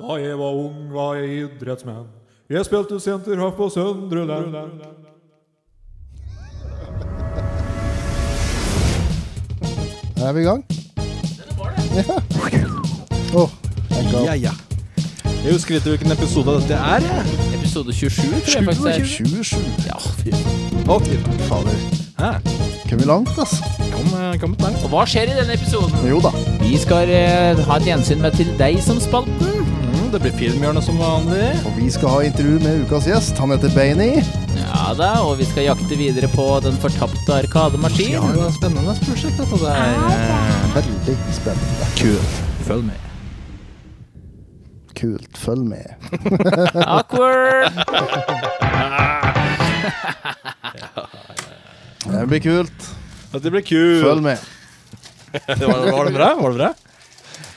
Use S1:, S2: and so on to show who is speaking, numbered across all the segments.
S1: Da jeg var ung, var jeg idrettsmann. Jeg spilte senterhoff på Søndre Land.
S2: Er vi i gang? Ja. Åh, thank God.
S3: Ja, ja. Jeg husker ikke hvilken episode dette er. jeg.
S4: Episode 27, tror jeg faktisk det er.
S2: 27.
S4: Ja, fy.
S3: Å, fy faen.
S2: Fader.
S3: Hæ?
S2: Kom vi langt, ass?
S3: Kom, eh, kom et langt.
S4: Og hva skjer i denne episoden?
S2: Jo da.
S4: Vi skal eh, ha et gjensyn med Til deg som spalten.
S3: Mm, det blir filmhjørnet som vanlig.
S2: Og vi skal ha intervju med ukas gjest. Han heter Bainey.
S4: Ja da, og vi skal jakte videre på den fortapte arkademaskin.
S3: Ja, det er spennende prosjekt dette der.
S2: Veldig spennende.
S3: Kult. Følg med.
S2: Kult. Følg med.
S4: Awkward!
S2: Det blir kult.
S3: Dette blir kult.
S2: Følg med.
S3: Var, var det bra? Var det bra?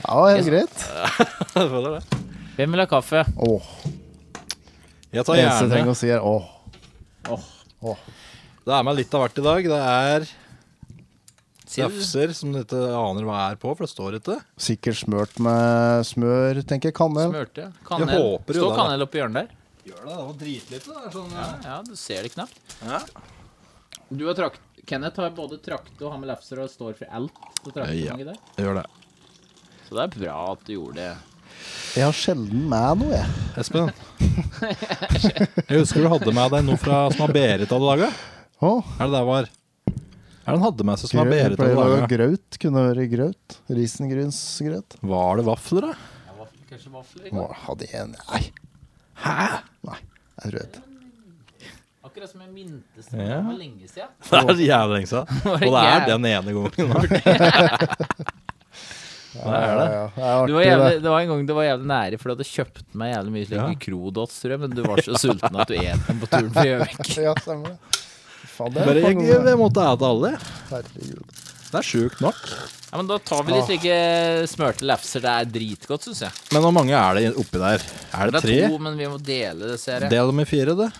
S2: Ja, helt greit.
S3: Jeg føler det.
S4: Hvem vil ha kaffe?
S2: Åh,
S3: Jeg
S2: det
S3: tar
S2: eneste jeg
S3: gjerne.
S2: trenger å si, er åh.
S3: Det er med litt av hvert i dag. Det er
S4: Sier du?
S3: tafser som du ikke aner hva er på, for det står ikke.
S2: Sikkert smørt med smør, tenker jeg. Kanel.
S4: Smørte. Kanel.
S3: Jeg håper jo
S4: Står
S3: det, da.
S4: kanel oppi hjørnet der?
S3: Gjør det, det var dritlite. Det er sånn,
S4: Ja, du ser det knapt.
S3: Ja.
S4: Du har trakt... Kenneth har både trakte og har med lefser og står for alt. på
S3: Ja.
S4: traktefanget der.
S3: Gjør det.
S4: Så det er bra at du gjorde det.
S2: Jeg har sjelden med noe, jeg.
S3: Espen. Jeg husker du hadde med deg noe fra som har Berit hadde laga.
S2: Åh,
S3: Er det der var? Er det han hadde med seg som har
S2: grøt. Jeg
S3: Berit
S2: pleier
S3: hadde
S2: å lage
S3: laga?
S2: grøt. Kunne høre grøt. Risengrynsgrøt.
S3: Var det vafler, da?
S4: Kanskje vafler?
S2: Åh, Hadde jeg Nei.
S3: Hæ?
S2: Nei. Jeg tror ikke.
S4: Akkurat som jeg mintes
S3: det Ja. var
S4: lenge siden.
S3: Det er jævlig lenge siden.
S4: var
S3: Og det er
S4: jævlig.
S3: den ene gangen. Det er det.
S2: Ja, det er
S4: Det var,
S2: artig, det.
S4: jævlig, det var en gang det var jævlig nære, for du hadde kjøpt meg jævlig mye slik
S3: Ja.
S4: mikrodots, tror jeg, men du var så sulten at du et den på turen til Gjøvik.
S2: Ja, stemmer det. Faen, det
S3: Bare
S2: er
S3: jeg,
S2: mange
S3: jeg,
S2: ganger.
S3: måtte ete alle.
S2: Herregud.
S3: Det er sjukt nok.
S4: Ja, men da tar vi litt slike smørte lefser. Det er dritgodt, syns jeg.
S3: Men hvor mange er det oppi der? Er
S4: Det
S3: det
S4: er
S3: tre?
S4: to, men vi må dele det, ser jeg.
S3: Del dem i fire, det.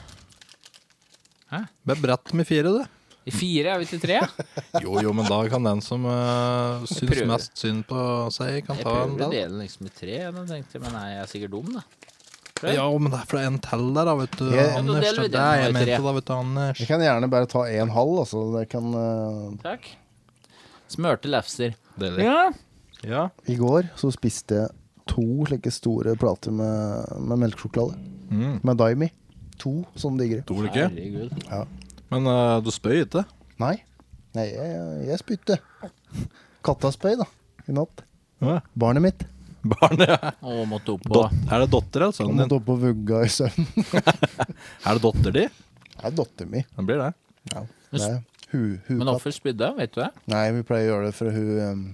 S4: Hæ?
S3: Bebrett med fire, det.
S4: I fire er vi til tre.
S3: Jo, jo, men da kan den som eh, syns
S4: prøver.
S3: mest synd på seg, kan
S4: Jeg
S3: ta en
S4: prøver å
S3: del.
S4: dele liksom i tre, jeg, da tenkte jeg, men nei, jeg er sikkert dum, da.
S3: Ja, men det er fra en tell der, da, vet du.
S2: Jeg-
S4: Ja, da
S3: Anders,
S4: deler vi
S3: det er
S4: den
S3: det jeg
S4: i tre.
S3: mente, da, vet du, Anders.
S2: Jeg kan gjerne bare ta en halv, altså. Det kan eh,
S4: Takk. Smørte lefser.
S3: Deler.
S4: Ja.
S3: Ja.
S2: I går så spiste jeg to slike store plater med, med melkesjokolade.
S3: Mm.
S2: Med Daimi. To sånne digre.
S3: Tror du ikke?
S4: Herregud.
S3: Men eh, du spøy ikke.
S2: Nei. Nei, jeg, jeg spytte. Katta spøy, da. I natt.
S3: Ja.
S2: Barnet mitt.
S3: Barnet ja.
S4: Å, måtte opp på
S3: Dot, er det dotter
S2: Han
S3: eller sønnen din?
S2: måtte opp og vugga i søvn.
S3: Er det dotter di?
S2: Det er dattera mi.
S3: Det blir det.
S2: Ja. Det er hu, hu,
S4: Men hvorfor spydde hun, vet du det?
S2: Nei, vi pleier å gjøre det for hun eh,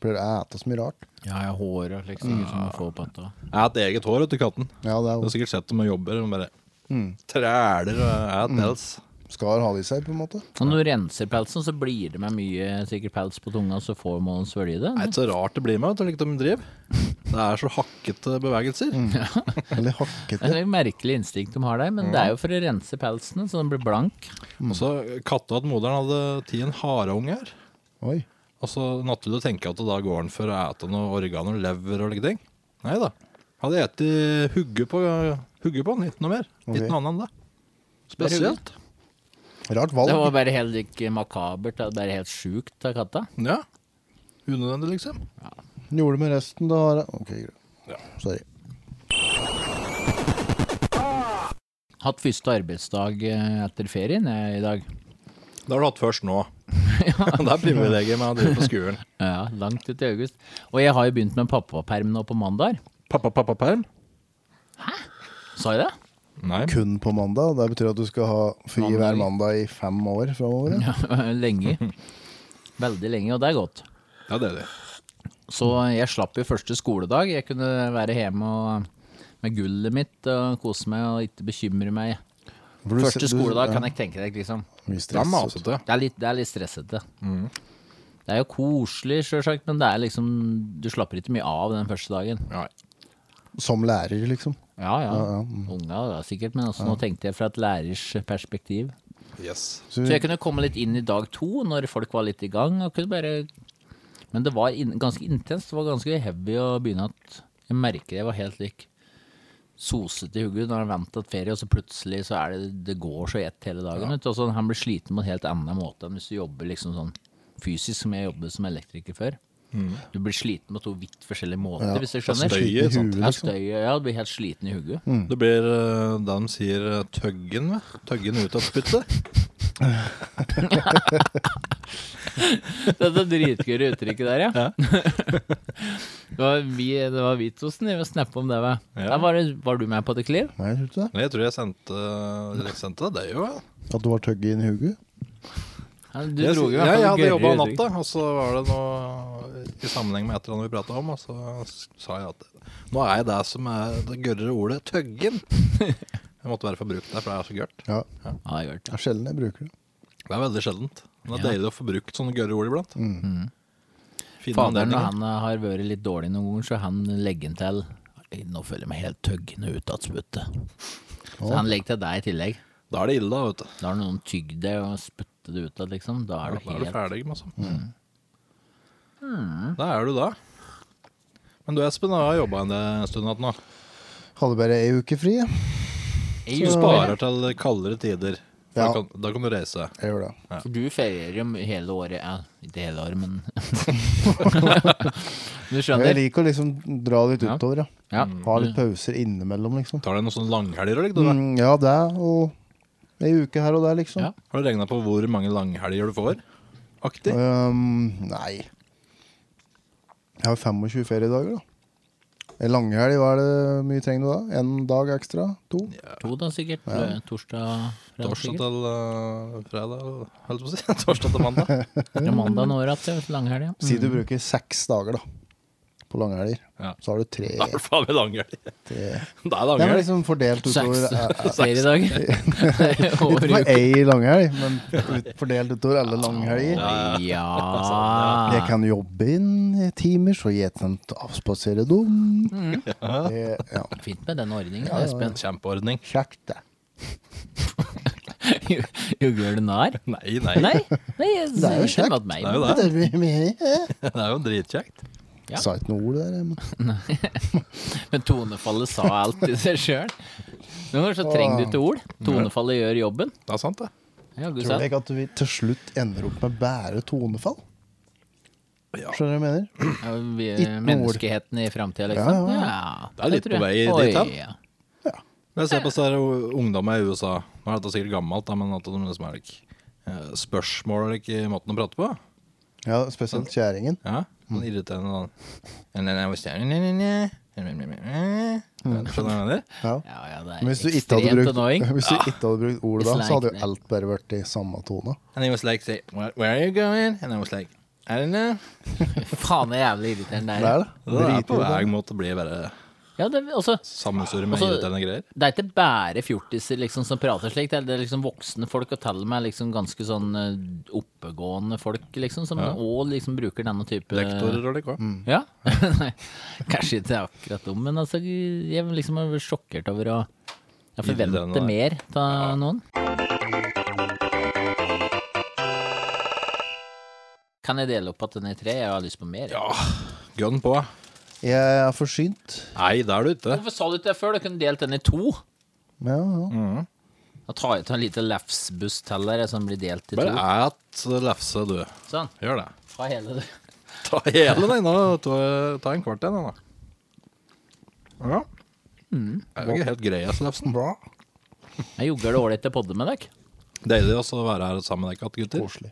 S2: pleier å ete så mye rart.
S4: Ja, jeg har håret liksom, som jeg får på dette.
S3: Jeg har et eget hår vet du, katten.
S2: Ja, det
S3: Du
S2: er
S3: har sikkert sett dem og jobber. Og bare
S2: Mm.
S3: træler og et dels.
S2: Skal ha det i seg, på en måte.
S4: Og når du renser pelsen, så blir det med mye sikkert pels på tunga, så får man svølge det.
S3: Det er ikke så rart det blir med. vet du, Like de driver. Det er så hakkete bevegelser.
S2: Mm. Eller
S4: Det
S2: hakkete.
S4: er et merkelig instinkt de har der, men det er jo for å rense pelsen, så den blir blank.
S3: Og så Katta til moderen hadde ti en hareunge her.
S2: Oi.
S3: Og så naturlig å tenke at da går han for å ete noe organ og lever og like ting. Nei da. Hadde spist hugge på, hugge på den, ikke noe mer.
S2: Ok.
S3: Ikke noe annet enn det. Spesielt.
S2: Rart
S4: Det
S2: valg.
S4: var bare helt ikke makabert, det var bare helt sjukt av katta.
S3: Ja. Unødvendig, liksom.
S2: Gjorde med resten, da har jeg Ok, greit.
S3: Ja.
S2: Sorry.
S4: Hatt første arbeidsdag eh, etter ferien jeg, i dag.
S3: Det har du hatt først nå. det er privilegiet med å drive på skolen.
S4: Ja, langt ut i august. Og jeg har jo begynt med pappaperm nå på mandag.
S3: Pappa-pappa-perm?
S4: Sa jeg det?
S3: Nei.
S2: Kun på mandag. Det betyr at du skal ha fri
S4: Mandag.
S2: hver mandag i fem år framover. Ja.
S4: lenge. Veldig lenge, og det er godt.
S3: Ja, det er det.
S4: Så jeg slapp jo første skoledag. Jeg kunne være hjemme og, med gullet mitt og kose meg og ikke bekymre meg.
S2: For du-
S4: Første
S2: du-
S4: skoledag kan
S2: ja,
S4: jeg tenke deg, liksom.
S2: Mye
S3: Det er
S2: stress.
S3: masete.
S4: Det er litt, det er litt stressete.
S2: Mm.
S4: Det er jo koselig, sjølsagt, men det er liksom Du slapper ikke mye av den første dagen.
S3: Nei.
S2: Som lærer, liksom.
S4: Ja, ja.
S2: ja,
S4: Unga da, sikkert, men altså, nå tenkte jeg fra et lærers perspektiv.
S3: Yes.
S2: Så,
S4: Så jeg kunne komme litt inn i dag to, når folk var litt i gang. Og kunne bare Men det var inn- ganske intenst. Det var ganske heavy å begynne at Jeg merker jeg var helt lik sosete i hodet når han ventet ferie, og så plutselig så er det det går så i ett hele dagen. vet du, og så han blir sliten på en helt annen måte enn hvis du jobber liksom sånn fysisk, som jeg jobbet som elektriker før. Du blir sliten på to vidt forskjellige måter, hvis jeg skjønner.
S3: støy i sånt.
S4: Ja,
S2: liksom.
S4: støy, ja, du blir helt sliten i hodet.
S3: Det blir eh, det de sier eh, tøggen, vet du. Tøggen ut av spyttet.
S4: Dette dritgøye uttrykket der, ja. det, var vi, det var vi to som drev og snappa om det. Va?
S3: Ja.
S4: Der var, det, var du med på det, Cliff?
S2: Nei, tror du ikke det?
S3: Nei, Jeg tror jeg sendte, jeg sendte det, det jo. Ja.
S2: At du var tøgget inn i hodet?
S4: Ja, Du
S3: jeg,
S4: dro jo i hvert
S3: ja,
S4: fall
S3: jeg hadde
S4: gørre
S3: jobba
S4: uttrykk.
S3: natta, og så var det noe i sammenheng med et eller annet vi prata om, og så s- sa jeg at nå er jeg det som er det gørre ordet tøggen. Jeg måtte være forbrukt der, for det er så gørt.
S2: Ja.
S4: Ja, jeg hørte
S2: Det er sjelden jeg bruker det.
S3: Det er veldig sjeldent. Men det er deilig å få brukt sånne gørre ord iblant.
S2: Mm.
S4: det.
S3: Finne
S4: Mm. Faderen
S3: anledninger.
S4: han eh, har vært litt dårlig noen ganger, så han legger den til Nå føler jeg meg helt tøggende ut av spyttet. Så han legger til deg i tillegg.
S3: Da er det ille, da, vet du.
S4: Da har noen tygd det og spyttet det ut av, liksom. Da
S3: Da er
S4: er du helt Mm.
S3: du ferdig med sånt.
S2: Mm.
S3: Da er du da. Men du Espen har jobba en del- en stund igjen nå.
S2: Hadde bare ei uke fri. jeg.
S4: Jeg
S3: Du
S4: gjorde
S3: sparer
S4: det.
S3: til kaldere tider. Da
S2: Ja.
S3: kan, da kan du reise.
S2: Jeg gjør det.
S4: For du ferierer jo hele året. Ja, ikke hele året, men Du
S2: Jeg
S4: skjønner?
S2: liker å liksom dra litt
S4: Ja. Mm.
S2: utover, ja.
S4: Ja.
S2: Ha litt pauser innimellom, liksom.
S3: Tar deg noen sånne langhelger og likt, du, da?
S2: Mm, ja, det og ei uke her og der, liksom.
S4: Ja.
S3: Har du regna på hvor mange langhelger du får?
S2: Øhm,
S3: Aktig?
S2: Ehm, nei. Jeg har 25 feriedager, da. En langhelg, hva er det mye trenger du da? En dag ekstra? To?
S4: To, da, sikkert. Lø- Torsdag, fredag,
S3: Torsdag
S4: sikkert.
S3: til eh, fredag, holdt jeg på å si. Torsdag til mandag.
S4: Ja, mandag
S3: Mm.
S4: nå året til langhelga.
S2: Si du bruker seks dager, da. På langhelger.
S3: Ja.
S2: Så har du tre,
S3: Da er det faen meg langhelg.
S2: tre.
S3: Det er
S2: Det er
S3: langhelg.
S2: liksom fordelt utover
S4: Mm. Seks
S2: eh,
S4: seriedager.
S2: Ikke
S4: Over
S2: på
S4: uka.
S2: ei langhelg, men ut- fordelt utover alle langhelger. Jeg
S4: Ja.
S2: kan jobbe inn i timer, så jeg kan avspasere dem.
S3: Mm.
S2: Det- Ja.
S4: Fint med den ordningen, Espen.
S3: Kjempeordning.
S2: Kjekt, det.
S4: Jugger du narr?
S3: Nei, nei.
S4: Nei, nei jeg
S2: Det er jo
S4: sier ikke
S2: kjekt.
S4: at meg.
S3: Det er jo det.
S2: Det er mye-
S3: Det er jo dritkjekt.
S4: Ja.
S2: Sa ikke noe ord der. Men.
S4: Men tonefallet sa alt i seg sjøl. Noen ganger så trenger du ikke ord. Tonefallet gjør jobben.
S3: Det er sant, det.
S4: Ja, du
S2: Tror
S4: sa.
S2: du ikke at vi til slutt ender opp med bare tonefall?
S3: Ja.
S2: Skjønner du hva jeg mener?
S4: Ja, vi-
S2: Ikke noe ord.
S4: Menneskeheten i framtida,
S2: Ja, ja,
S4: liksom.
S2: ja.
S4: Ja,
S3: Det er litt
S4: tror
S3: på
S4: jeg.
S3: vei dit,
S4: Oi,
S3: da.
S4: ja.
S3: Men jeg ser på sånne ungdommer i USA. Nå er dette sikkert gammelt, da, men at de liksom er like, eh, spørsmål er ikke måten å prate på.
S2: Ja, spesielt kjæringen.
S3: Ja, sånn irriterende sånn. Skjønner du hva jeg mener?
S2: Ja.
S4: Ja, ja, det
S2: Men
S4: er
S2: hvis du ikke hadde
S4: ekstremt annoying.
S2: brukt, hvis du ikke hadde brukt ordet da, så hadde jo alt bare vært i samme tone.
S3: And he was like, say, where, where are you going? And I was like, I don't know.
S4: Faen, det er jævlig irriterende.
S2: Det
S4: det her.
S2: er det.
S3: Det er på
S2: Dritirriterende.
S3: vei mot å bli bare
S4: Ja, det, er også,
S3: sammensure med
S4: Altså-
S3: irriterende greier.
S4: det er ikke bare fjortiser liksom, som prater slik, det er, det er liksom voksne folk, og til og med liksom ganske sånn eh, oppegående folk, liksom, som
S3: Ja.
S4: også liksom bruker denne type
S3: Lektorer og like òg.
S4: Ja. Nei, Kanskje ikke akkurat dum, men altså, jeg er liksom sjokkert over å jeg
S3: Irriterende, nei.
S4: forventer mer av noen. Kan jeg dele opp at den er tre? Jeg har lyst på mer.
S3: Ja, gun på.
S2: Jeg er forsynt.
S3: Nei, det er du ikke.
S4: Hvorfor sa du ikke det før? Du kunne delt den i to.
S2: Ja, ja.
S3: Mm.
S4: Da tar jeg til en liten lefsbuss til der, som blir delt i to.
S3: Bare et lefse, du.
S4: Sånn.
S3: Gjør det.
S4: Ta hele, du.
S3: Ta hele den ennå. Ta, ta en kvart igjen, da. Ja. Det er sånn jo ikke helt grei, ass, lefsen.
S2: Bra.
S4: Jeg jogger det ålreit til podde med dere.
S3: Deilig også å være her sammen med deg, gutter.
S2: Koselig.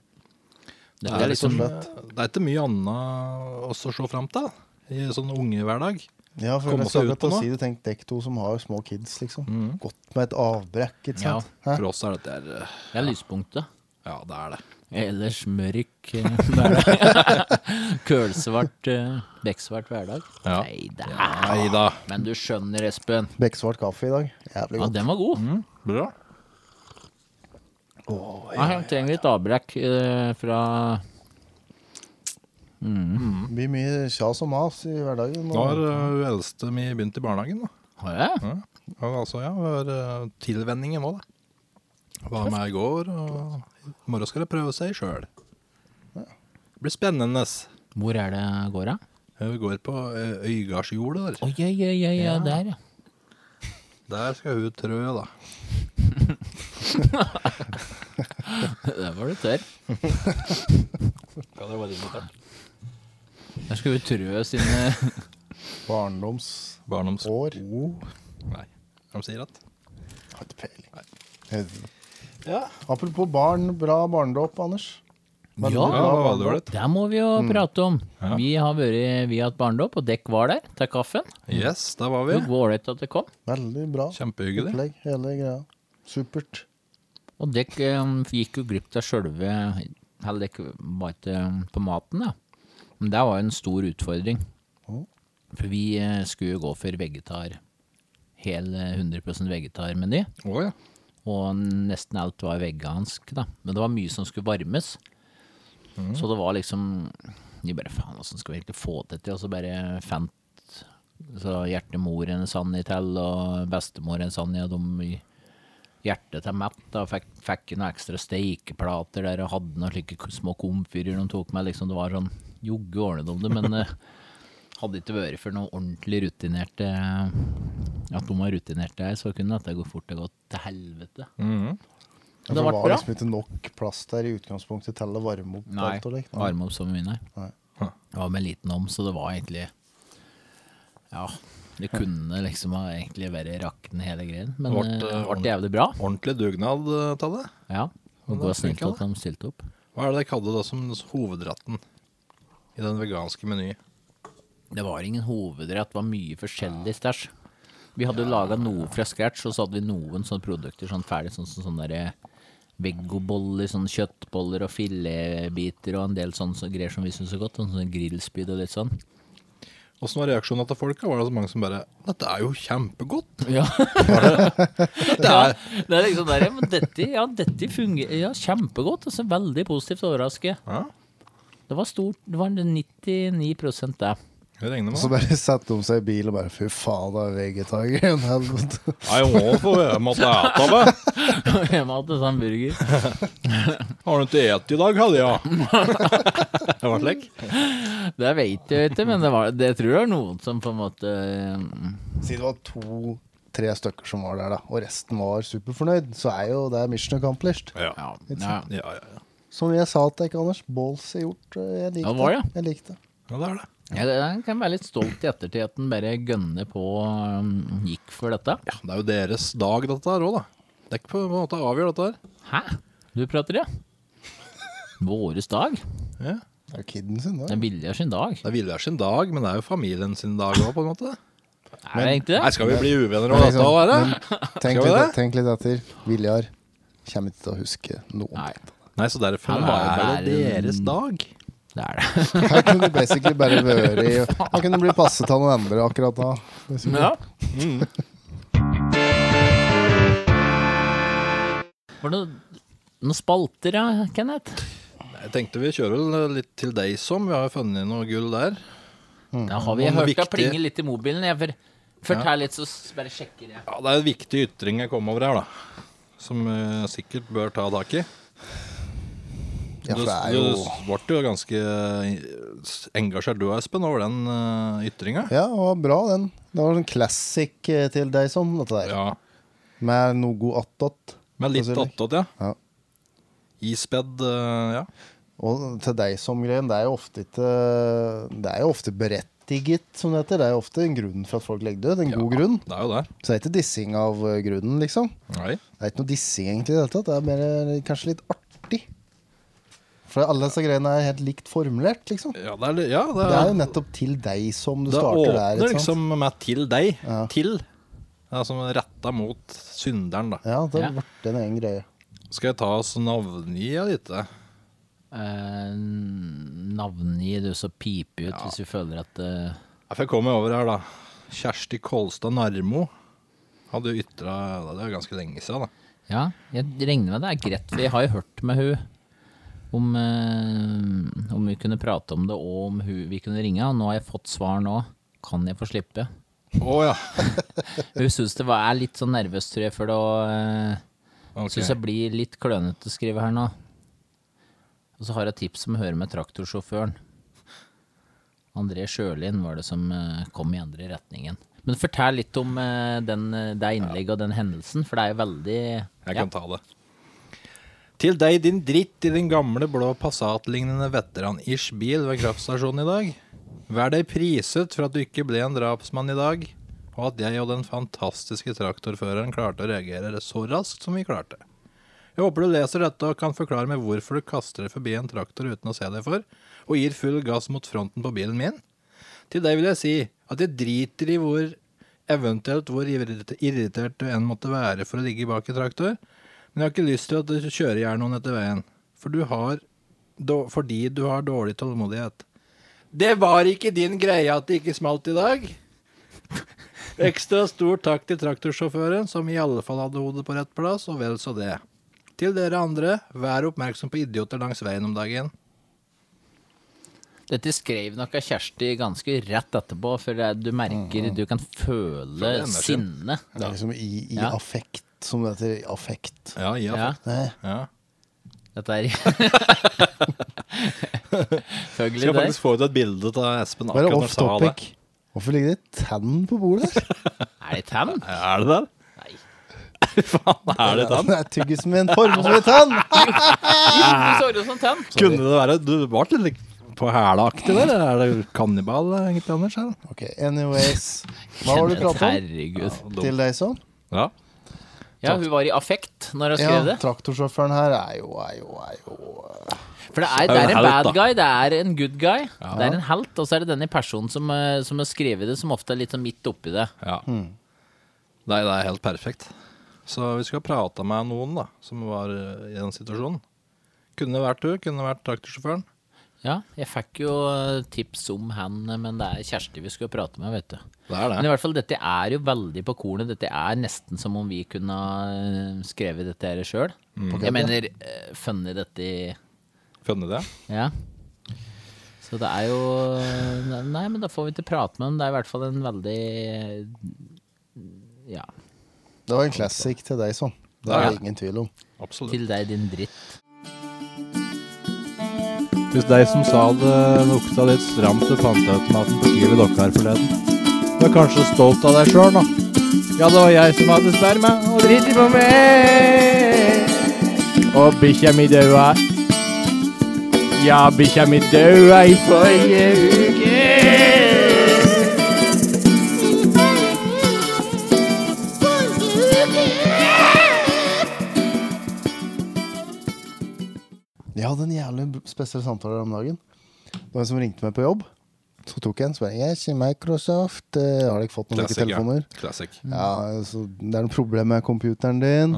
S4: Det
S3: Det
S4: er
S3: er,
S4: liksom,
S3: liksom, det er ikke mye annet også å se fram til i sånn unge hverdag.
S2: Ja, for
S3: Komme
S2: jeg
S3: seg
S2: skal
S3: ut Mm. på
S2: akkurat
S3: noe.
S2: si det, tenk dekk to som har små kids, liksom. Godt med et avbrekk, ikke
S4: Ja.
S2: sant? Hæ?
S3: For oss er dette her eh,
S4: det er lyspunktet.
S3: Ja, det er det.
S4: Ellers mørk eh, hverdag. Kølsvart, eh, bekksvart hverdag.
S3: Ja.
S4: Nei da.
S3: Nei da.
S4: Men du skjønner, Espen.
S2: Bekksvart kaffe i dag. Jævlig
S4: Ja,
S2: godt.
S4: den var god.
S3: Bra.
S4: Ja, Her trenger vi et avbrekk eh, fra
S2: Det blir mye kjas og mas i hverdagen.
S3: Nå har
S2: Og...
S3: eh, hun eldste mi begynt i barnehagen. da.
S4: Har jeg?
S3: Ja. Ja, Altså, ja, hun har eh, tilvenningen nå, da. Var med i går, og i morgen skal hun prøve seg sjøl. Det blir spennende.
S4: Hvor er det går, da?
S3: Eh, Vi går på eh, Øygardsjordet der.
S4: Oi, ja, ja, ja, ja, der, ja.
S3: Der skal hun trø, da.
S4: Der var du tørr.
S3: Kan dere bare inn der?
S4: Der skal vi trø eh, sine
S2: Barndomsår.
S3: Barndomsår?
S2: Oh,
S3: Nei. De sier at
S2: har ikke
S3: Nei.
S2: peiling. Helvete. Apropos barn, bra barndåp, Anders.
S4: Ja,
S3: Ja, det var dårlig.
S4: det må vi jo prate om. Vi har vært via et barndom, og dekk var der til kaffen.
S3: Yes, der var vi.
S4: Det var ålreit at det kom.
S2: Veldig bra
S3: Kjempehyggelig.
S2: opplegg, hele greia. Supert.
S4: Og dekk um, gikk jo glipp av sjølve Eller dekk var ikke eh, på maten, da. Men det var jo en stor utfordring.
S2: Å.
S4: For vi eh, skulle jo gå for vegetar. Hel eh, 100 vegetarmeny.
S3: Å ja.
S4: Og nesten alt var vegansk, da. Men det var mye som skulle varmes. Så det var liksom De bare faen, åssen skal vi egentlig få det til? Og så bare fant så hjertemor en Sanni til, og bestemor en Sanni, og de i hjertet til Matt da, fikk, fikk noen ekstra steikeplater der og hadde noen slike k- små komfyrer de tok med. liksom Det var sånn jogge ordnet om det, men eh, hadde ikke vært for noen ordentlig rutinerte At de var rutinerte her, så kunne dette gå fort og gått til helvete.
S3: Mhm.
S2: Ja,
S4: Men
S2: for det
S4: det ble
S2: var
S4: bra.
S2: liksom ikke nok plass der i utgangspunktet til å varme opp
S4: Nei,
S2: alt og likt.
S4: varme opp som vi vinner.
S2: Nei.
S3: Hm.
S4: Det var med liten om, så det var egentlig Ja, det kunne liksom ha egentlig vært rakende hele greien, men
S3: Det ble,
S4: eh, det
S3: eh,
S4: ble jævlig bra.
S3: Ordentlig dugnad eh, til det.
S4: Ja.
S3: Men
S4: Og
S3: det
S4: gå
S3: var
S4: snilt
S3: flinke,
S4: at de stilte opp.
S3: Hva er det dere kaller det da som hovedretten i den veganske menyen?
S4: Det var ingen hovedrett, det var mye forskjellig stæsj. Vi hadde jo laga noe fra scratch, og så hadde vi noen sånne produkter sånn ferdig, sånn som sånne der veggoboller, sånne kjøttboller og filetbiter og en del sånne så- greier som vi syntes så godt. Sånn sånn grillspyd og litt sånn.
S3: Åssen var reaksjonene til folka? Var det så mange som bare 'Dette er jo kjempegodt'.
S4: Ja.
S3: Dette er
S4: Det er liksom der, ja, men dette, ja, dette fungerer ja, kjempegodt. Altså, veldig positivt overrasket.
S3: Ja,
S4: Det var stort, det var 99 det.
S3: jeg regner med
S2: Så
S3: det.
S2: bare setter de seg i bil og bare Fy faen, det er vegetargreien. Helvete.
S3: Nei, jeg må få jeg måtte ete meg.
S4: Jeg hadde sånn burger.
S3: Har du ikke et i dag, hadde jeg? det var slik.
S4: Det vet jeg ikke, men det, var, det tror jeg er noen som på en måte mm,
S2: Si det var to-tre stykker som var der, da, og resten var superfornøyd, så er jo det mission accomplished.
S4: Ja.
S3: Ja,
S4: ja.
S3: sånn, ja, ja. ja.
S2: Som jeg sa til deg, Anders, balls er gjort. eh, Jeg likte
S4: Ja, det var det.
S2: Jeg likte. det.
S3: ja det er det.
S4: Ja, det- Jeg kan være litt stolt i ettertid at den bare gønner på mm, gikk for dette.
S3: Ja, det er jo deres dag, dette her òg, da. Det er ikke på en måte avgjør dette her.
S4: Hæ? Du prater, ja? Våres dag.
S3: Ja.
S2: Det er jo kidden sin,
S4: Det
S2: da.
S4: er Viljar sin dag.
S3: Det er Viljar sin dag, men det er jo familien sin dag òg, på en måte.
S4: Er det egentlig
S3: Nei,
S4: det?
S3: skal vi bli uvenner over dette òg, eller?
S2: Liksom, Tenk
S3: Skal
S2: litt,
S3: vi det?
S2: tenk litt etter. Viljar kommer ikke til å huske noe.
S4: Nei,
S3: Nei, så derfor
S4: Han er
S3: er det
S4: en-
S3: deres dag.
S4: det er det.
S2: Han kunne basically bare vært i Han kunne bli passet av noen andre akkurat da. Liksom.
S3: Mm.
S4: Ja. Var det noen noen spalter, ja, Kenneth?
S3: Jeg tenkte vi kjører vel litt til deg som. Vi har jo funnet noe gull der.
S4: Ja, har vi
S3: Mm. Noen
S4: hørt
S3: viktige-
S4: deg plinge litt i mobilen? Jeg for, fortell litt, så s- bare sjekker jeg.
S3: Ja, det er en viktig ytring jeg kom over her, da. Som eh, sikkert bør ta tak i.
S2: Ja, for
S3: du
S2: det er
S3: du
S2: jo
S3: ble jo ganske eh, engasjert du, Espen, over den uh, ytringa.
S2: Ja, det var bra, den. Det var sånn classic eh, til deg sånn, dette der.
S3: Ja.
S2: Med noe god attåt.
S3: Med litt
S2: Hva sier du?
S3: attåt, ja.
S2: Ja.
S3: Ispedd, eh, ja.
S2: Og til deg som greien, det er jo ofte ikke Det er jo ofte berettiget, som det heter. Det er jo ofte en grunn for at folk legger død. En god grunn.
S3: Det er jo det.
S2: Så det er ikke dissing av eh, grunnen, liksom.
S3: Nei.
S2: Det er ikke noe dissing egentlig i det hele tatt. Det er mer, eh, kanskje litt artig. For alle disse greiene er helt likt formulert, liksom.
S3: Ja, det er, li- ja, det
S2: Det
S3: er,
S2: er jo nettopp til deg som du
S3: det
S2: starter der.
S3: åpner
S2: Ikke sant?
S3: liksom med 'til deg'.
S2: Ja.
S3: Til. Det er som retta mot synderen, da.
S2: Ja, det
S4: Ja.
S2: ble en egen greie.
S3: Skal jeg ta oss navngia litt? da?
S4: Eh, Navngi du, så piper ut hvis vi føler at eh,
S3: Ja, for Jeg kommer over her, da. Kjersti Kolstad Narmo hadde jo ytra Det er jo ganske lenge siden, da.
S4: Ja, jeg regner med det er greit. for Jeg har jo hørt med hun om, eh, om vi kunne prate om det, og om hun, vi kunne ringe. Og nå har jeg fått svar nå. Kan jeg få slippe?
S3: Å ja.
S4: Hun syns det var, er litt sånn nervøs, tror jeg, for det å eh,
S3: Ok.
S4: Syns jeg blir litt klønete å skrive her nå. Og så har jeg et tips som hører med traktorsjåføren. André Sjølin var det som eh, kom i andre retningen. Men fortell litt om eh, den, eh, det innlegget og den hendelsen, for det er jo veldig
S3: Jeg
S4: ja.
S3: kan ta det. Til deg, din dritt i din gamle blå Passat-lignende veteran-ish bil ved kraftstasjonen i dag. Vær deg priset for at du ikke ble en drapsmann i dag, og at jeg og den fantastiske traktorføreren klarte å reagere så raskt som vi klarte. Jeg håper du leser dette og kan forklare meg hvorfor du kaster deg forbi en traktor uten å se deg for, og gir full gass mot fronten på bilen min. Til deg vil jeg si at jeg driter i hvor eventuelt hvor irrit- irritert du enn måtte være for å ligge bak i traktor, men jeg har ikke lyst til at du kjører i hjel noen etter veien, for du har, då- fordi du har dårlig tålmodighet. Det var ikke din greie at det ikke smalt i dag. Ekstra stor takk til traktorsjåføren, som i alle fall hadde hodet på rett plass, og vel så det. Til dere andre, vær oppmerksom på idioter langs veien om dagen.
S4: Dette skrev nok av Kjersti ganske rett etterpå, for det- du merker Du kan føle
S3: Mhm. Føler energien.
S4: sinnet.
S2: Det er liksom i, i
S4: Ja.
S2: affekt, som det heter. Affekt.
S3: Ja,
S4: Ja,
S2: Nei.
S3: ja.
S4: dette er Følgelig
S3: Skal
S4: det.
S3: faktisk få ut et bilde av Espen
S2: Bare
S3: akkurat når han
S2: off
S3: sa det.
S2: topic. Hvorfor ligger det tann på bordet her?
S4: Er det tann?
S3: Er det der?
S4: Nei.
S3: Faen, er det den?
S2: Det er tyggis med en form som en tann!
S4: Du
S2: Ah.
S4: så det som tann.
S3: Kunne det være Du var litt på hæla-aktig der? Eller er det kannibal, eh, egentlig, Anders? eller?
S2: Ok, anyways. Hva var det du prata om?
S4: Herregud.
S2: Til deg sånn?
S3: Ja.
S4: Ja, hun var i affekt når hun skrev
S2: Ja,
S4: det.
S2: traktorsjåføren her er jo, er jo, er jo
S4: For det er,
S3: Det er jo
S4: det er en
S3: en helt,
S4: bad
S3: da.
S4: guy, det er en good guy, det er en helt, og så er det denne personen som, eh, som har skrevet det, som ofte er litt sånn midt oppi det.
S3: ja.
S2: Hmm.
S3: Nei, det er helt perfekt. Så vi skal prate med noen da som var eh, i den situasjonen. Kunne vært du, kunne vært traktorsjåføren.
S4: Ja, jeg fikk jo eh, tips om han, eh, men det er Kjersti vi skulle prate med, vet du.
S3: Det er
S4: Men i hvert fall, dette er jo veldig på kornet. Dette er nesten som om vi kunne eh, skrevet dette her sjøl. Jeg mener, eh, funny dette i
S3: Funnet det?
S4: Ja. Så det er jo Nei, men da får vi ikke prate med ham. Det er i hvert fall en veldig Ja.
S2: Det var en classic til deg sånn. Det er
S3: Ja.
S2: det ingen tvil om.
S3: Absolutt.
S4: Til deg, din dritt.
S3: Hvis deg som sa det lukta litt stramt ved panteautomaten på Kiwi Dokka her forleden, du er kanskje stolt av deg sjøl nå? Ja, det var jeg som hadde sperma, og drit i på meg. Og bikkja mi daua. Ja, bikkja mi daua i forrige uke.
S2: Jeg hadde en jævlig spesiell samtale om dagen. Det var en som ringte meg på jobb. Så tok jeg en spørsmål. Jeg sier Microsoft. eh, Har dere ikke fått noen like telefoner?
S3: Classic.
S4: Mm.
S2: Ja, så Det er noe problem med computeren din.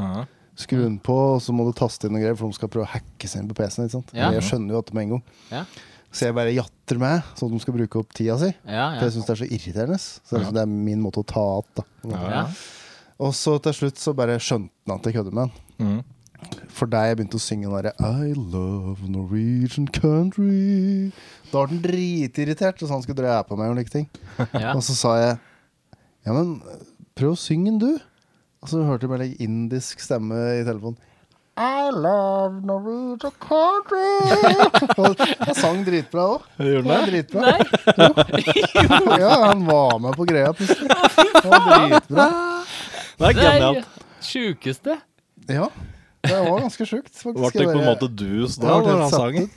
S2: Skru den på, og så må du taste inn noen greier, for de skal prøve å hacke seg inn på PC-en. ikke sant?
S4: Ja.
S2: Jeg skjønner jo dette med en gang.
S4: Ja.
S2: Så jeg bare jatter med, sånn at de skal bruke opp tida si.
S4: Ja,
S2: For
S4: ja.
S2: jeg syns det er så irriterende. Så det er, liksom- det er min måte å ta att. da.
S4: ja.
S2: Og så til slutt så bare skjønte han at jeg kødder med han. For da jeg begynte å synge den derre I love Norwegian country Da var den dritirritert, og så han skulle drepe meg og like ting.
S4: ja.
S2: Og så sa jeg Ja, men prøv å synge den, du. Og så hørte jeg bare like, indisk stemme i telefonen. I love Norwegian country. Og jeg sang dritbra òg. Gjorde du det? er Dritbra. Jo. Ja, han var med på greia plutselig. Det var dritbra.
S3: Det er
S4: Det er
S3: genialt.
S4: sjukeste.
S2: Ja, det var ganske sjukt.
S3: Ble
S2: faktisk.
S3: det
S2: Jeg
S3: på en
S2: bare-
S3: måte dus
S2: Ja,
S3: da,
S2: det
S3: når han
S2: satt
S3: sang?
S2: ut.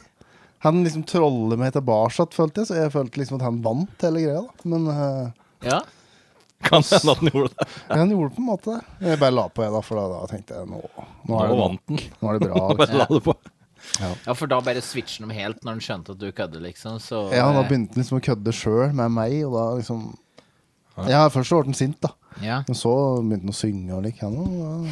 S2: Han liksom troller meg tilbake, følte jeg, så jeg følte liksom at han vant hele greia. da. Men eh,
S4: Ja.
S3: Kan hende at han gjorde det.
S2: han gjorde det på en måte. Jeg bare la på, jeg, da, for da, da tenkte jeg nå, nå, er
S3: Nå
S2: det,
S3: vant den.
S2: nå er det bra.
S3: Bare
S2: Liksom.
S3: la det på.
S4: ja, for da bare switcher de helt når han skjønte at du kødder, liksom. Så
S2: Ja, da begynte han liksom å kødde sjøl med meg, og da liksom Ja, først så ble han sint, da.
S4: eh, ja.
S2: Men så begynte han å synge og like. Ja, nå, ja.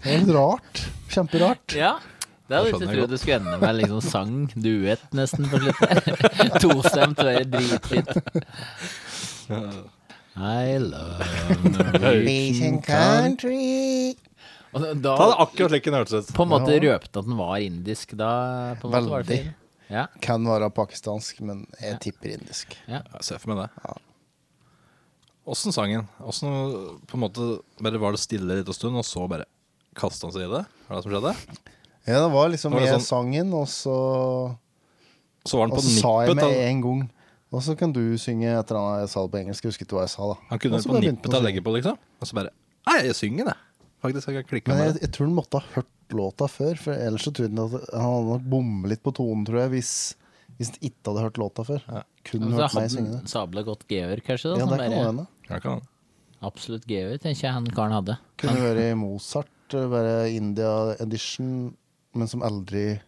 S2: Det var litt rart. Kjemperart.
S4: ja. Det
S3: Da
S4: hadde jeg ikke
S3: skjønner jeg
S4: trodd det skulle ende med liksom sang, duett nesten på slutten. Tostemt, det er dritfint. I love
S2: Norwegian country
S4: Og
S3: Ta det
S4: Da
S3: akkurat slik den hørtes ut.
S4: på en måte røpte at den var indisk, da på en måte var det
S2: Veldig.
S4: fint. Ja,
S2: Kan være pakistansk, men jeg tipper indisk.
S3: Jeg ser for meg det. Åssen sang den? Åssen på en måte bare var det stille litt en stund, og så bare kasta han seg i det? Var det det som skjedde?
S2: Ja, det var liksom
S3: Var det
S2: med
S3: sånn-
S2: sangen, og så
S3: Så var han
S2: Og
S3: på
S2: så sa jeg
S3: nippet
S2: med
S3: av
S2: en gang Og så kan du synge et eller annet jeg sa det på engelsk. Jeg husker ikke hva jeg sa, da.
S3: Han kunne
S2: Og så
S3: på
S2: bare begynte han
S3: nippet til
S2: å
S3: å
S2: synge.
S3: legge på, liksom. Og så bare Nei, jeg synger, det. Faktisk, jeg kan klikke
S2: Men jeg,
S3: med det.
S2: jeg tror han måtte ha hørt låta før, for ellers så tror jeg at han hadde nok bommet litt på tonen, tror jeg, hvis, hvis han ikke hadde hørt låta før. Kun
S4: Så
S2: hørt meg
S4: hadde
S2: synge
S4: han
S2: det.
S4: sabla godt gever, kanskje? Da,
S2: Ja,
S4: som
S2: det kan
S4: bare-
S2: hende.
S3: Ja, kan han.
S4: Absolutt gever, tenker jeg han karen hadde.
S2: Kunne være Mozart, eller være India Edition, men som aldri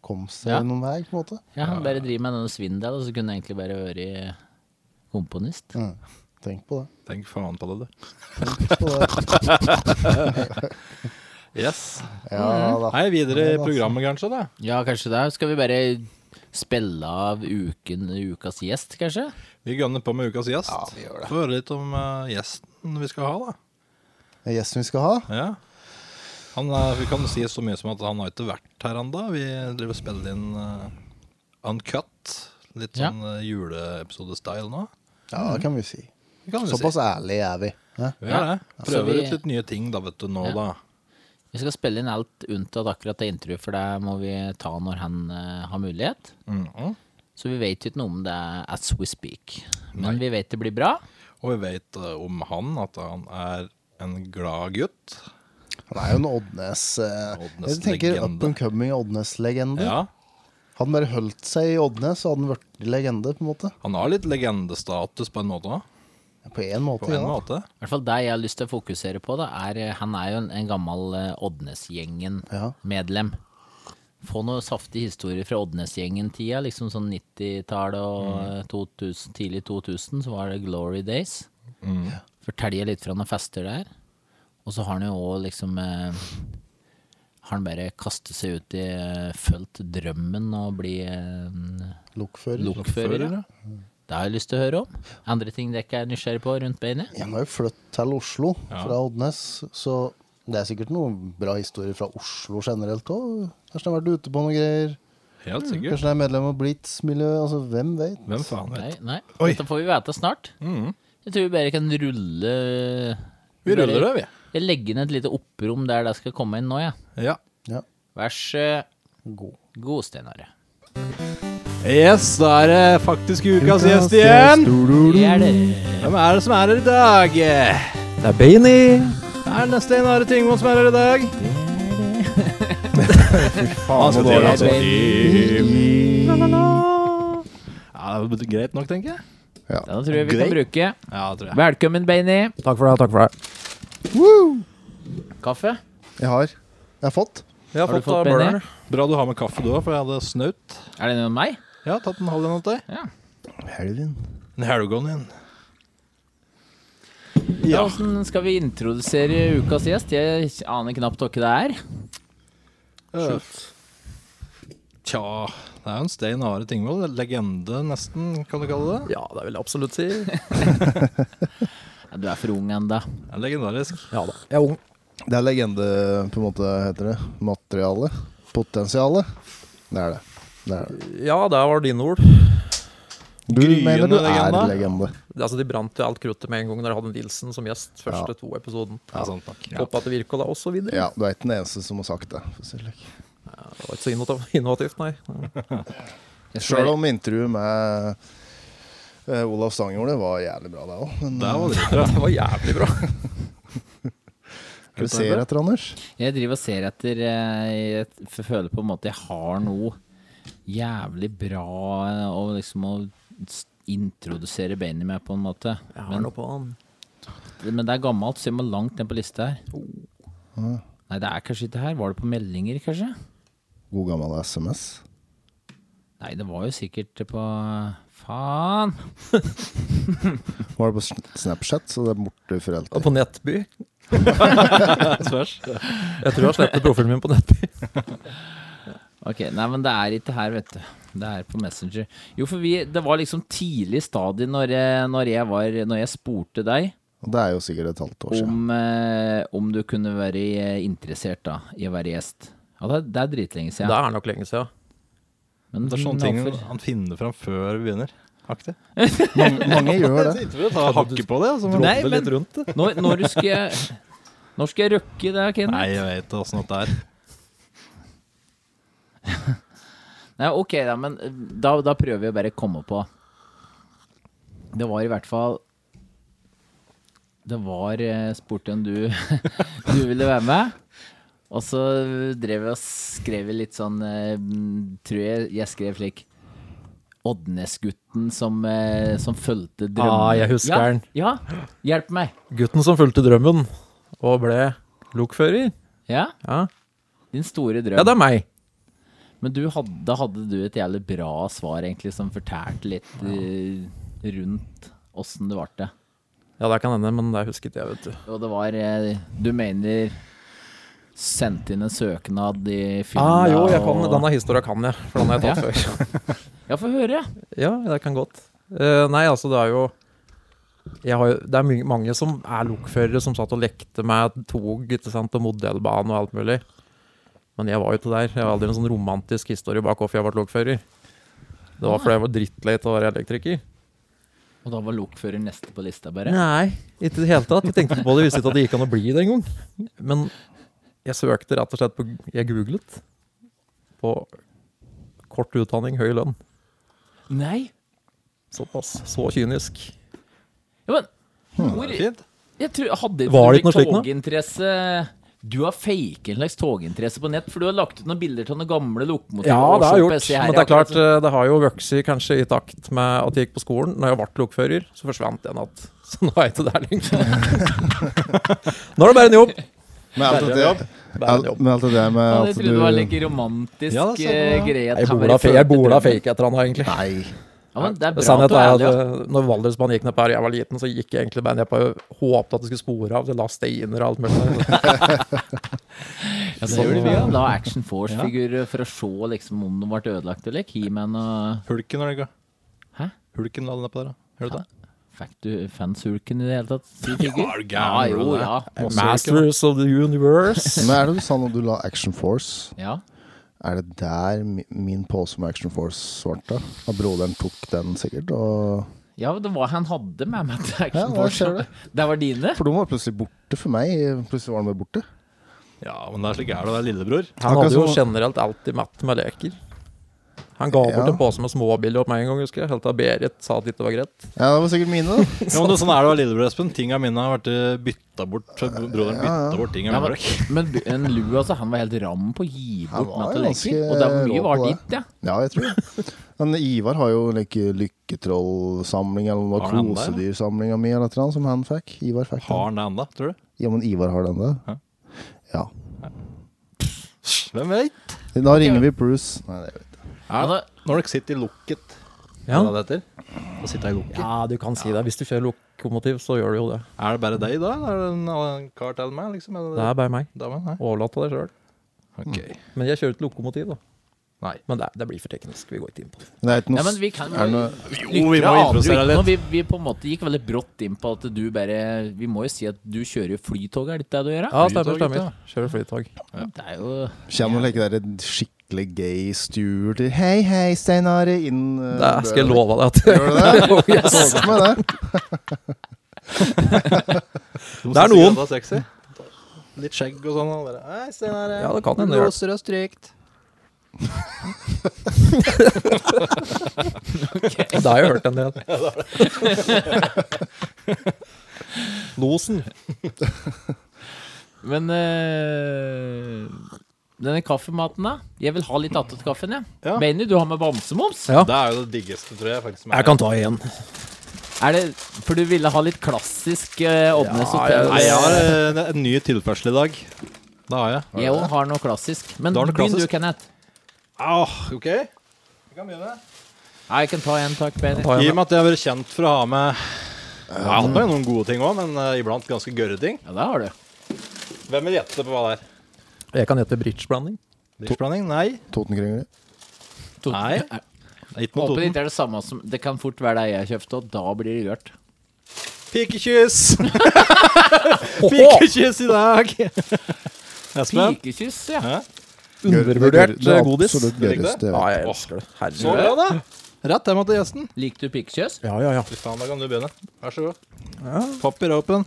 S2: kom seg
S4: Ja.
S2: noen vei, på en måte.
S4: Ja, Han bare driver med denne svindel, og så kunne han egentlig bare vært komponist.
S2: Mm. Tenk på det.
S3: Tenk faen på det, du.
S2: Tenk på det.
S3: Yes.
S2: Ja
S4: Mm.
S2: da.
S3: Nei, videre
S2: Nei,
S3: i
S2: da,
S3: programmet, kanskje, da.
S4: Ja, kanskje det. Skal vi bare spille av uken, ukas gjest, kanskje?
S3: Vi gønner på med ukas gjest.
S2: Ja, vi gjør det.
S3: Få høre litt om eh, gjesten vi skal ha, da.
S2: Gjesten vi skal ha,
S3: Ja. Han, eh, vi kan si så mye som at han har ikke vært her ennå. Vi driver og spiller inn eh, Uncut. Litt
S4: Ja.
S3: sånn eh, juleepisode-style nå.
S2: ja, det kan vi si.
S3: Det kan vi
S2: Såpass ærlige er vi. Hæ?
S3: si. Vi gjør det.
S4: Ja. Så
S3: Prøver
S4: vi-
S3: ut litt nye ting da, vet du, nå,
S4: Ja.
S3: da.
S4: Vi skal spille inn alt unntatt akkurat det intervjuet, for det må vi ta når han eh, har mulighet.
S3: Mhm.
S4: Så vi vet jo ikke noe om det as we speak. Men vi vet det blir bra.
S3: Og vi vet eh, om han at han er en glad gutt.
S2: Han er jo en Oddnes eh, Jeg tenker
S3: Oddnes-legende.
S2: up and coming Oddnes-legende.
S3: Ja.
S2: Hadde han bare holdt seg i Oddnes, så hadde han vært legende, på en måte.
S3: Han har litt legendestatus på en måte òg.
S2: På én
S3: På
S2: måte,
S3: en
S2: ja.
S3: måte.
S4: I hvert fall det jeg har lyst til å fokusere på, da, er eh, Han er jo en, en gammel eh,
S2: Ja.
S4: Oddnes-gjengen-medlem. Få noen saftige historier fra Oddnes-gjengen-tida, liksom sånn 90-tallet og eh, 2000, tidlig 2000, så var det Glory Days. Fortell litt fra noen fester der. Og så har han jo òg liksom eh, Har han bare kastet seg ut i eh, Fulgt drømmen og bli eh,
S2: Lokfører.
S4: lokfører. ja. Det har jeg lyst til å høre om. Andre ting dere ikke er nysgjerrig på rundt beinet.
S2: Han har jo flyttet til Oslo fra Oddnes, så det er sikkert noen bra historier fra Oslo generelt òg. Kanskje han har vært ute på noen greier.
S3: Helt sikkert.
S2: Kanskje han er medlem av Blitz-miljøet. Altså, hvem vet?
S3: Hvem faen
S4: Mm. Nei,
S3: vet?
S4: nei.
S3: Oi. Mm.
S4: Dette får vi vite snart. Jeg tror vi bare kan rulle
S3: Vi ruller det, vi.
S4: Jeg legger inn et lite opprom der det skal komme inn nå, ja.
S3: Ja.
S2: Ja.
S4: Vær så
S2: God.
S4: god, Steinar.
S3: Yes, da er det faktisk ukas gjest
S2: igjen.
S4: Det er det.
S3: Hvem er det som er her i dag?
S5: Det er Beini.
S3: Er det Stein-Are Tingvold som er her i dag?
S2: Faen, så dårlig, altså.
S3: Ja, det er Greit nok, tenker jeg.
S4: Den tror jeg vi kan bruke.
S3: Ja, tror jeg.
S4: Velkommen, Beini.
S5: Takk for det. takk for det
S4: Kaffe?
S2: Jeg har. Jeg har fått.
S3: Jeg har,
S4: Har du
S3: fått, av
S4: fått Benny?
S3: Bjørn. Bra du har med kaffe du òg, for jeg hadde snaut.
S4: Er det noe med meg?
S3: Jeg har tatt en halv en av deg.
S2: Helgen.
S3: En helgon igjen.
S4: Ja. Hvordan skal vi introdusere ukas gjest? Jeg aner knapt hva det er.
S3: Tja, det er jo en Stein Are Tingvold. Legende, nesten, kan du kalle det.
S5: Ja, det vil jeg absolutt si.
S4: Ja, Du er for ung ennå.
S3: Det er legendarisk.
S5: Ja da. Jeg er ung.
S2: Det er legende, på en måte, heter det. Materialet. Potensialet. Det er det. det, er det.
S5: Ja, det var dine ord.
S2: Du
S3: Gryende
S2: mener du
S3: legende.
S2: er legende.
S5: Det, altså, de brant jo alt kruttet med en gang når de hadde Nilsen som gjest. Første to episoden.
S3: Ja, sant nok. Ja.
S5: Håpa at det virka da, og så videre.
S2: Ja, du er ikke den eneste som har sagt det. for å si det slik.
S5: Det var ikke så innovat- innovativt, nei.
S2: Sjøl om intervjuet med eh, Olav Stangjordet var jævlig bra, det òg. Men eh,
S3: Det var dritbra.
S5: Det var jævlig bra.
S2: du ser etter, Anders.
S4: Jeg driver og ser etter eh, Jeg f- føler på en måte jeg har noe jævlig bra eh, å liksom å s- introdusere Benny med, på en måte.
S5: Jeg har
S4: Men,
S5: noe på han.
S4: men det er gammelt, så jeg må langt ned på lista her.
S5: Oh.
S4: Nei, det er kanskje ikke her. Var det på meldinger, kanskje?
S2: God gammel SMS.
S4: Nei, det var jo sikkert på Faen!
S2: Nå er det på sn- Snapchat, så det er borte for
S5: Og
S2: alltid.
S5: på Nettby. Jeg tror jeg slettet profilen min på Nettby.
S4: Ok, Nei, men det er ikke her, vet du. Det er på Messenger. Jo, for vi, det var liksom tidlig stadie når, eh, når jeg var Når jeg spurte deg.
S2: Og det er jo sikkert et halvt år siden.
S4: om, eh, om du kunne være eh, interessert da, i å være gjest. Ja, det, er- det er dritlenge
S5: Det
S4: siden.
S5: er nok lenge siden.
S4: Men
S3: Det er sånne
S4: den
S3: ting
S4: offer-
S3: han finner fram før vi begynner. Aktig.
S2: Mange, mange gjør det.
S3: Ikke for å ta hakke på det. Altså, men...
S4: Nei,
S5: Dropper litt
S4: men-
S5: rundt det.
S4: Når, når, du skal, jeg- når skal jeg røkke det, Kenneth?
S3: Nei,
S4: Nei.
S3: jeg vet åssen det er.
S4: Nei, ok, da, men eh, da, da prøver vi å bare komme på. Det var i hvert fall Det var eh, spurt om du, du ville være med. Og så drev jeg og skrev litt sånn eh, Tror jeg jeg skrev slik Oddnesgutten som, eh, som fulgte drømmen.
S5: Ah, jeg husker
S4: ja,
S5: den.
S4: Ja, hjelp meg.
S5: Gutten som fulgte drømmen og ble lokfører.
S4: Ja,
S5: Ja,
S4: din store drøm.
S5: ja det er meg.
S4: Men du hadde, da hadde du et jævlig bra svar, egentlig, som fortalte litt eh, rundt åssen det ble det.
S5: Ja, det kan hende, men det husket jeg, vet du.
S4: Og det var eh, Du mener sendte inn en søknad i
S5: Ah,
S4: Finland
S5: jo, jeg kan,
S4: og-
S5: denne historien kan jeg, for den har jeg tatt før.
S4: Ja, få høre.
S5: Ja, det kan godt. Eh, nei, altså, det er jo jeg har, jo- Det er my- mange som er lokførere som satt og lekte med tog ikke sant, og modellbane og alt mulig. Men jeg var jo ikke der. Jeg har aldri en sånn romantisk historie bak hvorfor jeg ble lokfører. Det var fordi jeg var drittlei til å være elektriker.
S4: Og da var lokfører neste på lista, bare.
S5: Nei, ikke i det hele tatt. Jeg tenkte på det, visste ikke at det gikk an å bli det engang. Men jeg søkte rett og slett på Jeg googlet på kort utdanning, høy lønn.
S4: Nei.
S5: Såpass. Så kynisk.
S4: Ja, men hvor
S3: Fint.
S4: Jeg tror, hadde ikke
S5: Var det
S4: du
S5: ikke noe slikt nå?
S4: toginteresse Du har faket en slags toginteresse på nett, for du har lagt ut noen bilder av noen gamle lokomotiver.
S5: Ja,
S4: og
S5: det har jeg gjort.
S4: Shop SC her,
S5: Men det er
S4: akkurat
S5: klart, eh, det har jo vokst kanskje i takt med at jeg gikk på skolen. Når jeg ble lokfører, så forsvant jeg en natt. Så nå er jeg ikke der lenger. Nå er det bare en jobb.
S2: Med alt det der
S5: Bare en jobb.
S2: med, alt det der med
S4: Ja,
S2: at
S4: jeg trodde det var
S2: altså, du
S4: like romantisk eh,
S3: Ja,
S4: ja,
S3: det er sant, ja.
S4: greie. at
S5: Jeg
S4: han
S5: bor
S4: bare
S5: da fe- jeg
S4: følte
S5: bor da
S4: drømmen.
S5: fake etter han, da, egentlig.
S2: Nei.
S4: Ja, men det er bra at
S5: Sannheten
S4: du er
S5: er at
S4: ærlig. ja.
S5: eh, når Valdresbanen gikk ned på her jeg var liten, så gikk jeg egentlig bare ned på håpet at det skulle spore av. Det la steiner og alt mulig.
S4: Ja, det gjorde vi, ja. La Action Force-figurer for å se liksom, om de ble ødelagt eller ikke. He-Man og
S3: Hulken var det ikke?
S4: Hæ?
S3: Hulken la den oppå der, da. Hørte du det?
S4: Fikk du fansulken i det hele tatt? Si figur?
S3: er du
S4: Ja,
S3: gæren,
S4: jo,
S3: bro, det.
S4: ja.
S5: Masters of the Universe.
S2: Men er det du sa når du la Action Force?
S4: ja.
S2: Er det der mi- min pose med Action Force svarte? At broderen tok den sikkert? Og
S4: Ja, det var han hadde med meg til
S2: Ja,
S4: Action
S2: hva
S4: Force.
S2: skjer det?
S4: Det var dine?
S2: For de var plutselig borte for meg. Plutselig var de bare borte.
S3: Ja, men det er slik er det å være lillebror.
S5: Han
S2: Akkurat
S5: hadde jo
S2: som-
S5: generelt alltid matt med leker. Han ga bort
S2: Ja.
S5: en pose med småbiler opp meg en gang, husker jeg. Helt til Berit sa at det ikke var greit.
S2: Ja, det var sikkert mine, da.
S3: Ja, men det, er sånn er det å være lillebror, Espen. Tinga mine har vært bytta bort. så Broderen bytta bort tinga
S4: Ja,
S3: mine.
S4: men, men bu- en Lou, altså, han var helt ram på å gi
S2: Han
S4: bort
S2: var
S4: mat
S2: jo
S4: og leker.
S2: ganske
S4: Og det var
S2: rå på
S4: mye var
S2: det.
S4: ditt, ja.
S2: Ja, jeg tror det. Men Ivar har jo like lykketrollsamling eller noe
S3: Har han den der?
S2: kosedyrsamlinga mi eller et eller annet som han fikk. Ivar fikk
S3: Har
S2: den.
S3: han det ennå, tror du?
S2: Ja, men Ivar har den der. Ja.
S3: Hvem vet?
S2: Da ringer vi Bruce. Nei, det vet jeg.
S3: Ja,
S4: da-
S3: Når dere sitter i lukket,
S5: Ja.
S3: hva er det det heter? Å sitte i lukket.
S5: Ja, du kan si det. Hvis du kjører lokomotiv, så gjør du jo det.
S3: Er det bare deg da, eller er det en annen kar til meg, liksom? Er
S5: Det
S3: det
S5: er bare meg.
S3: damen her?
S5: Overlatt til deg sjøl.
S3: Ok.
S5: Men jeg kjører ikke lokomotiv, da.
S3: Nei.
S5: Men det, det blir for teknisk. Vi går ikke inn på det.
S2: Men Det er ikke
S4: ja
S2: noe,
S4: men vi kan
S2: er det noe
S3: Jo, vi må introdusere
S4: Lyttere aner jo ikke
S3: litt.
S4: noe. Vi, vi på en måte gikk veldig brått inn på at du bare Vi må jo si at du kjører jo flytog, er det ikke det du gjør? da?
S5: Ja, stemmer, Eh,
S3: Flytog,
S5: stemmer. Kjører flytog.
S4: Det er jo
S2: Kommer like der en skikkelig gay steward til Hei, hei, Stein Are. Inn eh,
S5: Det skal jeg
S2: døra.
S5: love deg. at
S2: Gjør du det? Jeg så for meg det.
S5: Det er noen.
S3: Det er sexy. Litt skjegg og sånn. og bare, «Hei, Steinar,
S5: Ja, det kan hende det gjør.
S3: Blåser og strykt.
S5: Det har jeg hørt en del. Losen.
S4: Men eh, denne kaffematen, da? Jeg vil ha litt attåt kaffen, jeg. Ja.
S3: Ja.
S4: Benny, du har med bamsemums?
S5: Ja.
S3: Det er jo det diggeste, tror jeg. faktisk. som er-
S5: Jeg kan ta igjen.
S4: Er det For du ville ha litt klassisk eh, Oddnes
S5: Ja,
S4: Hotel?
S3: Nei, jeg har eh, en ny tilførsel i dag. Det har jeg.
S4: Jeg òg har noe klassisk. Men
S3: Du har noe
S4: begynn du,
S3: klassisk?
S4: Kenneth.
S3: Åh, Ah, ok. Vi kan begynne.
S4: Nei, jeg kan ta en, takk, Benny.
S3: I
S5: Ta
S3: og
S5: igjen.
S3: med at jeg har vært kjent for å ha med Jeg har hatt med noen gode ting òg, men eh, iblant ganske gørre ting.
S4: Ja, det har du.
S3: Hvem vil gjette på hva det er?
S5: Jeg kan hete bridgeblanding.
S3: Bridgeblanding? Nei.
S2: Totenkringle.
S4: Tot-
S3: Nei.
S4: Jeg
S3: Det er Ikke noe
S4: Håper det
S3: Toten.
S4: ikke er det samme som Det kan fort være det jeg kjøpte, og da blir det rørt.
S3: Pikekyss! Pikekyss i dag! Espen?
S4: Pikekyss, ja.
S3: Hæ?
S5: Undervurdert
S2: Det er
S5: godis.
S2: Absolutt
S3: Det er ikke
S2: gørreste.
S5: Ja, jeg elsker det.
S3: Så
S5: Herregud.
S3: bra, da. Rett hjem til gjesten.
S4: Liker du pikekyss?
S5: Ja, ja, ja.
S3: Fy faen, da kan du begynne. Vær så god. Papir open.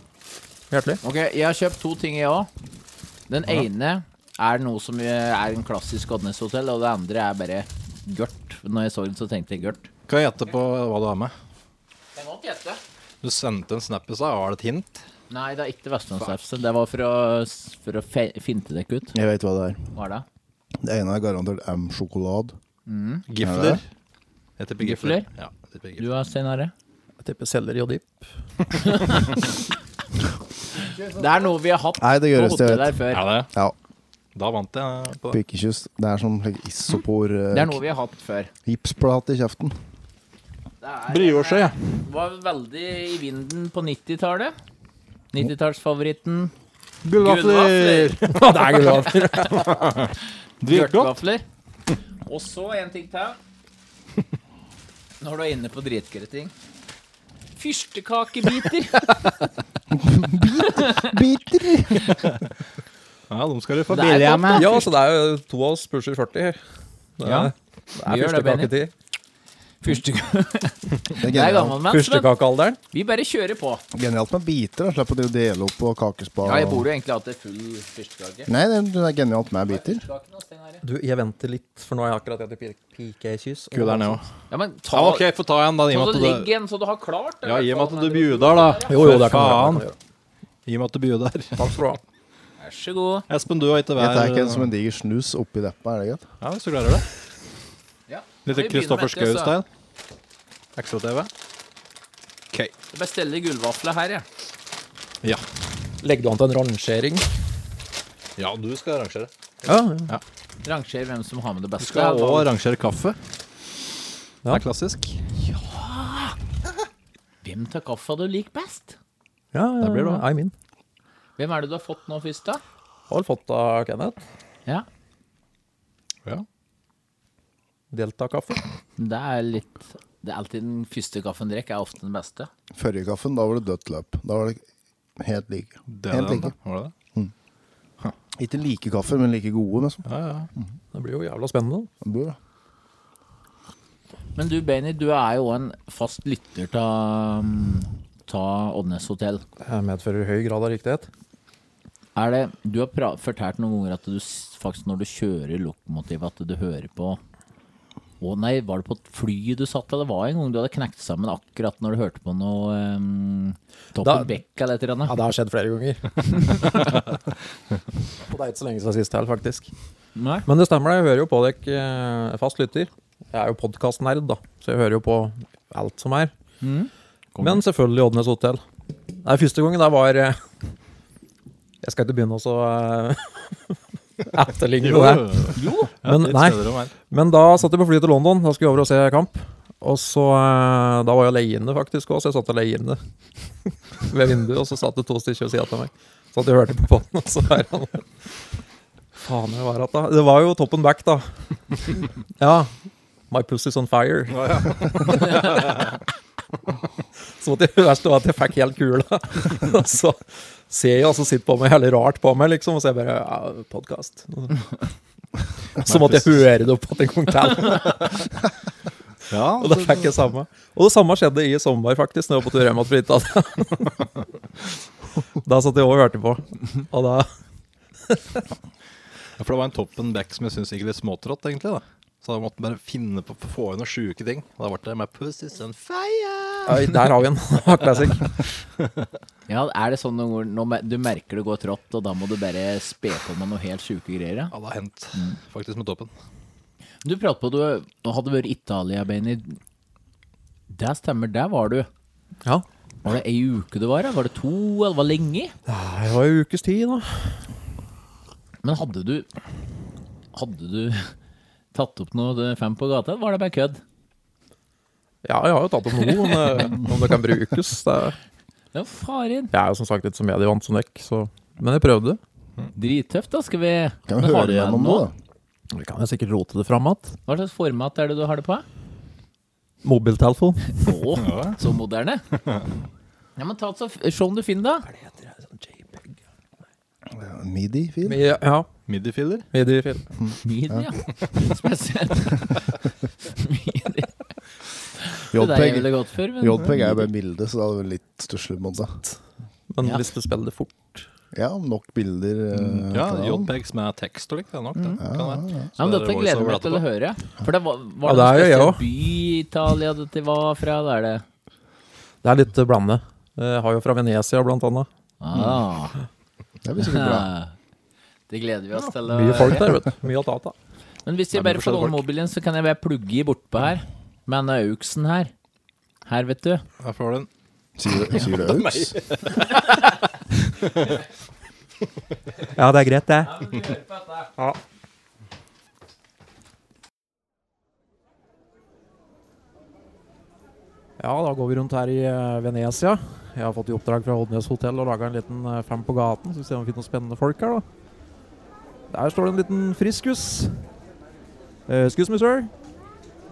S5: Hjertelig.
S4: Ok, jeg har kjøpt to ting, jeg òg. Den ene er noe som eh, er en klassisk Oddnes hotell, og det andre er bare Gørt. Når jeg så den, så tenkte jeg gørt.
S3: Kan jeg gjette på hva du har med?
S4: Jeg må ikke gjette.
S3: Du sendte en snap i stad. Var det et hint?
S4: Nei, det er ikke Vestlandsrefse. Det var for å, for å fe finte dere ut.
S2: Jeg vet hva det er.
S4: Hva er det?
S2: Det ene er garantert M-sjokolade.
S3: Gifler. Jeg tipper
S4: Gifler?
S3: Gifler. Ja, jeg tipper
S4: Du
S3: Gifler.
S4: er Stein Are?
S5: Jeg tipper selleri og dipp.
S4: Det er noe vi har hatt
S2: Nei, det
S4: på
S2: gjøres, jeg
S4: hotellet
S2: vet.
S4: her før.
S3: Er det?
S2: Ja.
S3: Da vant jeg på det.
S2: Pikkekyss. Det er som slik isopor eh,
S4: Det er noe vi har hatt før.
S2: gipsplate i kjeften.
S4: Det er, eh,
S3: Brioche, ja.
S4: var veldig i vinden på 90-tallet. 90-tallsfavoritten.
S3: Gullvafler!
S5: det er gulrøtter.
S3: Dritgodt.
S4: Gørtgafler. Og så en ting til. Når du er inne på dritgøye ting. Fyrstekakebiter.
S2: Biter!
S3: Ja, de skal du få
S4: Det er
S3: billig
S4: godt,
S3: med.
S5: Ja, så det er jo to av oss pusher 40 her. Det
S4: Ja,
S5: er,
S4: vi
S5: det er
S4: gjør det, Benny.
S5: førstekaketid.
S4: Fyrstekake.
S2: Det er
S4: Det er
S2: genialt,
S4: gammelmenn. vet du.
S5: Førstekakealderen.
S4: Vi bare kjører på.
S2: genialt med biter. da. Slipper du å dele opp på kakespa.
S4: Ja, jeg bor jo egentlig alltid full fyrstekake.
S2: Nei, det det er genialt med biter.
S4: Fyrstekaken, altså, den her.
S5: Du, jeg venter litt, for nå har jeg akkurat hatt pikekyss.
S3: Kul er den òg.
S4: Ja, men ta
S3: Ja, OK, få ta en, da. I og
S4: Så
S3: med at
S4: det
S3: du,
S4: ligger en så du har klart. det,
S3: ja, i
S4: i
S3: og
S4: hvert
S3: med at
S4: fall,
S3: du
S4: når
S3: bjuder, da.
S5: Jo, jo, det kan
S3: Faen.
S5: du gjøre.
S3: I og med at du bjuder.
S5: Takk skal du ha.
S4: Vær så god.
S3: Espen, du har ikke
S2: Jeg
S3: vær
S2: tar ikke en som en diger snus oppi deppa, er det greit?
S3: Ja, hvis du klarer det.
S4: Ja.
S3: Litt
S4: Vi begynner
S3: Kristoffer
S4: med det, så-
S3: Schou-style. Ekstra-TV. OK.
S4: Jeg bestiller gullvafler her, jeg.
S3: Ja.
S5: Legger du an til en rangering?
S3: ja, du skal arrangere.
S5: Ja.
S4: Rangerer hvem som har med det
S3: Du
S4: beste.
S3: skal
S4: Hva-
S3: òg arrangere kaffe. Det
S5: Ja.
S3: er klassisk.
S4: Hvem tar kaffa du liker best?
S5: ja, ja
S3: blir det.
S5: I mean.
S4: Hvem er det du har fått nå først, da?
S5: Har vel fått av Kenneth.
S4: Ja,
S3: Ja.
S5: Delta-kaffe.
S4: det er litt Det er alltid den første kaffen du drikker, er ofte den beste.
S2: Førre kaffen, da var det dødt løp. Da var det helt like.
S3: Det er
S2: Helt
S3: den, da.
S2: like.
S3: Var det det?
S2: Ikke like kaffe, men like gode. Liksom.
S3: Ja, ja.
S5: Det blir jo jævla spennende.
S2: Det blir bra.
S4: Men du, Benny, du er jo en fast lytter av Ta Oddnes hotell.
S5: Det medfører høy grad av riktighet.
S4: Er det, du har pra fortalt noen ganger at du s- faktisk når du kjører lokomotiv, at du hører på Å nei, var det på et fly du satt, eller var det en gang du hadde knekt sammen akkurat når du hørte på noe um,
S5: Da-
S4: Toppen Beck eller et eller
S5: Ja,
S4: annet?
S5: det har skjedd flere ganger. Og det er ikke så lenge siden sist heller, faktisk.
S4: Nei.
S5: Men det stemmer, det. jeg hører jo på dere eh, fast lytter. Jeg er jo podkastnerd, da, så jeg hører jo på alt som er.
S4: Kom.
S5: Men selvfølgelig Oddnes hotell. Nei, første gangen der var eh, Jeg skal ikke begynne å så eh, etterligne det.
S3: Jo.
S5: Men nei. Men da satt jeg på flyet til London. Da skulle jeg over og se kamp. Og så eh, Da var jeg leiende, faktisk òg, så jeg satt og leie inne ved vinduet. Og så satt det to stykker ved siden av meg. Så at jeg hørte på båten, og så er han Faen, hva var det da? Det var jo Top and Back, da. Ja. My pussy's on fire. så det verste var at jeg fikk helt kula. Og så ser jeg, og så sitter på meg helt rart på meg, liksom, og så er jeg bare ja, Podkast. Så måtte jeg høre det opp at en gang til.
S3: Ja,
S5: Og da fikk jeg samme. Og det samme skjedde i sommer, faktisk, når jeg var på tur hjem til Brita. Da satt jeg og hørte på. Og da
S3: Ja, For det var en toppen back som jeg syns gikk litt småtrått, egentlig. da. Så jeg måtte bare finne på, få inn noen sjuke ting. Da ble det med Pussies and Fire.
S5: Oi, Der har vi en classic.
S4: Ja, er det sånn noen ganger når me- du merker det går trått, og da må du bare spe på med noe helt sjuke greier? ja?
S3: Ja, det har hendt faktisk med toppen.
S4: Du prater på du, du hadde vært i Italia, Benny. Det stemmer, der var du.
S5: Ja.
S4: Var det ei uke du var her? Var det to, eller var det lenge?
S5: Det var jo ukes tid, da.
S4: Men hadde du Hadde du tatt opp noe det er fem på gata, eller var det bare kødd?
S5: Ja, jeg har jo tatt opp noe, om det, om det kan brukes. Det er,
S4: Ja, faren.
S5: jeg er jo som sagt ikke så medievant som dere, så Men jeg prøvde.
S4: Drittøft, da. Skal vi
S2: Kan
S4: Men
S2: vi
S4: har
S2: høre
S4: du med
S2: gjennom nå,
S4: noe?
S2: da?
S5: Vi kan jo sikkert rote det fram igjen.
S4: Hva slags format er det du har det på? Å,
S5: Mobiltelefon.
S4: så moderne. Ja, men ta et så, Se om du finner det.
S5: sånn
S2: Midi-fil?
S5: Ja. ja.
S3: Midifiller.
S5: Mediefil.
S4: Media. Spesielt. Media. Det der jeg
S2: JPEG.
S4: ville gått for. Men...
S2: JPEG er jo bare bilde, så det hadde vært litt stusslig. på en måte.
S5: Men
S4: Ja.
S5: hvis du spiller det fort
S2: Ja, nok bilder. eh,
S3: Ja,
S2: kanalen.
S3: JPEGs med tekst og likt, det er nok
S6: Mm.
S3: det. Kan være.
S4: Ja, men
S3: Så
S4: dette
S3: det er
S4: gleder jeg
S3: voiceover
S4: meg til å
S3: etterpå.
S4: høre. For det var, var
S5: Ja,
S4: det
S5: det
S4: en
S5: er jo jeg
S4: spesiell
S5: også.
S4: by i Italia dette var fra? Det er det.
S5: Det er litt eh, blandet. Eh, har jo fra Venezia, blant annet.
S2: Mm.
S4: Ah.
S2: Det blir sikkert bra.
S4: Det gleder vi oss til. å
S5: Mye folk der, vet du. Mye alt annet.
S4: Men hvis jeg
S3: Nei, men
S4: bare får
S3: forskjellige
S4: låne
S3: folk.
S4: mobilen, så kan jeg bare plugge i bortpå her. Med en Auxen her. Her, vet du.
S3: Her får du den.
S2: Sier du, sier du Aux?
S5: Ja, det er greit, det. Ja, da går vi rundt her i eh, Venezia. Jeg har fått i oppdrag fra Oddnes hotell å lage en liten eh, fem på gaten. Så vi ser om vi finner noen spennende folk her, da. Der står det en liten friskus. Eh, excuse me, sir.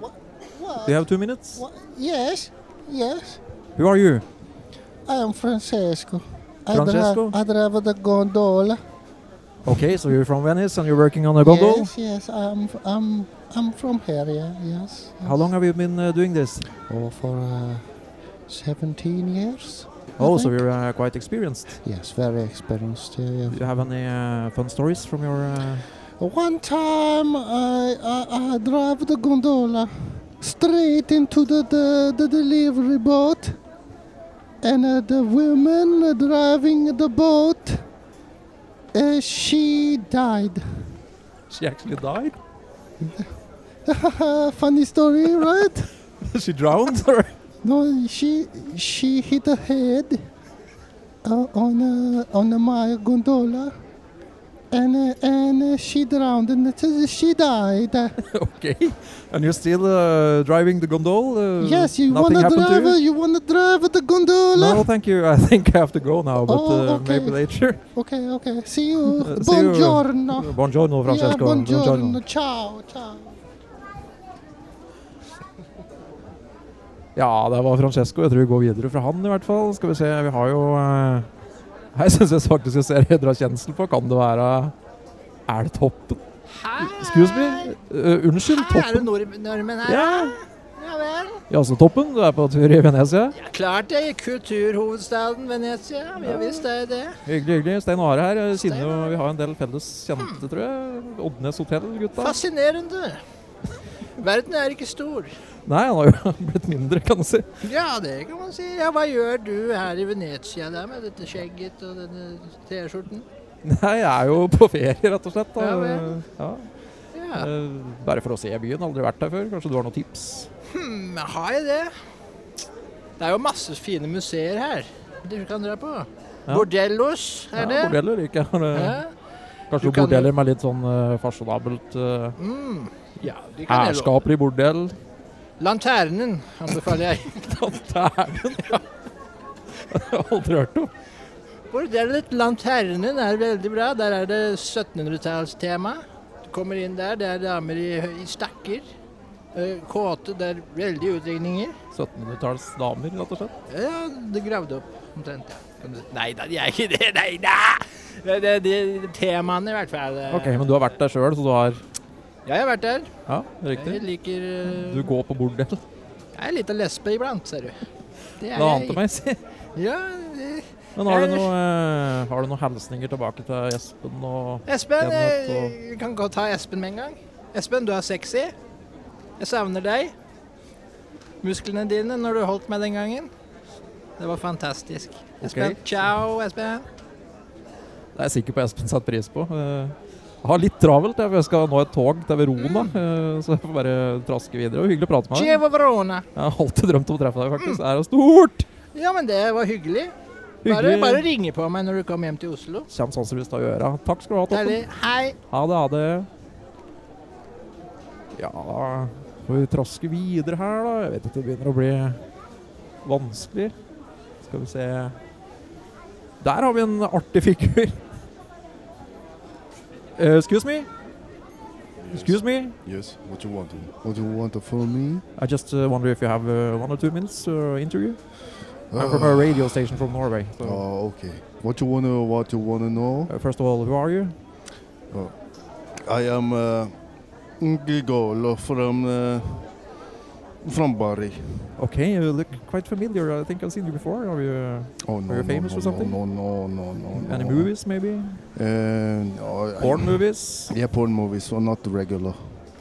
S5: Do you have two minutes?
S7: Yes, yes.
S5: Who are you?
S7: I am Francesco. I
S5: Francesco?
S7: drive, I drive the gondola.
S5: Okay, so you're from Venice and you're working on a gondola.
S7: Yes, yes. I'm, f- I'm, I'm from here. Yeah, yes.
S5: How long have you been uh, doing this?
S7: Oh, for uh, 17 years. I
S5: Oh, so
S7: think.
S5: you're uh, quite experienced.
S7: Yes, very experienced. Yeah, yeah.
S5: Do you have any uh, fun stories from your? Uh...
S7: One time I, I, I drive the gondola straight into the, the, the delivery boat and uh, the woman driving the boat, uh, she died.
S5: She actually died.
S7: Funny story, right?
S5: she drowned. Or?
S7: No, she she hit her head uh, on a, on a my gondola, and uh, and uh, she drowned and it says she died. Uh,
S5: okay. And you're still uh, driving the gondola? Uh,
S7: yes, you
S5: nothing
S7: wanna
S5: happened
S7: drive?
S5: to you?
S7: You wanna drive the gondola?
S5: No, thank you. I think I have to go now, but
S7: Oh,
S5: uh, maybe
S7: okay.
S5: later.
S7: Okay, okay. See you.
S5: Uh, see you.
S7: buongiorno.
S5: Buongiorno,
S7: Yeah,
S5: Francesco.
S7: buongiorno. Ciao, ciao.
S5: Ja, det var Francesco. Jeg tror vi går videre fra han, i hvert fall. Skal vi se, vi har jo eh, Her syns jeg faktisk jeg ser Hedra Kjensel på. Kan det være Er det Toppen? Excuse me? Eh, unnskyld, Toppen?
S6: nordmenn
S5: Ja,
S6: Ja vel.
S5: ja altså Toppen, du er på tur i Venezia?
S6: Klart det. Kulturhovedstaden Venezia. Ja visst er det.
S5: Hyggelig, hyggelig. Stein Are her. Jeg Kjenner jo, vi har en del felles kjente, tror jeg. Oddnes hotell, gutta.
S6: Fascinerende. Verden er ikke stor.
S5: Nei, han har jo blitt mindre, kan du si.
S6: Ja, det kan man si. Ja, Hva gjør du her i Venezia der med dette skjegget og denne T-skjorten?
S5: Nei, jeg er jo på ferie, rett og slett. Da.
S6: Ja, vel.
S5: Ja.
S6: Ja,
S5: Eh, Bare for å se byen. Aldri vært der før. Kanskje du har noen tips?
S6: hmm, har jeg det? Det er jo masse fine museer her du kan dra på.
S5: Ja.
S6: Bordellos, er det?
S5: Ja, bordeller liker jeg. Har, eh,
S6: Ja.
S5: Kanskje
S6: Du
S5: noen
S6: kan jo-
S5: bordeller med litt sånn uh, fasjonabelt eh,
S6: Mm. ja, det kan jeg love.
S5: herskapelig bordell.
S6: Lanternen anbefaler jeg.
S5: Lanternen, ja. Jeg har aldri hørt om.
S6: Bordellet Lanternen er veldig bra. Der er det 1700-tallstema. Du kommer inn der, det er damer i, i stakker. Eh, Kåte, det er veldig utringninger.
S5: 1700-talls damer, rett og slett.
S6: Ja, det gravde opp omtrent, ja. Kan du- Nei da, de er ikke det, nei da! Det er de temaene i hvert fall. eh.
S5: Ok, Men du har vært der sjøl, så du har
S6: Ja, jeg har vært der.
S5: Ja, riktig.
S6: Jeg liker eh,
S5: Du går på bordell.
S6: Jeg er litt av lesbe iblant, ser du. Det er
S5: Det ante meg, si.
S6: Ja, det-
S5: Men har du,
S6: Ellers-
S5: noe, eh, har du noen hilsninger tilbake til Espen og
S6: Espen,
S5: Kenneth
S6: eh,
S5: og-
S6: vi kan godt ta Espen med en gang. Espen, du er sexy. Jeg savner deg. Musklene dine når du holdt meg den gangen. Det var fantastisk. Espen, ciao, Espen.
S5: Det er jeg sikker på Espen setter pris på. Eh, Jeg har litt travelt, jeg, for jeg skal nå et tog til
S6: Mm.
S5: Verona. eh, Så jeg får bare traske videre. Og hyggelig å prate med deg.
S6: Chievo Verona.
S5: Jeg har alltid drømt om å treffe deg, faktisk. Det er jo stort!
S6: Ja, men det var hyggelig. Bare,
S5: Hyggelig. sånn
S6: bare ringe på meg når du kommer hjem til Oslo.
S5: Kjem sannsynligvis til å gjøre. Takk skal du ha, Toppen.
S6: Deilig. Hei.
S5: Ha det, ha det. Ja Får vi traske videre her, da? Jeg vet ikke, det begynner å bli vanskelig. Skal vi se Der har vi en artig figur. Eh, excuse me. Excuse me.
S8: Yes, what you want to?
S2: What do you want for me?
S5: I just uh, wonder if you have uh, one or two minutes uh, interview. I'm
S2: Uh.
S5: from a radio station from Norway. So.
S2: Oh, okay. What you wanna, what you wanna know?
S5: Uh, first of all, who are you?
S2: I am uh, Gigolo from uh, from Bari.
S5: Okay, you look quite familiar. I think I've seen you before. Are you uh,
S2: Oh, no,
S5: Are you
S2: no,
S5: famous
S2: no,
S5: or something?
S2: No, no, no, no, no.
S5: any
S2: Oh, no.
S5: movies, maybe?
S2: Uh, no, I-
S5: Porn movies?
S2: Yeah, porn movies, so not regular.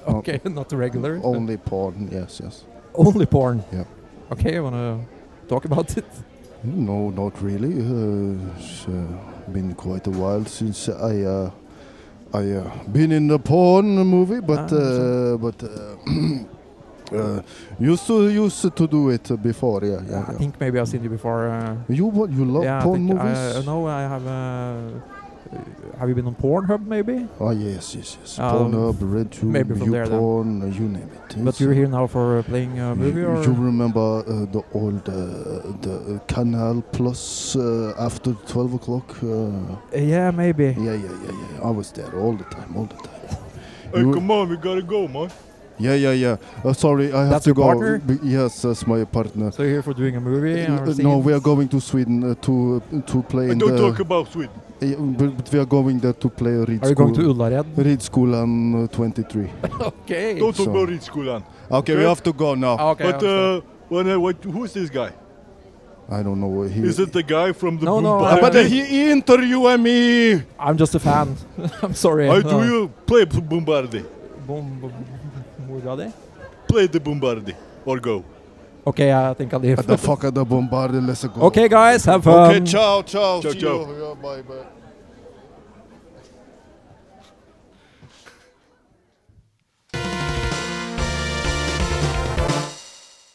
S2: Oh.
S5: Okay, not regular. but
S2: Only porn, yes, yes.
S5: Only porn.
S2: Yeah.
S5: Okay, you wanna talk about it?
S2: No, not really. Uh, it's uh, been quite a while since I uh, I uh, been in the porn movie, but
S5: Ah,
S2: uh, but uh, uh, used to used to do it before. Yeah, yeah.
S5: I
S2: yeah.
S5: think maybe I've seen you before. Uh,
S2: You what? You love
S5: yeah,
S2: porn
S5: I think
S2: movies?
S5: I, no, I have. Uh, have you been on Pornhub, maybe?
S2: Oh yes, yes, yes.
S5: Um,
S2: Pornhub, RedTube,
S5: maybe from there then.
S2: YouPorn, uh, you name it.
S5: But
S2: It's,
S5: you're
S2: uh,
S5: here now for uh, playing a movie,
S2: You,
S5: or
S2: Mm, you remember uh, the old uh, the Canal Plus uh, after twelve o'clock? Uh,
S5: Uh, yeah, maybe.
S2: Yeah, yeah, yeah, yeah. I was there all the time, all the time.
S1: Hey,
S2: You-
S1: come on, we gotta go, man.
S2: Yeah, yeah, yeah. Uh, sorry, I have
S5: That's
S2: to
S5: your
S2: go.
S5: partner?
S2: B- yes, that's my partner.
S5: So you're here for doing a movie?
S2: N-
S5: or
S2: uh, no,
S5: seeing-
S2: we are going to Sweden uh, to uh, to play.
S1: I
S2: in
S1: don't
S2: the, Uh,
S1: talk about Sweden.
S2: Yeah, but, but we are going there to play. Read
S5: Are you going to Ullared?
S2: Ridskolan uh, 23.
S5: okay. ah,
S1: Don't talk
S2: So-
S1: about Ridskolan.
S2: Okay, we
S1: Okay.
S2: have to go now.
S5: Okay. I
S1: but
S5: understand.
S1: uh, when I, what, who's this guy?
S2: I don't know what he.
S1: Is it the guy from the
S5: No, no,
S1: Boom
S5: I-
S1: Bang?
S2: but he interviewed me.
S5: I'm just a fan. I'm sorry.
S1: How
S5: Uh,
S1: do you play b- Bombardi?
S5: Bom, bom, Morgade?
S1: Play the Bombardi or go.
S5: Okay, I think I'll leave.
S2: What the fuck are the bombard? Let's go.
S5: Okay, guys, have um, fun.
S2: Okay. ciao, ciao.
S1: Ciao,
S2: See
S1: ciao.
S2: you. Yeah, bye, bye.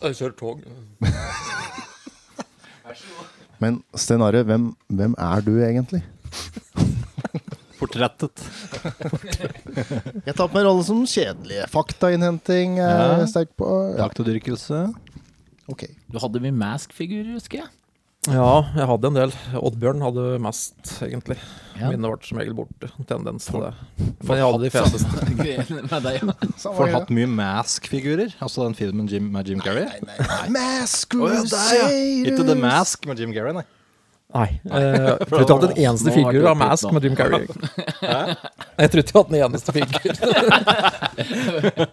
S5: Jeg kjører tog.
S8: Men Sten Are, hvem, hvem er du egentlig?
S3: Portrettet.
S8: Jeg tar på meg rollen som kjedelige. Faktainnhenting er
S6: eh,
S3: Ja.
S8: jeg sterk på. Ja,
S3: Taktodyrkelse.
S8: ok.
S4: Du hadde mye mask-figurer, husker jeg.
S5: Ja, jeg hadde en del. Oddbjørn hadde mest, egentlig.
S4: Ja.
S5: Mine ble som regel borte. Tendens til det. Men jeg hadde de feteste.
S4: Med deg, ja.
S3: Får hatt mye Mask-figurer. Altså den filmen Jim, med Jim Carrey.
S8: Mask
S3: Å, ja, der, ja. Ikke The
S8: Crusaders.
S3: Mask med Jim Carrey, nei.
S5: Nei. eh, Jeg tror ikke jeg hadde en eneste
S4: Nå har
S5: figur
S4: du
S5: av Mask
S4: oppgitt
S5: med Jim Carrey. Jeg tror ikke jeg hadde en eneste figur.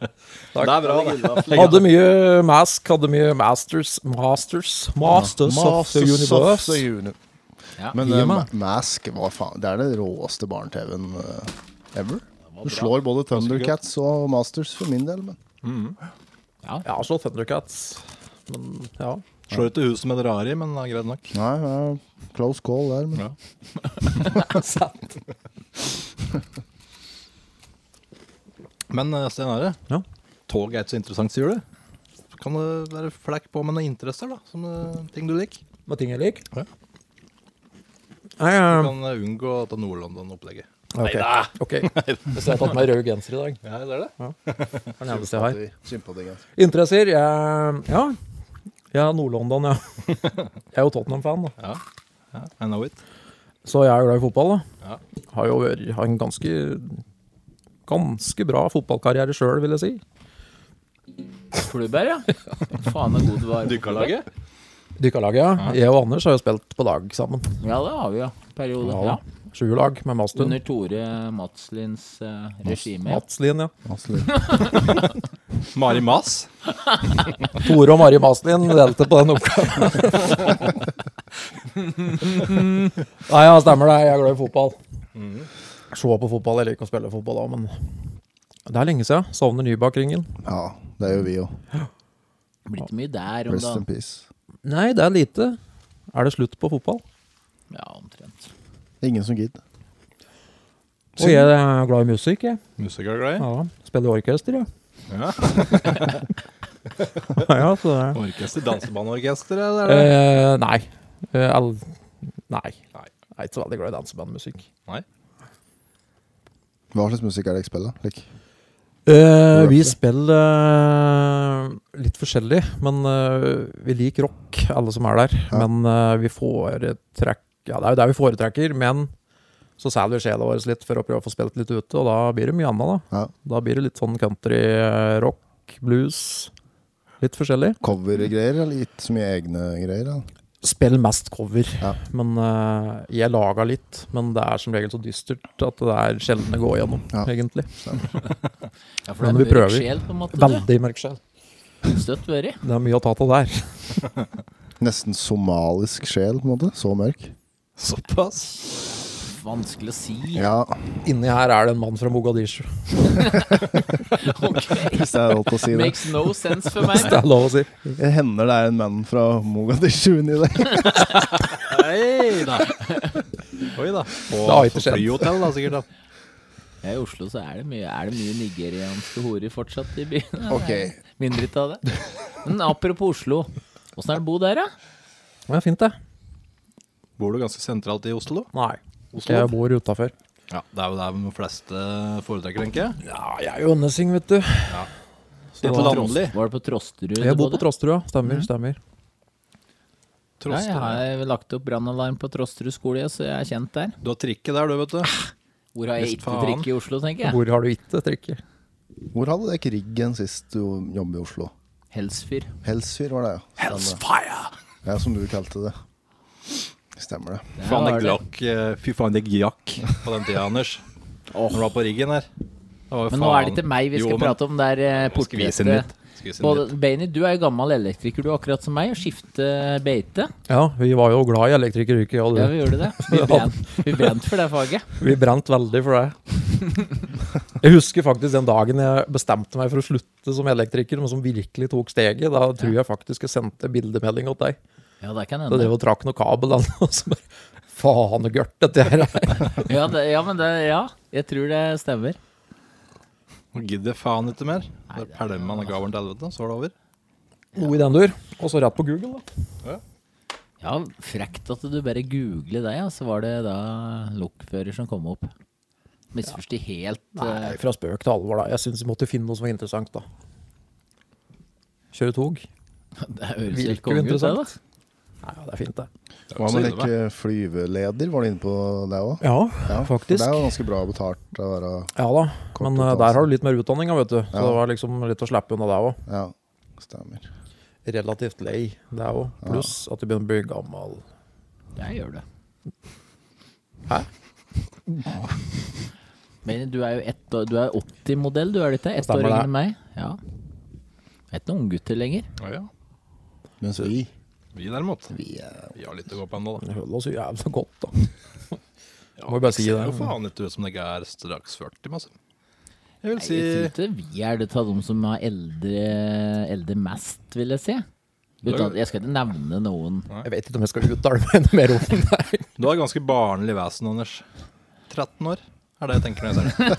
S3: Det er bra, det.
S5: Hadde mye Mask, hadde mye Masters Masters Masters of the
S8: Masters of
S5: Universe.
S8: the Uni-
S4: Ja.
S8: Men
S5: Gi
S8: eh,
S5: meg.
S8: Ma- Mask hva faen, det er det råeste barne-TV-en eh, ever. Du slår både Thundercats og Masters for min del. Men.
S5: Ja, så Thundercats. Men ja.
S3: Slår ut i huset med Drari, men det er greit nok.
S8: Nei, ja, close call der. Men.
S3: Ja.
S5: Sant.
S3: Men eh, Sten Are,
S5: Ja.
S3: tog er ikke så interessant, sier du? Så Kan det være flekk på med noen interesser, da? Som eh, ting du liker?
S5: Med ting jeg liker.
S3: Ja.
S5: Nei,
S3: Du
S5: eh,
S3: kan eh, unngå dette Nord-London-opplegget.
S5: ok. Ok. Så jeg har tatt meg rød genser i dag.
S3: Ja, det er det.
S5: Det er den eneste jeg har.
S8: Sympatigens.
S5: Interesser? Jeg, ja. Jeg er Nord-London, ja. Jeg er jo Tottenham-fan, da.
S3: Ja. ja, I know it.
S5: Så jeg er jo glad i fotball, da.
S3: Ja.
S5: Har jo vært, har en ganske ganske bra fotballkarriere sjøl, vil jeg si.
S4: Flubær, ja. Faen så god du var.
S3: Dykkerlaget?
S5: Dykkerlaget, ja. Jeg og Anders har jo spilt på lag sammen.
S4: Ja, det har vi, ja. Periode.
S5: Ja,
S4: Ja.
S5: da. Sju lag med Mastun.
S4: Under Tore Madslins eh, regime.
S5: Matslien, ja.
S3: Mari Mas.
S5: Tore og Mari Maslin delte på den oppgaven. Nei, ja, stemmer det. Jeg er glad i fotball. Se på fotball. Jeg liker å spille fotball òg, men det er lenge siden. Savner Nybakk-ringen.
S8: Ja, det gjør vi jo.
S4: Det blir ikke mye der om
S8: Rest in
S4: dagen.
S8: peace.
S5: Nei, det er lite. Er det slutt på fotball?
S4: Ja, omtrent.
S8: Ingen som gidder.
S5: Og jeg er glad i musikk, jeg.
S3: Musikerglad i.
S5: Ja, spiller i orkester, jeg.
S3: Ja.
S5: ja, så det er.
S3: Orkester, dansebaneorkester, ja, det er det.
S5: Eh, nei. Eh, all... nei.
S3: Nei.
S5: Jeg er ikke så veldig glad i dansebandmusikk.
S8: Hva slags musikk er det jeg spiller? Like.
S5: Eh, vi spiller eh, litt forskjellig, men eh, vi liker rock, alle som er der.
S8: Ja.
S5: Men eh, vi foretrekker Ja, det er jo der vi foretrekker, men så selger vi sjela vår litt for å prøve å få spilt litt ute, og da blir det mye annet, da.
S8: Ja.
S5: Da blir det litt sånn country, eh, rock, blues. Litt forskjellig.
S8: Covergreier eller ikke så mye egne greier? da?
S5: Spill mest cover.
S8: Ja.
S5: Men eh, jeg laga litt, men det er som regel så dystert at det er sjelden det går gjennom,
S8: Ja.
S5: egentlig.
S4: Ja, for
S5: Men
S4: det
S5: vi
S4: er
S5: prøver.
S4: mørk sjel, på en måte. du.
S5: Veldig mørk sjel.
S4: Støtt væri.
S5: Det er mye å ta av der.
S8: Nesten somalisk sjel, på en måte. Så mørk.
S3: Såpass.
S4: Vanskelig å si.
S8: Ja,
S5: Inni her er det en mann fra Mogadishu.
S4: Ok.
S8: hvis det er lov til å si det.
S4: Makes no sense for meg.
S5: Det er lov å si.
S8: Det hender det er en mann fra Mogadishu inni der.
S3: Oi da. Oi da.
S5: Det har ikke skjedd.
S3: Flyhotell, da, sikkert. da.
S4: Ja, I Oslo så er det mye, er det mye nigerianske horer fortsatt i byen.
S8: Ok.
S4: Mindre av det. Men apropos Oslo. Åssen er det å bo der, da?
S5: Det er fint, det.
S3: Bor du ganske sentralt i Oslo?
S5: Nei. Jeg bor utafor.
S3: Ja, Det er jo der de fleste foretrekker, tenker jeg.
S5: Ja, jeg er jo Ønnesing, vet du.
S3: Litt landlig.
S4: Var det på Trosterud?
S5: Jeg bor
S4: du bodde?
S5: på Trosterud, ja. Stemmer, stemmer.
S4: Ja, jeg
S3: Troster.
S4: har lagt opp brannalarm på Trosterud skole, ja, så jeg er kjent der.
S3: Du har trikket der, du, vet du.
S4: Hvor har jeg
S3: Visst
S4: ikke
S3: faen.
S4: drikke i Oslo, tenker jeg.
S5: Hvor har du ikke trikket?
S8: Hvor hadde dere ikke riggen sist du jobbet i Oslo?
S4: Helsfyr.
S8: Helsfyr var det, ja. Hellsfire! Ja, som du kalte det. Stemmer det.
S4: Der
S3: Faen,
S4: var
S3: det
S4: det.
S3: glakk. eh, Fy faen, det glakk på den tida, Anders. Når du var på riggen her. Det var jo
S4: Men nå er det ikke meg vi skal
S3: Jo, men-
S4: prate om, det er eh,
S3: Nå skal vi inn
S4: portrettet.
S3: litt. Skal vi inn
S4: Både,
S3: litt.
S4: Baini, du er jo gammel elektriker, du er akkurat som meg, og skifter eh, beite.
S5: Ja, vi var jo glad i elektrikeryrket, ja,
S4: Ja,
S5: du.
S4: vi gjorde det. Vi brant, vi brant for det faget.
S5: Vi brant veldig for det. Jeg husker faktisk den dagen jeg bestemte meg for å slutte som elektriker, men som virkelig tok steget. Da tror jeg faktisk jeg sendte bildemelding til deg.
S4: Ja, det kan
S5: Da
S4: hende.
S5: drev og trakk noe kabel, da, og så bare Faen og gørt, dette her er.
S4: Ja, det, ja, men det, ja, jeg tror det stemmer.
S3: Nå gidder jeg faen ikke mer. Da pælmer man gaveren til helvete, så er det over.
S5: Noe i den dur. Og så rett på Google, da.
S4: Ja, frekt at du bare googler deg, ja, så var det da lokfører som kom opp. Misforstå helt eh,
S5: Nei, fra spøk til alvor, da. Jeg syns vi måtte finne noe som var interessant, da. Kjøre tog.
S4: Det høres helt
S5: Virker jo
S4: konge ut, det, da.
S5: interessant. Nei, ja, det er fint, det.
S8: Hva med ikke flyveleder? Var du inne på det òg?
S5: Ja,
S8: Det
S5: faktisk.
S8: er jo ganske bra betalt å være
S5: Ja da,
S8: Kort
S5: men eh,
S8: utdannelse.
S5: der har du litt mer utdanninga, vet du. Så
S8: Ja.
S5: det var liksom litt å slippe unna deg òg.
S8: Ja, stemmer.
S5: Relativt lei deg òg. Pluss at du begynner å bli gammel.
S4: Jeg gjør det. Hæ? Men du er jo ett år, du er 80-modell, du er litt det? Ett år
S5: Stemmer
S4: yngre
S5: det.
S4: enn meg. Ja. Jeg er ikke noen unggutter lenger.
S3: Ja, ja.
S8: Mens vi
S3: Vi derimot. Vi, har litt å gå på ennå, da.
S5: Det holder oss jo jævla godt, da. Må jo bare si
S3: Ser
S5: det.
S3: jo faen ikke ut som dere er straks 40, masse. Jeg vil
S4: Jeg
S3: si
S4: tror ikke vi er det av dem som er eldre, eldre mest, vil jeg si. Uten at jeg skal ikke nevne noen.
S5: Jeg vet ikke om jeg skal uttale meg noe mer om det. her.
S3: Du har ganske barnlig vesen, Anders. 13 år er det jeg tenker når jeg ser det.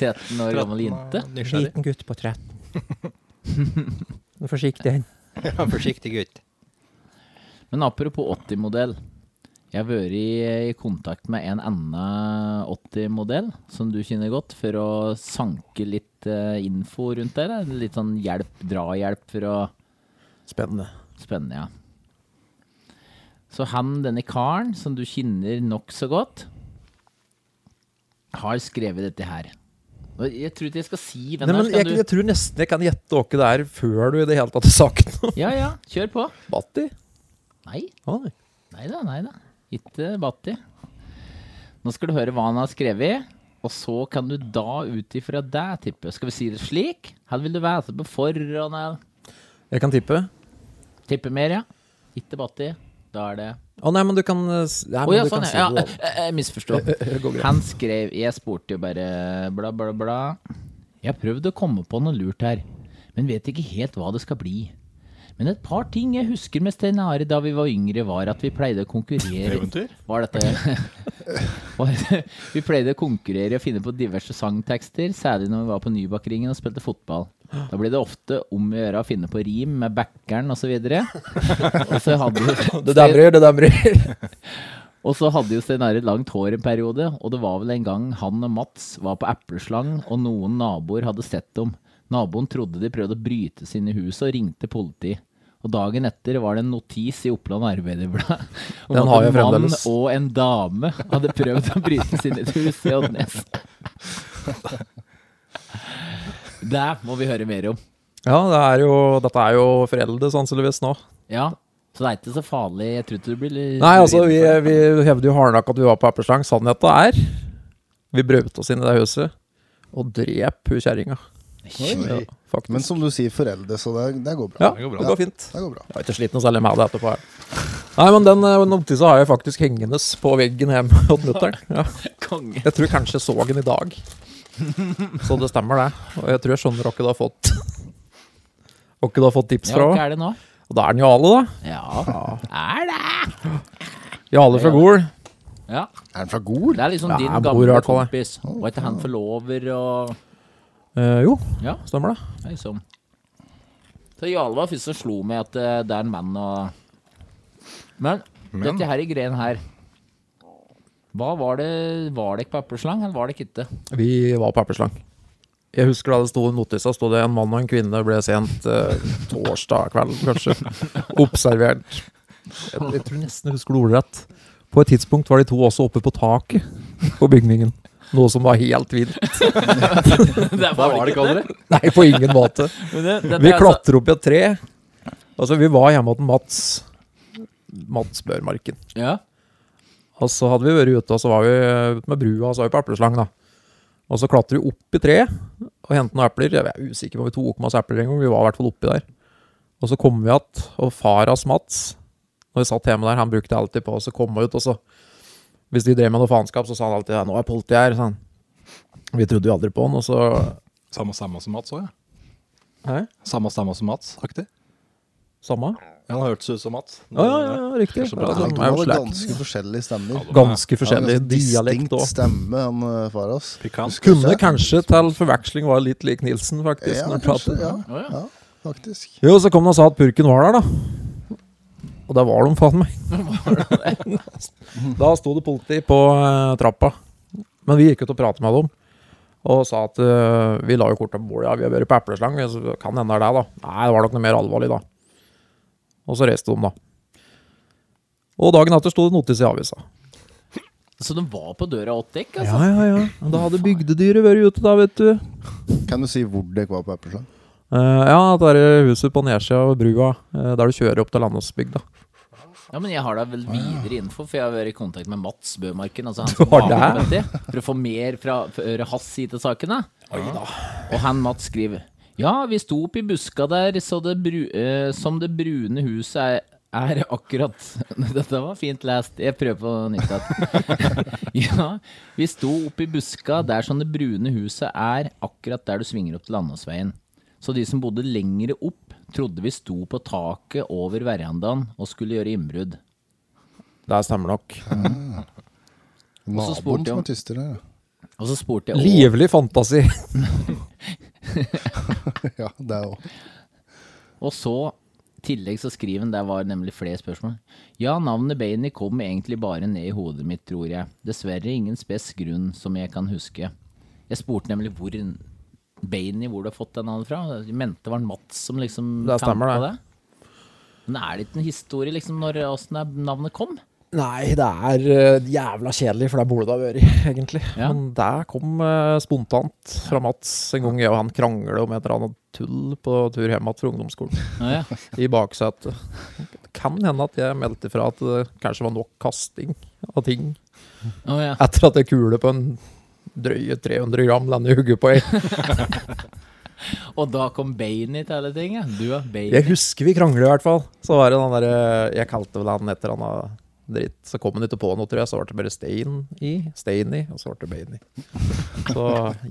S4: 13 år gammel
S3: 13
S4: jente.
S3: og Nysgjerrig.
S5: gutt på 13. Vær forsiktig.
S3: Ja, forsiktig gutt.
S4: Men apropos 80-modell. Jeg har vært i, i kontakt med en annen 80-modell som du kjenner godt, for å sanke litt eh, info rundt det. eller Litt sånn hjelp, drahjelp for å
S5: Spennende.
S4: Spennende, ja. Så han, denne karen, som du kjenner nokså godt, har skrevet dette her. Og Jeg tror ikke jeg skal si hvem det
S5: Nei,
S4: er.
S5: men jeg,
S4: Skal
S5: jeg tror nesten jeg kan gjette hva det er, før du i det hele tatt har sagt noe.
S4: du Ja, ja, kjør på.
S5: Batti?
S4: Nei.
S5: Å, nei.
S4: Nei da, nei da. Ikke Batti. Nå skal du høre hva han har skrevet, og så kan du da ut ifra deg tippe. Skal vi si det slik? Han vil du vite på forhånd. eller?
S5: Jeg kan tippe.
S4: Tippe mer, ja. Ikke Batti. Da er det
S5: Å nei, men du kan eh, s- Nei,
S4: Å
S5: men
S4: ja,
S5: du
S4: sånn,
S5: kan si
S4: ja. ja.
S5: det, da.
S4: Jeg, jeg misforstod. Han skrev Jeg spurte jo bare bla, bla, bla. Jeg har prøvd å komme på noe lurt her, men vet ikke helt hva det skal bli. Men et par ting jeg husker med Stein Are da vi var yngre, var at vi pleide å konkurrere
S3: Eventyr?
S4: Var dette Var- Vi pleide å konkurrere og finne på diverse sangtekster, særlig når vi var på Nybakringen og spilte fotball. Da ble det ofte om å gjøre å finne på rim med backeren osv. Og så hadde jo-
S5: Det demrer, det demrer.
S4: og så hadde jo Stein Arild langt hår en periode, og det var vel en gang han og Mats var på epleslang, og noen naboer hadde sett dem. Naboen trodde de prøvde å bryte seg inn i huset, og ringte politiet. Og dagen etter var det en notis i Oppland Arbeiderblad om
S5: Den har
S4: at en
S5: jeg
S4: mann
S5: fremdeles.
S4: og en dame hadde prøvd å bryte seg inn i et hus i Oddnes. Det må vi høre mer om.
S5: Ja, det er jo, dette er jo foreldre sannsynligvis nå.
S4: Ja, så det er ikke så farlig. Jeg tror ikke du blir
S5: Nei, altså, vi, vi hevde jo hardnakka at vi var på Apperslang. Sannheten er Vi brøt oss inn i det huset og drep hun kjerringa.
S8: Oi.
S5: faktisk.
S8: Men som du sier, foreldre, så det, det går bra.
S5: ja,
S3: det går bra.
S5: det går fint.
S8: Det går bra.
S5: Jeg har ikke slitt noe særlig med det etterpå. Jeg. Nei, men den eh, notisa har jeg faktisk hengende på veggen hjemme hos mutter'n. Ja.
S4: Konge.
S5: Jeg tror kanskje jeg så den i dag. Så det stemmer, det. Og jeg tror jeg skjønner hva du har fått. Hva du har fått tips
S4: Ja,
S5: fra
S4: hva
S5: henne.
S4: er det nå?
S5: Og da er den Jale, da.
S4: Ja, er det?
S5: Jale fra Gol.
S4: Ja,
S8: Er den fra Gol?
S4: det er liksom
S5: Ja,
S4: din
S5: jeg bor i
S4: gamle
S5: hvert fall, jeg.
S4: kompis. Og etter han forlover og
S5: Eh, jo,
S4: Ja.
S5: stemmer det.
S4: det er liksom. Så Jarle var først som slo meg at eh, det er en mann og Men, dette her i greien her Hva var det Var det ikke papperslang, eller var det ikke det?
S5: Vi var på Eppleslang. Jeg husker da det sto i notisa sto det en mann og en kvinne ble sent eh, torsdag kveld, kanskje. Observert. Jeg, jeg tror nesten jeg husker det ordrett. På et tidspunkt var de to også oppe på taket på bygningen. Noe som var helt vilt.
S4: det var det ikke det.
S5: Nei, på ingen måte.
S4: Men det- dette
S5: Vi
S4: er altså-
S5: klatrer opp i et tre. Altså, vi var hjemme hos Mats Mats Børmarken.
S4: Ja.
S5: Og så hadde vi vært ute, og så var vi ute med brua, og så var vi på epleslang, da. Og så klatrer vi opp i treet og henter noen epler. Jeg er usikker på om vi tok med oss epler engang, vi var i hvert fall oppi der. Og så kom vi igjen, og far hans Mats, når vi satt hjemme der, han brukte alltid på å komme ut, og så Hvis de drev med noe faenskap, så sa han alltid ja, 'nå er politiet her', sa han. Vi trodde jo aldri på han, og så
S3: Samme stemme som Mats òg, ja.
S5: Hæ?
S3: Samme stemme som Mats, aktig.
S5: Samme?
S3: Ja, han hørtes ut som Mats.
S5: Ja, ja, ja, ja riktig.
S3: Det er så bra.
S5: Ja,
S8: Ja,
S5: sånn
S8: de
S5: er jo
S8: hadde
S5: slekt.
S8: ganske forskjellige stemmer.
S5: Ganske
S8: Han hadde
S5: forskjellig
S8: ganske
S5: dialekt
S8: distinkt
S5: òg.
S8: stemme, han eh, far oss.
S3: Pikant.
S5: Kunne kanskje til forveksling være litt lik Nilsen, faktisk.
S8: Ja,
S5: når han
S8: kanskje,
S5: prater.
S8: ja,
S4: Å, ja.
S8: ja, faktisk.
S5: Jo, så kom han og sa at purken var der, da. Og der var de, faen meg. da sto det politi på eh, trappa. Men vi gikk ut og pratet med dem. Og sa at eh, vi la jo kortet på bordet, ja, vi har vært på epleslang. så Kan hende det er deg, da. Nei, det var nok noe mer alvorlig, da. Og så reiste de, da. Og dagen etter sto det notis i avisa.
S4: Så de var på døra åt dekk, altså?
S5: Ja, ja, ja. Men Da hadde bygdedyret vært ute, da, vet du.
S8: Kan du si hvor dere var på Epplesland?
S5: Eh, ja, det er huset på nedsida av brua, eh, der du kjører opp til Landåsbygda.
S4: Ja, men jeg har da vel videre info, for jeg har vært i kontakt med Mats Bømarken, altså han
S5: Du
S4: som
S5: har
S4: var med
S5: det?
S4: på dette, for å få mer fra fra øre hans side til saken, da. Og han Mats skriver Ja, vi sto opp i buska der, så det bru, eh, som det brune huset er er akkurat Dette var fint lest. Jeg prøver på nytt. igjen. ja, vi sto oppi buska der som det brune huset er, akkurat der du svinger opp til Landåsveien. Så de som bodde lengre opp, trodde vi sto på taket over verandaen og skulle gjøre innbrudd.
S5: Det stemmer nok.
S4: Og
S8: Naboen
S4: så spurte jeg
S8: som
S4: om-
S8: er tyster her.
S4: Og så spurte jeg også,
S5: Livlig fantasi.
S8: Ja, det er jo
S4: Og så, i tillegg så skriver han, der var nemlig flere spørsmål. Ja, navnet Bainey kom egentlig bare ned i hodet mitt, tror jeg. Dessverre ingen spes grunn som jeg kan huske. Jeg spurte nemlig hvor Bainey, hvor du har fått den navnet fra. Jeg mente det var en Mats som liksom
S5: Det stemmer,
S4: fant på
S5: det.
S4: Men er det ikke en historie, liksom, når åssen det- navnet kom?
S5: Nei, det er eh, jævla kjedelig, for det burde det ha vært, egentlig.
S4: Ja.
S5: Men der kom eh, spontant fra Mats en gang jeg og han kranglet om et eller annet tull på tur hjem igjen fra ungdomsskolen.
S4: Ja, ja.
S5: I baksetet. Det Kan hende at jeg meldte fra at det kanskje var nok kasting av ting.
S4: Å, ja.
S5: Etter at jeg kule på en drøye 300 gram lander i hugget på ei.
S4: Og da kom Bainey til hele ting, ja. Du er Bainey.
S5: Jeg husker vi kranglet i hvert fall. Så var det den derre Jeg kalte vel han et eller annet dritt. Så kom han ikke på noe, tror jeg. Så ble det bare Stein i. Steiny, og så ble det Bainy. Så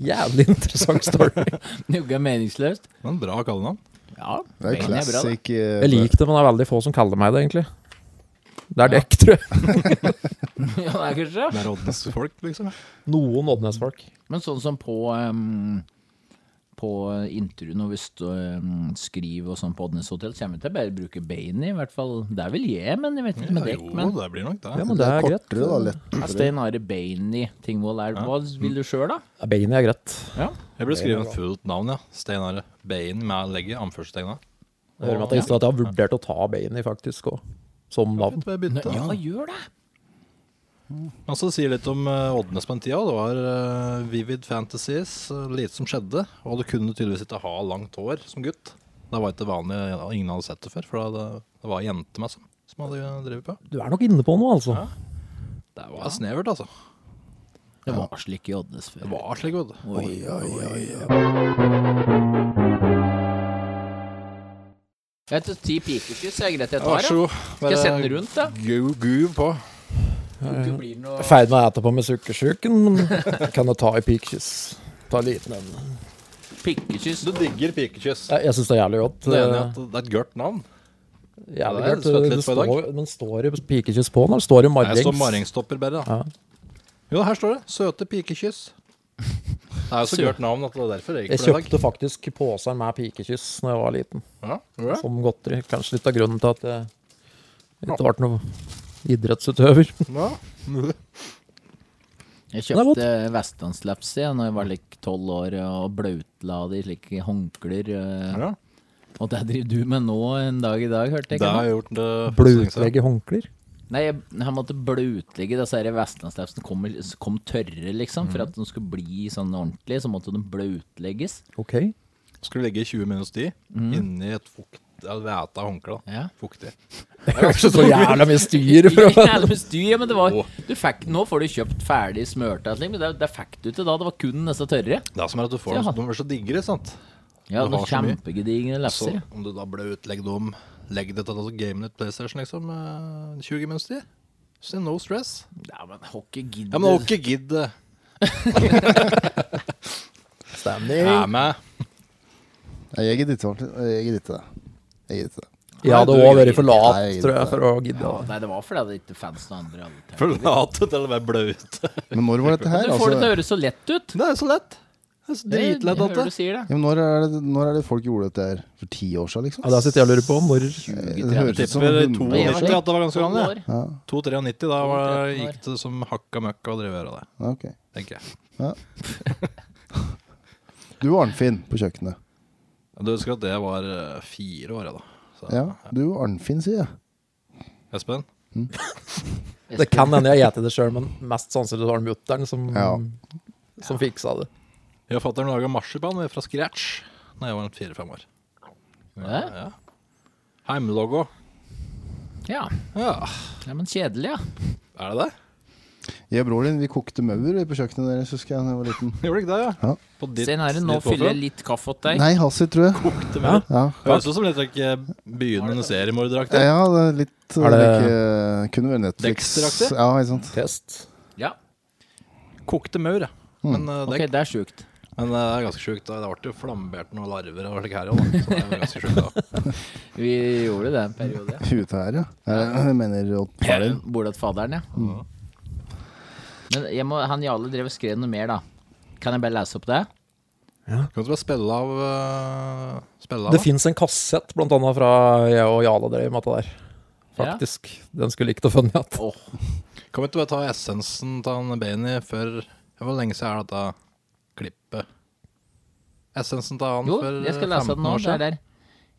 S5: jævlig interessant story.
S4: Noe er meningsløst.
S3: Men bra kallenavn.
S4: Ja,
S8: Det er
S4: Bainey er bra. da.
S8: classic eh,
S5: Jeg liker det, men det er veldig få som kaller meg det, egentlig. Det er dekk, tror jeg.
S4: Ja, det er kanskje det.
S3: Det er Oddnes folk, liksom.
S5: Noen Oddnes-folk.
S4: Men sånn som på um, På intervjuene og hvis du um, skriver og sånn på Oddnes hotell, kommer vi til å bare bruke Bainey, i hvert fall. Det er vel jeg, men jeg vet ikke med dekk.
S3: jo,
S4: Men
S3: det blir nok det.
S5: Ja, men det er greit.
S8: kortere, da. Lett.
S4: Ja, Stein Are Bainey Tingvoll er Hva vil du sjøl, da?
S5: Bainy er greit.
S3: Jeg burde skrive et fullt navn, ja. Steinar Bein med legget, anførselstegna.
S5: Jeg hører med at jeg, at jeg har vurdert å ta Bainy, faktisk, òg. Som navn.
S3: Bare
S4: Nei,
S3: bytte.
S4: Ja, gjør det!
S3: Og så sier litt om eh, Oddnes på den tida. Det var eh, vivid fantasies, eh, lite som skjedde. Og du kunne tydeligvis ikke ha langt hår som gutt. Det var ikke vanlig, ja, ingen hadde sett det før. For det, det var jentene som, som hadde drevet på.
S5: Du er nok inne på noe, altså.
S3: Det var snevert, altså.
S4: Det var slik i Odnes før.
S3: Det var slik, vet du.
S4: Oi, Jeg tok ti pikekyss, jeg er greit jeg tar. Ja. Skal jeg sende rundt, da?
S3: Guv, guv på.
S4: Tror ikke det blir noe
S5: Jeg er ferdig med å ete på med sukkersyken, men kan jo ta i pikekyss. Ta en liten en.
S4: pikekyss.
S3: Du digger pikekyss.
S5: Jeg, jeg syns det er jævlig godt. Eh,
S3: Det er enig i at det er et gørt navn.
S5: Jævlig
S3: det er
S5: godt.
S3: svett
S5: Det
S3: litt på i dag.
S5: står, men står det pikekyss på nå? Står det
S3: Nei, Jeg står
S5: marrings?
S3: marringstopper bedre, da.
S5: Ja.
S3: Jo, her står det. Søte pikekyss. Det er jo så gørt navn at det er derfor jeg
S5: Jeg
S3: gikk for det i dag.
S5: kjøpte faktisk poser med pikekyss Når jeg var liten,
S3: Ja, gjorde du det?
S5: som godteri. Kanskje litt av grunnen til at jeg ikke ble noen idrettsutøver.
S4: Jeg
S5: er godt.
S4: kjøpte vestlandslaps da jeg var like tolv år, og blautla det i slike håndklær. eh,
S3: Ja.
S4: Og det driver du med nå en dag i dag, hørte jeg.
S3: Det har
S4: ikke?
S3: jeg gjort det for så lenge siden.
S5: Blutlegge håndklær.
S4: Nei, jeg, jeg måtte blautlegge disse her vestlandslapsene kom, kom tørre, liksom.
S3: Mhm.
S4: For at de skulle bli sånn ordentlig, så måtte de blautlegges.
S5: Ok.
S3: Skulle ligge i 20 minus 10
S4: Mm.
S3: inni et fukt, eller væta håndkle. da.
S4: Ja.
S3: Fuktig.
S5: Så jævla mye styr
S4: Ja,
S5: for å
S4: jævlig med styr, men det var,
S3: Åh.
S4: du fikk, nå får du kjøpt ferdig smørte, liksom, men det, det fikk du ikke da. Det var kun disse tørre.
S3: Det er som er at du får dem
S4: Ja.
S3: som de er så digre, sant.
S4: Ja,
S3: Du
S4: noen
S3: har så mye.
S4: kjempegedigne
S3: Så
S4: lapser.
S3: om du da ble utlegg dem, legg dette til altså, gamet ditt PlayStation, liksom, eh, 20 minus 10. Så no stress.
S4: Ja, men hockey gidder
S3: Ja, men ok, gidd det.
S2: Stemning.
S3: Jeg er med.
S8: Nei, Jeg gidder ikke. Martin. Jeg gidder ikke det. Jeg gidder ikke det.
S5: Jeg hadde òg vært for lat,
S8: Nei, det-
S5: tror jeg, for å gidde.
S4: Ja, Nei, det var fordi det ikke fantes noen andre alternativer.
S3: Forlate til å være blaut.
S8: Men når var dette her?
S4: Du får det til
S8: Altså,
S4: å høres så lett ut.
S3: Det er så lett. Det er så
S4: Jeg
S3: dritlett,
S4: hører
S3: dette.
S4: du sier det.
S8: ja, men når, er det, når er det folk gjorde dette her? For ti år siden, liksom?
S5: Ja, det sitter jeg og lurer på. Når
S8: Det høres ut som 100
S3: Tipper
S8: år
S3: 92
S8: siden.
S3: at det var ganske gammel, ja.
S4: Tolv år.
S3: 293, da var,
S4: 13 år.
S3: gikk det som hakka møkka og drev og gjorde det,
S8: Ja, ok.
S3: tenker jeg.
S8: Du og Arnfinn på kjøkkenet.
S3: Du husker at det var eh, fire år, jeg, da. Så,
S8: Ja, du og Arnfinn, sier jeg.
S3: Espen?
S5: Det kan hende jeg gjeter det sjøl, men mest sannsynlig var det mutter'n som,
S8: Ja.
S5: som fiksa det.
S3: Jeg og fatter'n laga marsipan fra scratch da jeg var fire-fem år.
S4: Hæ?
S3: Ja. Heimlogo.
S4: Ja.
S3: Ja,
S4: ja, men kjedelig, ja.
S3: er det det?
S8: Jeg og broren din vi kokte maur på kjøkkenet deres, husker jeg da jeg var liten.
S3: Gjorde du ikke det,
S8: Ja.
S3: På ditt,
S4: Stein Herre, nå
S3: ditt
S4: fyller jeg
S3: bakgrunn.
S4: litt kaffe åt deg.
S8: Nei, Hasid, tror jeg.
S3: Kokte mer.
S8: Ja,
S3: Høres ut som litt like, eh, begynnende seriemorderaktig.
S8: ja det er litt
S5: Er det-
S8: like, Kunne vært Netflix.
S3: Dexter-aktig?
S8: Ja, ikke sant.
S5: Test.
S4: Ja,
S8: Eh.
S3: Kokte maur, ja.
S8: Mm.
S3: Men, eh,
S4: ok,
S3: det,
S4: det er sjukt.
S3: men eh, det er ganske sjukt. da. Det ble jo flambert noen larver og slik her òg, da. Så det er jo ganske sjukt, da.
S4: Vi gjorde det en periode. ja.
S8: Huet her, ja. Eh, Jeg mener Odd Faren.
S4: Bordet til faderen, ja.
S8: Mm.
S4: Men jeg må, han Jarle drev og skrev noe mer, da. Kan jeg bare lese opp det?
S3: Kan du bare spille av eh, Spille av,
S5: Det
S3: da?
S5: fins en kassett, blant annet fra jeg og Jale drev med det der. Faktisk. Den skulle likt å funnet igjen.
S4: Åh,
S3: Kan vi ikke bare ta essensen til han Bainy før ja, Hvor lenge siden er dette klippet? Essensen til han
S4: Jo,
S3: for
S4: jeg skal lese
S3: 15
S4: den nå.
S3: år
S4: Det er
S3: siden?
S4: der.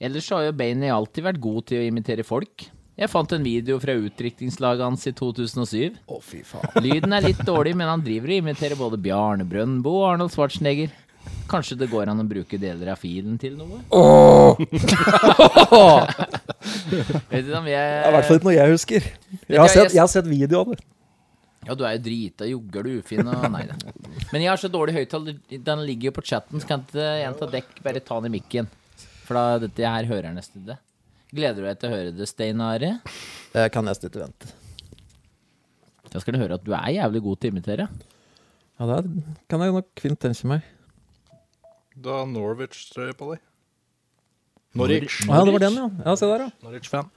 S4: Ellers så har jo Bainey alltid vært god til å imitere folk. Jeg fant en video fra utdrikningslaget hans i 2007.
S5: Å, fy faen.
S4: Lyden er litt dårlig, men han driver og imiterer både Bjarne Brøndbo og Arnold Schwarzenegger. Kanskje det går an å bruke deler av filen til noe? Vet du om
S5: Det er i hvert fall
S4: jeg
S5: ikke noe jeg husker. Jeg
S4: Eh, hva,
S5: har sett,
S4: jeg-
S5: jeg har sett video av det.
S4: Ja, du er jo drita, jugger du ufin og Nei da. Men jeg har så dårlig høyttaler. Den ligger jo på chatten, så kan ikke en av dekk bare ta den i mikken? For da dette her hører jeg nesten det. Gleder du deg til å høre det, Stein Are?
S5: Jeg kan nesten ikke vente.
S4: Da skal du høre at du er jævlig god til å imitere.
S5: Ja, det er- kan jeg nok fint tenke meg.
S3: Du har Norwich-trøye på deg. Norwich.
S5: Å ja, det var den, ja. Ja, se der, ja.
S3: Norwich-fan.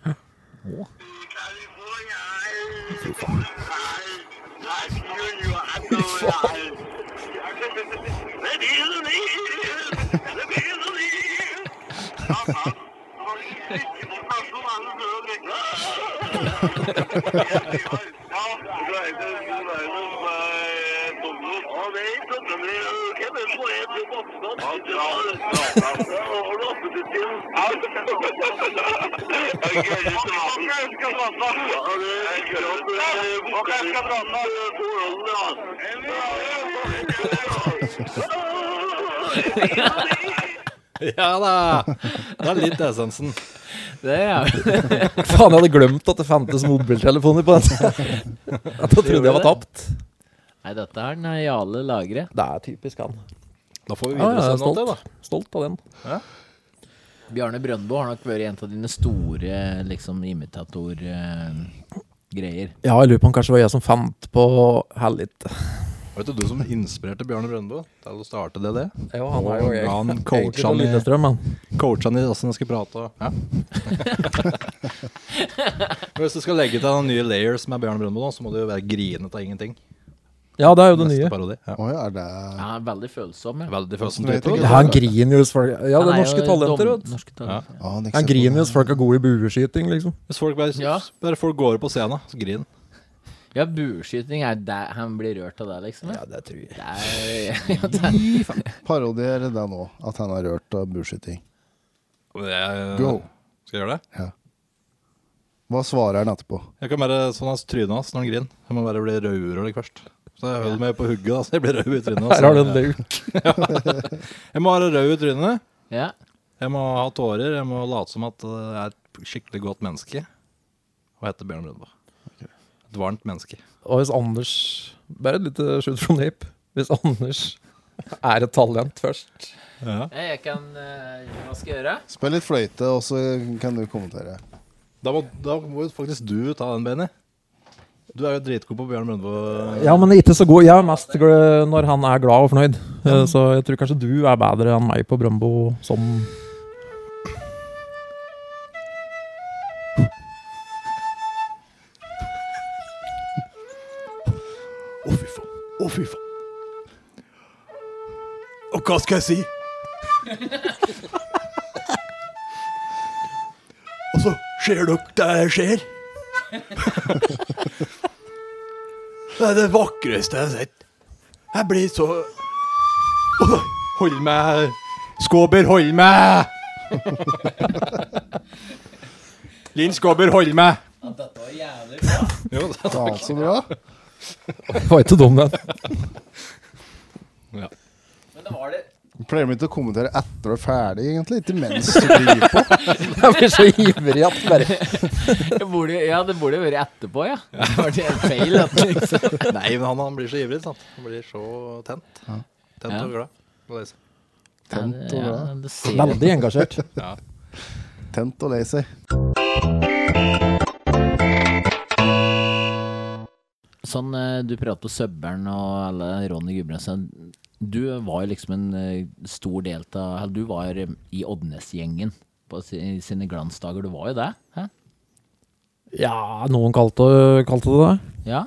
S3: Ja da! Det er litt essensen.
S4: Det er
S5: Faen, jeg hadde glemt at det fantes mobiltelefoner på den tida. Jeg trodde jeg var tapt.
S4: Nei, dette er den Jale Lagre.
S5: Det er typisk han.
S3: Da får vi
S5: Ja, jeg er
S3: videresende alt det,
S5: stolt. stolt av den.
S4: Bjarne Brøndbo har nok vært en av dine store liksom, imitatorgreier.
S5: Ja, jeg lurer på om kanskje det var jeg som fant på Hallit.
S3: da. Vet du du som inspirerte Bjørne Brøndbo til å starte det? det?
S5: Ja,
S3: han er jo jeg.
S5: han
S3: Egentlig fra
S5: Lillestrøm, han.
S3: Coacha han i hvordan han skal prate og ja. Hvis du skal legge til noen nye layers med Bjørn Brøndbo, nå, så må du jo være grinet av ingenting.
S5: Ja, det er jo det
S3: Neste
S5: nye.
S3: parodi. Ja.
S8: Å ja, er det
S4: Ja, han er veldig følsom. Ja.
S3: Veldig følsom
S8: Vet
S3: type.
S8: ikke.
S5: Ja, han griner jo hos folk. Ja, det er norske talenter. vet du.
S4: Norske talenter.
S8: Å, han ikke ser
S5: Han
S8: på
S5: griner
S8: meg.
S5: jo hos folk er gode i bueskyting, liksom.
S3: Hvis folk bare,
S4: Ja.
S3: bare folk går opp på scenen, så griner han.
S4: Ja, bueskyting er der han blir rørt av det, liksom? Ja, det tror jeg. ja, det er,
S8: Parodier det nå, at han er rørt av bueskyting.
S3: Og jeg-
S8: Go.
S3: Skal jeg gjøre det?
S8: Hva svarer han etterpå?
S3: Jeg kan bare sånn hans trynet hans når han griner. Jeg må bare bli rødere litt først. Så jeg holder meg på hugget, da, så jeg blir rød i trynet.
S5: Her har du en
S3: så-
S5: lauk.
S3: Jeg må være rød i trynet.
S4: ja.
S3: Jeg må ha tårer. Jeg må late som at eh, jeg er et skikkelig godt menneske. Og hete Bjørn Brøndbo. Et varmt menneske.
S5: Og hvis Anders Bare et lite shoot from the hip. Hvis Anders er et talent først
S3: Ja.
S4: Ja, Jeg kan eh, Hva skal jeg gjøre?
S8: Spill litt fløyte, og så kan du kommentere.
S3: Da må, da må jo faktisk du ta den, Benny. Du er jo dritgod på Bjørn Brøndbo.
S5: Ja, men ikke så god. Jeg er mest glad når han er glad og fornøyd. Eh, Så jeg tror kanskje du er bedre enn meg på Brøndbo som
S3: Å, fy faen. Å, fy faen. Og hva skal jeg si? Og så skjer det Altså, det skjer. Det er det vakreste jeg har sett. Jeg blir så Åh, Hold meg, Skåber, hold meg! Linn Skåber, hold meg! Jo, det-
S8: Faen, så bra.
S5: Var ikke dum, den.
S4: Men det var det
S8: Pleier de ikke å kommentere etter du er ferdig, egentlig? Ikke mens du driver på?
S5: Jeg blir så ivrig at bare
S4: det burde, Ja, det burde jo vært etterpå, ja. Det var det en feil. At, liksom.
S3: Nei, men han, han blir så ivrig. sant? Han blir så tent. Tent
S4: Ja.
S3: og glad. Må lese.
S8: Tent og
S4: ja,
S8: glad.
S4: det ser jeg.
S5: Veldig engasjert.
S8: Tent og lei seg.
S4: Sånn eh, du prater om Søbbern og alle Ronny Gudbrandsen. Du var jo liksom en eh, stor del av eller Du var eh, i Oddnes-gjengen på si- i sine glansdager. Du var jo det? Hæ?
S5: Ja, noen kalte, kalte det det.
S4: Ja.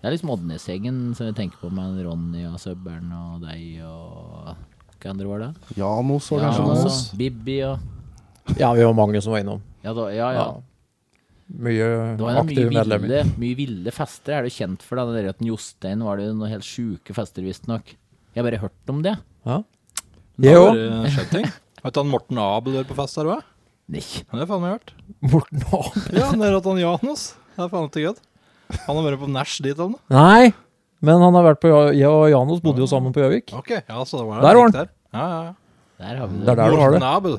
S4: Det er liksom Oddnes-gjengen som jeg tenker på med Ronny og Søbbern og deg og Hva andre var det?
S8: Janos var kanskje
S4: og
S8: med oss.
S4: så Bibbi og
S5: Ja, vi var mange som var innom.
S4: Ja, da, ja. ja.
S5: Ja. Mye
S4: Det var jo mye
S5: aktive medlemmer.
S4: ville, mye ville fester, er du kjent for det? Det der at den Jostein var det jo noen helt sjuke fester, visstnok. Jeg har bare hørt om det.
S5: Ja. Jeg òg.
S3: Det har skjedd ting. Vet du han Morten Abel var på fest der òg?
S4: Nei.
S3: Det har faen meg hørt.
S5: Morten Aam.
S3: Ja, han der at han Janos. Det er faen ikke gøy. Han har vært på nach dit, han.
S5: Nei, men han har vært på Ja- Jeg og Janos bodde jo sammen på Gjøvik.
S3: Ok, ja, så det var
S5: Der var han.
S3: Der. Ja, ja, ja.
S4: Der har vi
S5: Det
S4: det.
S5: er der du har det.
S3: Morten Abel.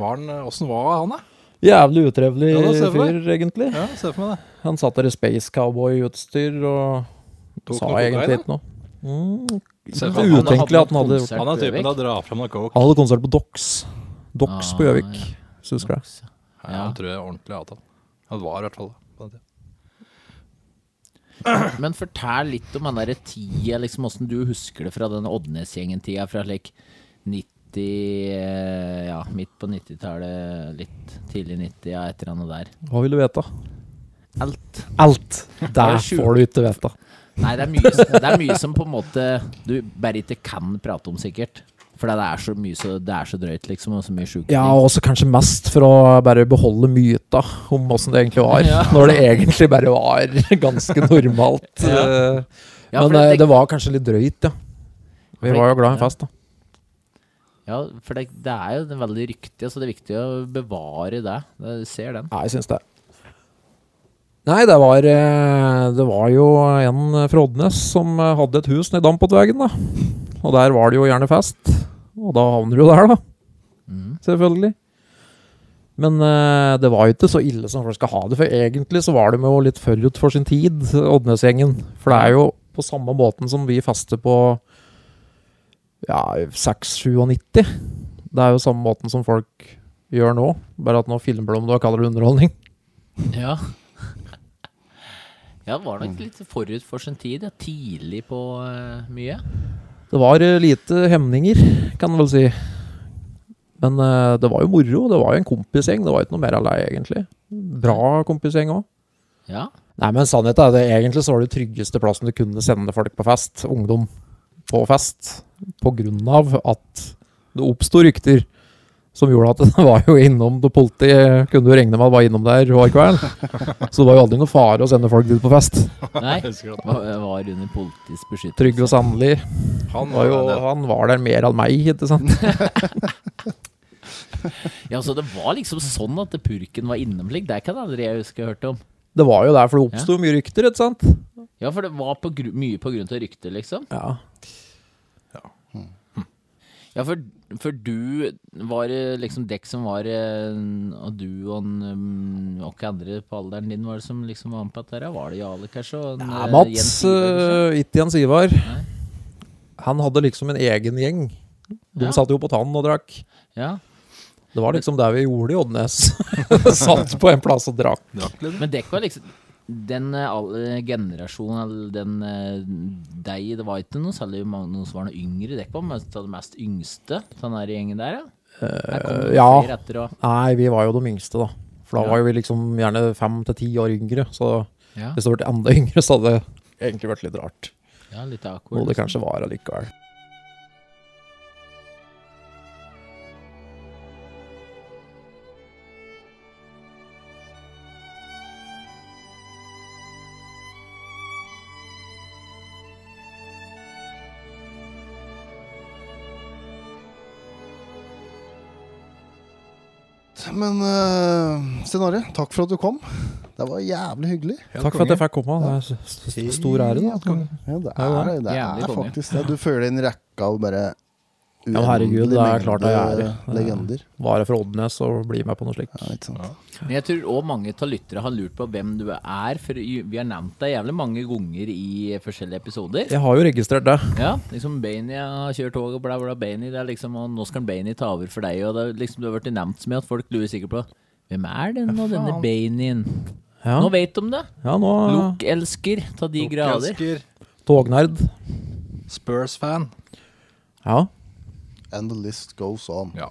S3: Var han, eh, Åssen var han, da?
S5: Jævlig utrevelig
S3: Ja, da ser jeg for
S5: fyr, egentlig.
S3: Ja, Se for meg det.
S5: Han satt der i space cowboy-utstyr og
S3: Tok
S5: sa
S3: noe kokain,
S5: egentlig
S3: da?
S5: ikke noe.
S3: Se for
S5: Mm, ikke
S3: meg, han hadde-
S5: utenkelig at han hadde gjort
S4: konsert.
S5: det.
S3: Han er typen til å dra fram noe coke.
S5: Han hadde konsert på Dox. Dox på
S4: Ah,
S5: Gjøvik, hvis du husker det.
S3: Ja, han tror jeg ordentlig hatet han. Han var i hvert fall det. på den tiden.
S4: Men fortell litt om den derre tida, liksom åssen du husker det fra den Oddnes-gjengen-tida fra like 90 eh, Ja, midt på 90-tallet, litt tidlig 90, ja, et eller annet der.
S5: Hva vil du vite?
S4: Alt.
S5: Alt! Der
S4: sjukt?
S5: får du ikke vite.
S4: Nei, det er, mye, det er mye som på en måte du bare ikke kan prate om, sikkert. Fordi det er så mye så, det er så drøyt, liksom, og så mye sjuke
S5: Ja, og også kanskje mest for å bare beholde myta om åssen det egentlig var. Når det egentlig bare var ganske normalt. eh,
S4: Ja, for
S5: Men eh,
S4: det-
S5: det var kanskje litt drøyt, ja. Vi
S4: For-
S5: var jo glad i en
S4: ja.
S5: fest, da.
S4: Ja, for det, det er jo det veldig ryktige, så det er viktig å bevare det. Du ser den.
S5: Ja, jeg syns det. Nei, det var, eh, det var jo en fra Odnes som eh, hadde et hus nedi Dampåtvegen, da. Og der var det jo gjerne fest. Og da havner du jo der, da. Mm. Selvfølgelig. Men eh, det var jo ikke så ille som folk skal ha det, for egentlig så var de jo litt forut for sin tid, Odnes-gjengen. For det er jo på på samme måten som vi faster på ja, 6-97. Det er jo samme måten som folk gjør nå, bare at nå filmer de det og kaller det underholdning.
S4: Ja. Ja, det var nok litt forut for sin tid. Ja. Tidlig på eh, mye.
S5: Det var eh, lite hemninger, kan en vel si. Men eh, det var jo moro. Det var jo en kompisgjeng. Det var jo ikke noe mer av det, egentlig. Bra kompisgjeng òg.
S4: Ja.
S5: Nei, men sannheten er det egentlig så var det tryggeste plassen du kunne sende folk på fest, ungdom på fest, på grunn av at det oppsto rykter som gjorde at det var jo innom det politiet, kunne du regne med at var innom der hver kveld. Så det var jo aldri noe fare å sende folk dit på fest.
S4: Nei, var, var under politiets beskyttelse.
S5: Trygve Sandli, han var jo,
S3: det.
S5: han var der mer enn meg, ikke sant.
S4: Ja, så det var liksom sånn at purken var innom slik. Det kan aldri jeg huske jeg har hørt om.
S5: Det var jo der, for det oppsto mye rykter, ikke sant.
S4: Ja, for det var på gru mye på grunn til ryktet, liksom.
S5: Ja.
S4: Ja, for, for du var det liksom dekk som var eh, Og du og en, um, og hva andre på alderen din var det som liksom var med på dette? her? Var det Jarle, kanskje? Og en,
S5: Ja,
S4: eh, Jens
S5: Mats,
S4: Ivar, kanskje?
S5: eh, ikke Jens Ivar,
S4: Nei.
S5: han hadde liksom en egen gjeng. De
S4: Ja.
S5: satt jo på tannen og drakk.
S4: ja.
S5: Det var liksom der vi gjorde i Oddnes. Satt på en plass og drakk.
S4: Men dekk var liksom den eh, all- eh, generasjonen, eller den eh, deg, det var ikke noe særlig mange noen som var noe yngre dekk på, men det mest yngste, den der gjengen der, ja. Her kom det
S5: Eh, ja.
S4: flere etter, og,
S5: Nei, vi var jo de yngste, da. For da
S4: Ja.
S5: var jo vi liksom gjerne fem til ti år yngre. Så
S4: ja.
S5: hvis det hadde vært enda yngre, så hadde det egentlig vært litt rart.
S4: ja, litt awkward.
S5: Noe det
S4: liksom.
S5: kanskje var allikevel.
S2: Men uh, Sten-Are, takk for at du kom. Det var jævlig hyggelig.
S5: Takk for at jeg fikk komme. Det er s- s- s- stor ære.
S2: Ja,
S5: da.
S2: det er, det er
S4: Jævlig konge.
S2: faktisk det. Du føler en rekke av bare
S5: Ja, herregud, det er klart det er ære.
S2: uendelig mengde legender.
S5: Være fra Oddnes og bli med på noe slikt.
S2: Ja, ikke sant.
S4: Men jeg tror òg mange av lyttere har lurt på hvem du er, for vi har nevnt deg jævlig mange ganger i forskjellige episoder. Ja.
S5: Jeg har jo registrert det.
S4: liksom Bainey har kjørt tog og bla, bla, Bainey. Det er liksom, og nå skal Bainey ta over for deg, og det er liksom, du har blitt nevnt så mye at folk lurer sikkert på hvem er den og denne Baineyen?
S5: Ja,
S4: Nå vet de det!
S5: ja nå
S4: Lukk-elsker ta de grader.
S3: Elsker.
S5: Tognerd.
S3: Spurs-fan.
S5: Ja.
S2: And the list goes on.
S3: Ja.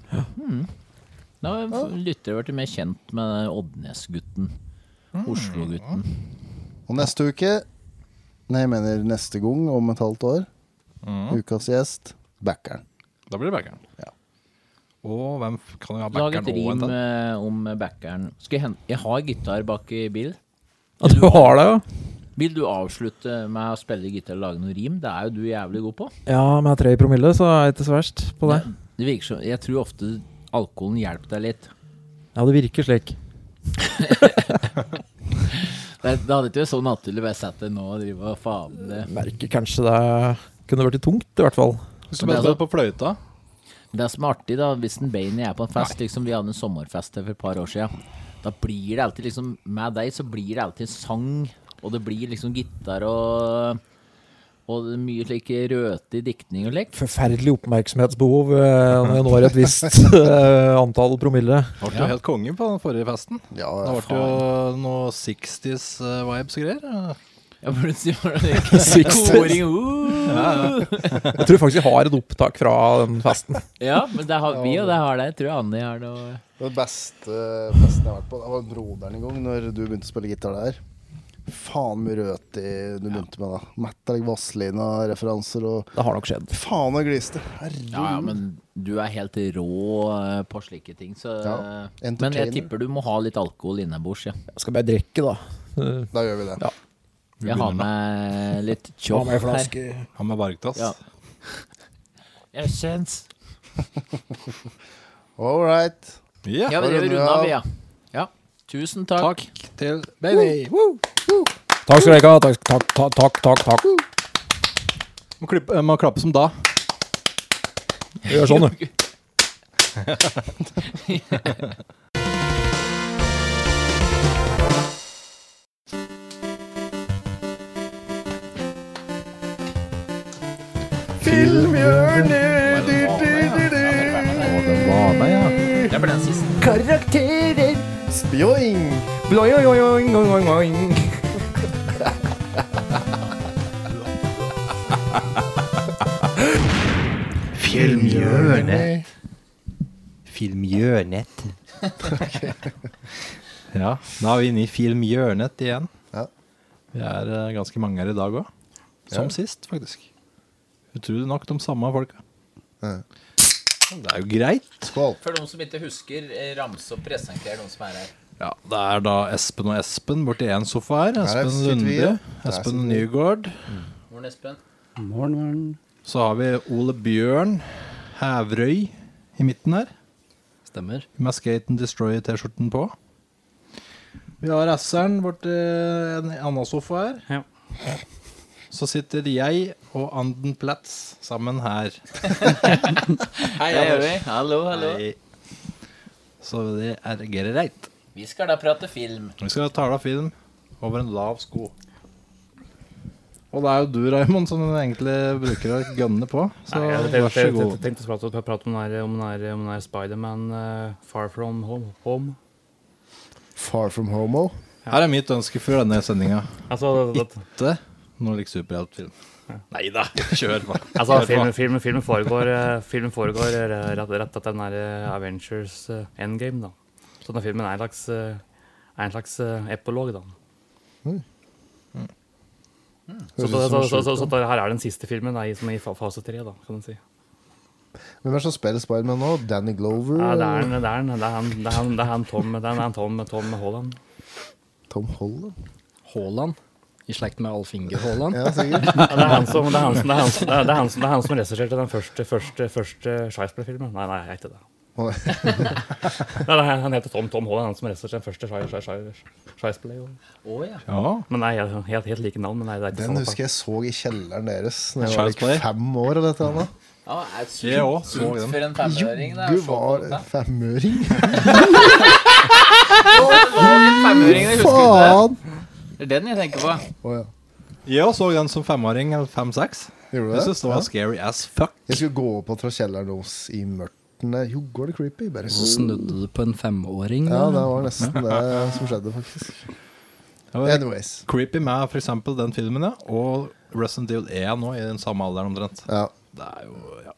S4: Da har lyttere blitt mer kjent med Oddnes-gutten.
S3: Mm.
S4: Oslo-gutten.
S2: Og neste uke Nei, jeg mener neste gang, om et halvt år. Ukas gjest, backeren.
S3: Da blir det backeren.
S2: Ja.
S3: Og hvem f- kan jo ha
S4: Lag
S3: backeren
S4: et
S3: og en
S4: rim
S3: til?
S4: eh, om backeren. Skal jeg, hente, jeg har gitar bak i bilen.
S5: ja du har det, ja.
S4: Vil du avslutte med å spille gitar og lage noe rim? Det er jo du jævlig god på.
S5: Ja, med tre i promille, så er jeg ikke så verst på det.
S4: Det virker som, Jeg tror ofte alkoholen hjelper deg litt.
S5: Ja, det virker slik.
S4: Det, det hadde ikke vært så naturlig bare sett deg nå og drive og faen det.
S5: Merker kanskje det kunne vært litt tungt, i hvert fall.
S3: Hvis du bare spiller på fløyta
S4: Det som er artig, da, hvis en Bainey er på en fest, liksom vi hadde en sommerfest her for et par år siden, da blir det alltid liksom Med deg så blir det alltid en sang, og det blir liksom gitar og og det er mye slik røtig diktning og lek.
S5: Forferdelig oppmerksomhetsbehov eh, når jeg når et visst eh, antall promille.
S3: Ble du helt konge på den forrige festen?
S2: Ja,
S3: Da ble det jo noe 60s eh, vibes og greier.
S4: Ja, plutselig var det like, koring. Uh.
S5: Jeg tror faktisk jeg har et opptak fra den festen.
S4: Ja, men det har vi, og det har deg. Jeg tror Anni har det. Og
S2: Det beste festen jeg har vært på, det var broderen en gang, når du begynte å spille gitar der. Faen mye røti du begynte med da. Mett deg Vazelina-referanser og
S5: Det har nok skjedd.
S2: Faen, jeg gliste. Herregud.
S4: Ja, ja, men du er helt rå eh, på slike ting, så
S2: Ja,
S4: eh, Men jeg
S2: entertainer.
S4: tipper du må ha litt alkohol innebords, ja.
S5: Jeg skal bare drikke, da. Eh,
S2: Da gjør vi det.
S4: Jeg har med litt
S5: Ha
S4: tjoff
S5: med ei
S4: her.
S5: flaske.
S3: Han med Vargtass.
S4: Ja. Jeg kjennes.
S2: All right.
S3: Ja.
S4: Ja, vi driver
S2: runder
S4: unna,
S2: av.
S4: vi, ja. ja. Tusen takk.
S3: Takk til Benny.
S5: Takk skal dere ha. Takk, takk, takk, takk. takk, takk.
S3: Må, klippe, eh, må klappe som da.
S5: Vi gjør sånn, du.
S2: Den var med, ja.
S3: Det ble den siste.
S9: Karakterer! Spjoing! Bloioioing, oing, oing.
S3: Filmhjørnet. Filmhjørnet. ja, da er vi inne i Filmhjørnet igjen.
S2: Ja.
S3: Vi er eh, ganske mange her i dag òg. Som sist, faktisk. Utrolig nok de samme folka.
S2: Ja.
S3: Det er jo greit.
S2: Skål.
S4: For de som ikke husker, eh, ramse og presentere de som er her.
S3: Ja, Det er da Espen og Espen borti én sofa her.
S2: Her er
S3: Espen
S2: sitter vi,
S3: Lunde.
S2: ja.
S3: Espen Nygaard.
S4: Morn, Espen.
S10: Morgen, morgen.
S3: Så har vi Ole Bjørn Hævrøy i midten her.
S10: Stemmer.
S3: Med Skate and Destroy-T-skjorten på. Vi har S-eren borti en annen sofa her.
S10: Ja.
S3: Så sitter jeg og Anden Platz sammen her.
S4: Hei, Jørvi. Hallo, hallo.
S3: Hei. Så det er greit.
S4: Vi skal da prate film.
S3: Vi skal tale av film over en lav sko. Og det er jo du, Raymond, som egentlig bruker å gønne på. Så
S10: Nei, jeg
S3: vær
S10: tenkte,
S3: så
S10: jeg
S3: god.
S10: tenkte, jeg prate, prate om den her- om den her- om den her Spiderman eh, Far From Home. home.
S2: Far from homo.
S3: Her er mitt ønske før denne sendinga.
S10: Altså, det, det,
S3: Det noe like superheltfilm. Nei da, kjør på.
S10: altså
S3: Kjør på.
S10: filmen, filmen, filmen foregår, eh, filmen foregår eh, rett, rett etter den her eh, Avengers eh, Endgame, da. Så denne filmen er en slags, eh, er en slags eh, epolog, da. Så, så, så, så, så, så, så her er den siste filmen da, i, som er i fa- fase tre, da, kan du si.
S2: Hvem er det som spiller Spiderman nå? Danny Glover?
S10: Ja, det er
S2: eller
S10: han, det er han, det er han, det er han, det er han Tom, det er han Tom, Tom Holland.
S2: Tom Holland?
S10: Haaland?
S6: I slekt med Alf Inge Haaland.
S2: Ja, sikkert.
S10: Ja, det er han som, det er han som, det er han som, det er han som, det er han som regisserte den første, første, første Scheisblad-filmen. Nei, nei, jeg er ikke det.
S2: Å,
S10: nei, nei, han heter Tom Tom Holland, han som regisserte den første Schei- Schei- Schei- Scheisblad. jo.
S3: Ja,
S10: Men nei, jeg har helt, helt like navn, men nei, det er ikke
S2: Den
S10: sånn.
S2: husker jeg så i kjelleren deres da jeg var
S3: Child's Play.
S2: like fem år. eller et eller annet.
S4: Ja, det er
S3: jeg òg så
S4: sunt
S3: den.
S4: for en femøring. det er
S2: Du
S4: så
S2: var
S4: godt, da.
S2: femøring.
S4: Femøringen, jeg husker ikke
S2: Faen!
S4: det. Det er den jeg tenker på.
S2: Å ja.
S3: Jeg òg så den som femåring eller fem-seks.
S2: Gjorde du
S3: Jeg
S2: det?
S3: synes det var
S2: Ja.
S3: scary as fuck.
S2: Jeg skulle gå opp og tra kjelleren deres i mørtene. Jo, går det creepy? Bare
S6: Så
S3: Sånn.
S6: snudde du på en femåring.
S2: Ja,
S6: da.
S2: det var nesten det som skjedde, faktisk.
S3: Det var
S2: Anyways.
S3: creepy med for eksempel den filmen, ja. Og Resident Evil 1 nå, i den samme alderen omtrent.
S2: Ja.
S3: Det er jo ja.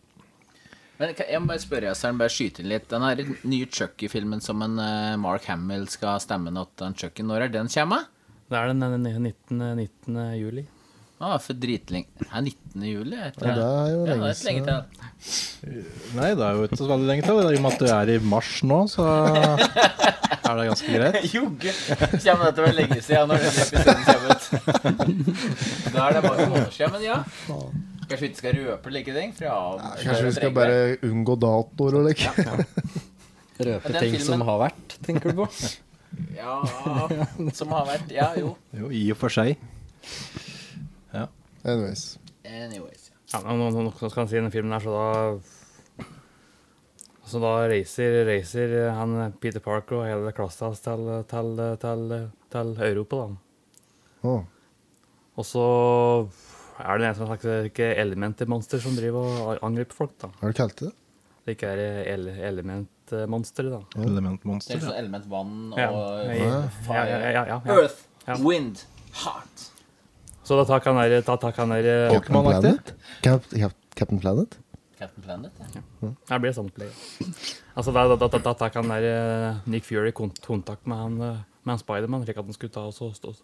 S4: Men kan- jeg må bare spørre Øystein, bare skyte inn litt. Den her nye Chucky-filmen som en eh, Mark Hamill skal stemme nå til en Chucky, når er den kommer?
S10: Det er den eh, 19. 19. juli.
S4: Å, for dritlenge. Det er 19. juli, heter
S2: Ja, det er jo
S4: Ja,
S2: lenge
S4: det er lenge til.
S3: Nei, det er jo ikke så veldig lenge til. I og med at du er i mars nå, så er det ganske greit.
S4: Jogge! Kommer det til å være lenge siden når denne episoden kommer ut? Da er det bare noen år siden, men ja. Kanskje vi ikke skal røpe like ting? For ja,
S2: Kanskje vi skal bare unngå datoer og like.
S6: Røpe
S4: Men den
S6: ting som
S4: filmen-
S6: har vært, tenker du på.
S4: Ja, som har vært. Ja, jo.
S3: Jo, i og for seg.
S2: Anyways.
S4: Anyways.
S10: Ja, men nå, nå, nå skal han si denne filmen her, så da Så da reiser, reiser han eh, Peter Parker og hele klassen hans til, til, til, til Europa, da.
S2: Å.
S10: Og så er det en som slags ikke elementmonster som driver og angriper folk, da.
S2: Har du kalt det det?
S10: Det ikke er el elementmonsteret, da.
S4: Det er
S3: Elementmonster.
S4: sånn element vann og
S10: Ja, ja, ja, ja, ja, ja.
S4: Earth,
S10: Ja.
S4: wind, heart.
S10: Så da tar han der, ta, ta han der
S3: Pokémon-aktig?
S2: Cap Cap- Captain Planet?
S4: Captain Planet. ja.
S10: Her blir det samtlige. Altså, da, da, da, da, da tar han der eh, Nick Fury kont kontakt med han, eh, med han Spiderman, slik at han skulle ta og så stå så-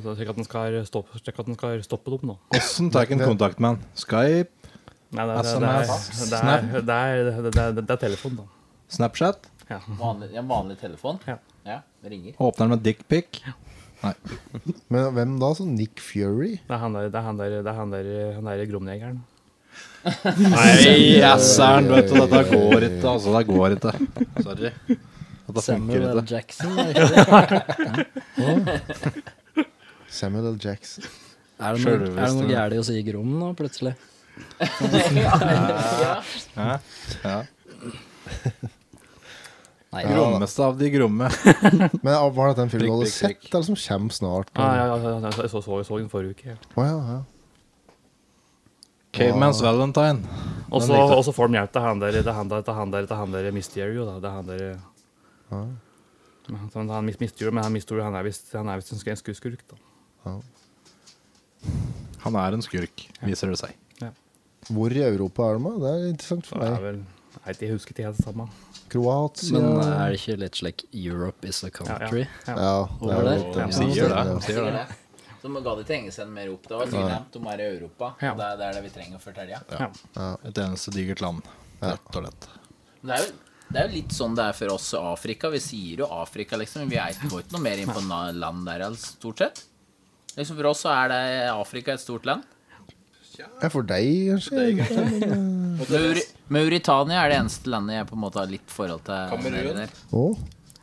S10: så- Slik at han skal stoppe, slik at han skal stoppe dem, da.
S3: Hvordan tar en kontakt med han? Skype?
S10: Nei, det,
S7: Altså,
S10: det, det,
S3: SMS,
S10: det, er- det, er- det, er- det, er- det er telefon, da.
S3: Snapchat?
S10: Ja.
S4: Vanlig, ja, vanlig telefon.
S10: Ja.
S4: Ja, det ringer.
S3: Åpner den med dickpic?
S2: Men hvem da? Så Nick Fury?
S10: Det er han der, det er han der, det er han der, han der gromjegeren.
S3: Nei, asseren, vet du. Dette går ikke, altså. Det går ikke. Sorry. Dette funker
S6: Samuel L.
S3: ikke.
S6: Jackson. Er ikke det?
S2: Samuel L. Jackson.
S6: Er det noe, er det noe gærent i å si Grom nå, plutselig? Nei,
S3: Grommeste av de gromme.
S2: Men ah, Var det den filmen du hadde
S3: Klikk, klikk,
S2: sett, eller som kommer snart?
S10: Ah, ja, ja, ja, ja, jeg så, så, så den forrige uke. ja.
S2: Å, ja, ja.
S3: Caveman's Valentine.
S10: Og
S3: Den likte jeg.
S10: så får de hjelp til han der, til han der, til han der, til han der Mysterio. Da. Det er han der Men han- han mis- Mysterio, men han Mysterio han er visst han er visst en sk- en skueskurk, da.
S3: Han er en skurk, viser det seg.
S2: Hvor i Europa er de? da? Det er interessant
S10: Så
S2: for
S10: det er
S2: meg.
S10: vel Nei, jeg husker ikke helt det samme.
S2: Kroatia
S7: Men
S10: eh,
S7: er det ikke litt slik Europe is a country?
S2: Ja, det
S7: Over
S2: er
S7: der?
S2: jo eh,
S3: De sier det. De sier
S4: Sier
S3: det.
S4: det. Så man ga de til Engelsend mer opp. Det var tilglemt. De er i Europa.
S10: Ja.
S4: og Det, er, det er det vi trenger å fortelle.
S3: Et eneste digert land, rett og lett.
S4: Men det er, jo, det er jo litt sånn det er for oss i Afrika. Vi sier jo Afrika, liksom. men Vi er ikke går ikke noe mer inn på na- land der, altså, stort sett. Liksom For oss så er det Afrika et stort land.
S2: Ja, for deg, kanskje?
S4: Mauri, Mauritania er det eneste landet jeg på en måte har litt forhold til. Kamerun. Der.
S2: Å,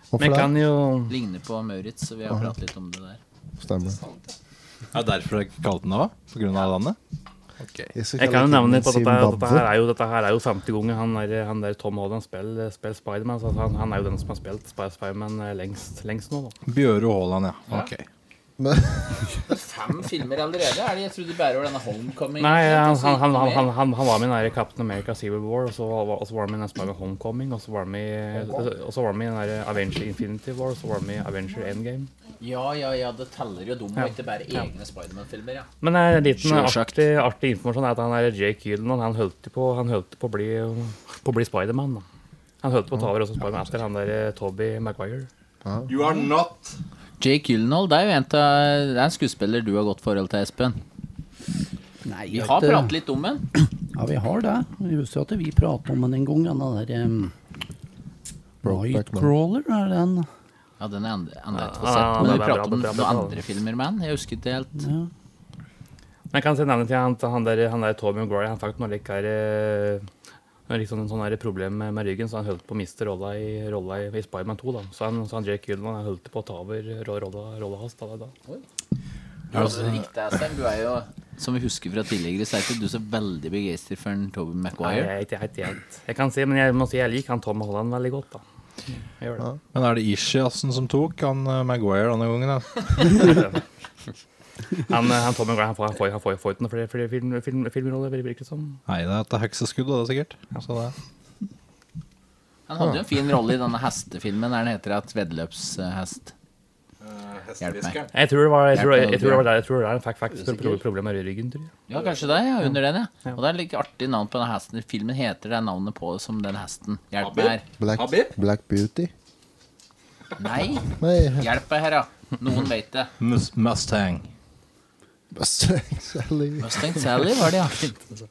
S2: hvorfor
S10: Men jeg
S2: det?
S10: kan jo
S4: Ligner på Maurits, så vi har pratet litt om det der.
S2: Stemmer.
S3: Er det derfor dere kalte den det òg? På grunn av landet?
S10: Jeg kan jo nevne litt at dette, dette, her er jo, dette her er jo femte gangen han der, han der Tom Holland spiller, spiller Spiderman. Så han, han er jo den som har spilt Sp- Spiderman eh, lengst, lengst nå, da.
S3: Bjøro Haaland, ja. Ok.
S4: Fem filmer allerede? Er det, jeg trodde de bærer over denne Homecoming.
S10: Nei, han,
S4: altså,
S10: han, han,
S4: ikke
S10: han,
S4: mer.
S10: han, han, han var med i den der Captain America Civil War, og så var, og så var han med i den som er med Homecoming, og så var han med, i- og så var han med i den der Avenger Infinity War, og så var han med i Avenger Endgame.
S4: Ja, ja, ja, det teller jo de, og ikke bare egne Spiderman-filmer. Ja.
S10: Men eh, en liten artig, artig informasjon er at han er Jake Gyllenhaal. Han holdt på, han holdt på å bli, på å bli Spiderman. da. Han holdt på å ta over også Spiderman etter han der eh, Tobey Maguire.
S3: You are not
S4: Jake Gyllenhaal det er jo en, av, det er en skuespiller du har godt forhold til, Espen.
S11: Nei,
S4: Vi
S11: jeg
S4: har
S11: vet,
S4: pratet litt om den.
S11: Ja, vi har det. Jeg husker at vi pratet om den en gang, den der um, Nightcrawler, er den?
S4: Ja, den er enda enda et
S10: Ja,
S4: få
S10: ja,
S4: sett.
S10: ja,
S4: Men
S10: det
S4: vi
S10: er bra,
S4: pratet om
S10: det er bra,
S4: noen
S10: det er bra.
S4: andre filmer med den. Jeg husker ikke helt.
S11: Ja.
S10: Men jeg kan si nevne til han, han der, han der Tobey Maguire, han fikk noe litt her, eh, noe litt sånn, sånn her problem med, med ryggen, så han holdt på å miste rolla i, rolla i, i Spiderman 2. Da. Så, han, så han Jake Gyllenhaal han holdt på å ta over ro- rolla, rolla hans. Da, da.
S4: Du, altså, det riktige, Espen, du er jo, som vi husker fra tidligere, så er ikke du så veldig begeistret for en Tobey
S10: Nei, jeg
S4: Maguire.
S10: er ikke helt helt Jeg kan si, men jeg må si jeg liker han Tom Holland veldig godt. da. Jeg gjør det.
S3: Men er det Ishiassen som tok han eh, Maguire denne gangen? Da?
S10: Han, eh, han Tom Maguire han får, han får, han får, får ikke noe flere, flere film, film, filmroller, virker det som.
S3: Nei, det er etter hekseskudd, da, det er sikkert. Så det
S4: Han hadde jo
S2: Ah.
S4: en fin rolle i denne hestefilmen der den heter et veddeløpshest. Hjelp meg.
S10: Jeg tror det var, jeg tror, jeg, jeg tror det var
S4: Hjelper
S10: der jeg tror det var der han fikk faktisk pro- problemer med ryggen. tror jeg.
S4: Ja, kanskje det. ja, Under den, ja. Og det er like artig navn på den hesten. Filmen heter det navnet på som den hesten. Hjelp meg her.
S2: Black, Black Beauty.
S4: Nei,
S2: Nei,
S4: hjelp meg her, ja. Noen vet det.
S3: Mus- Mustang.
S2: Mustang Sally.
S4: Mustang Sally var det, ja.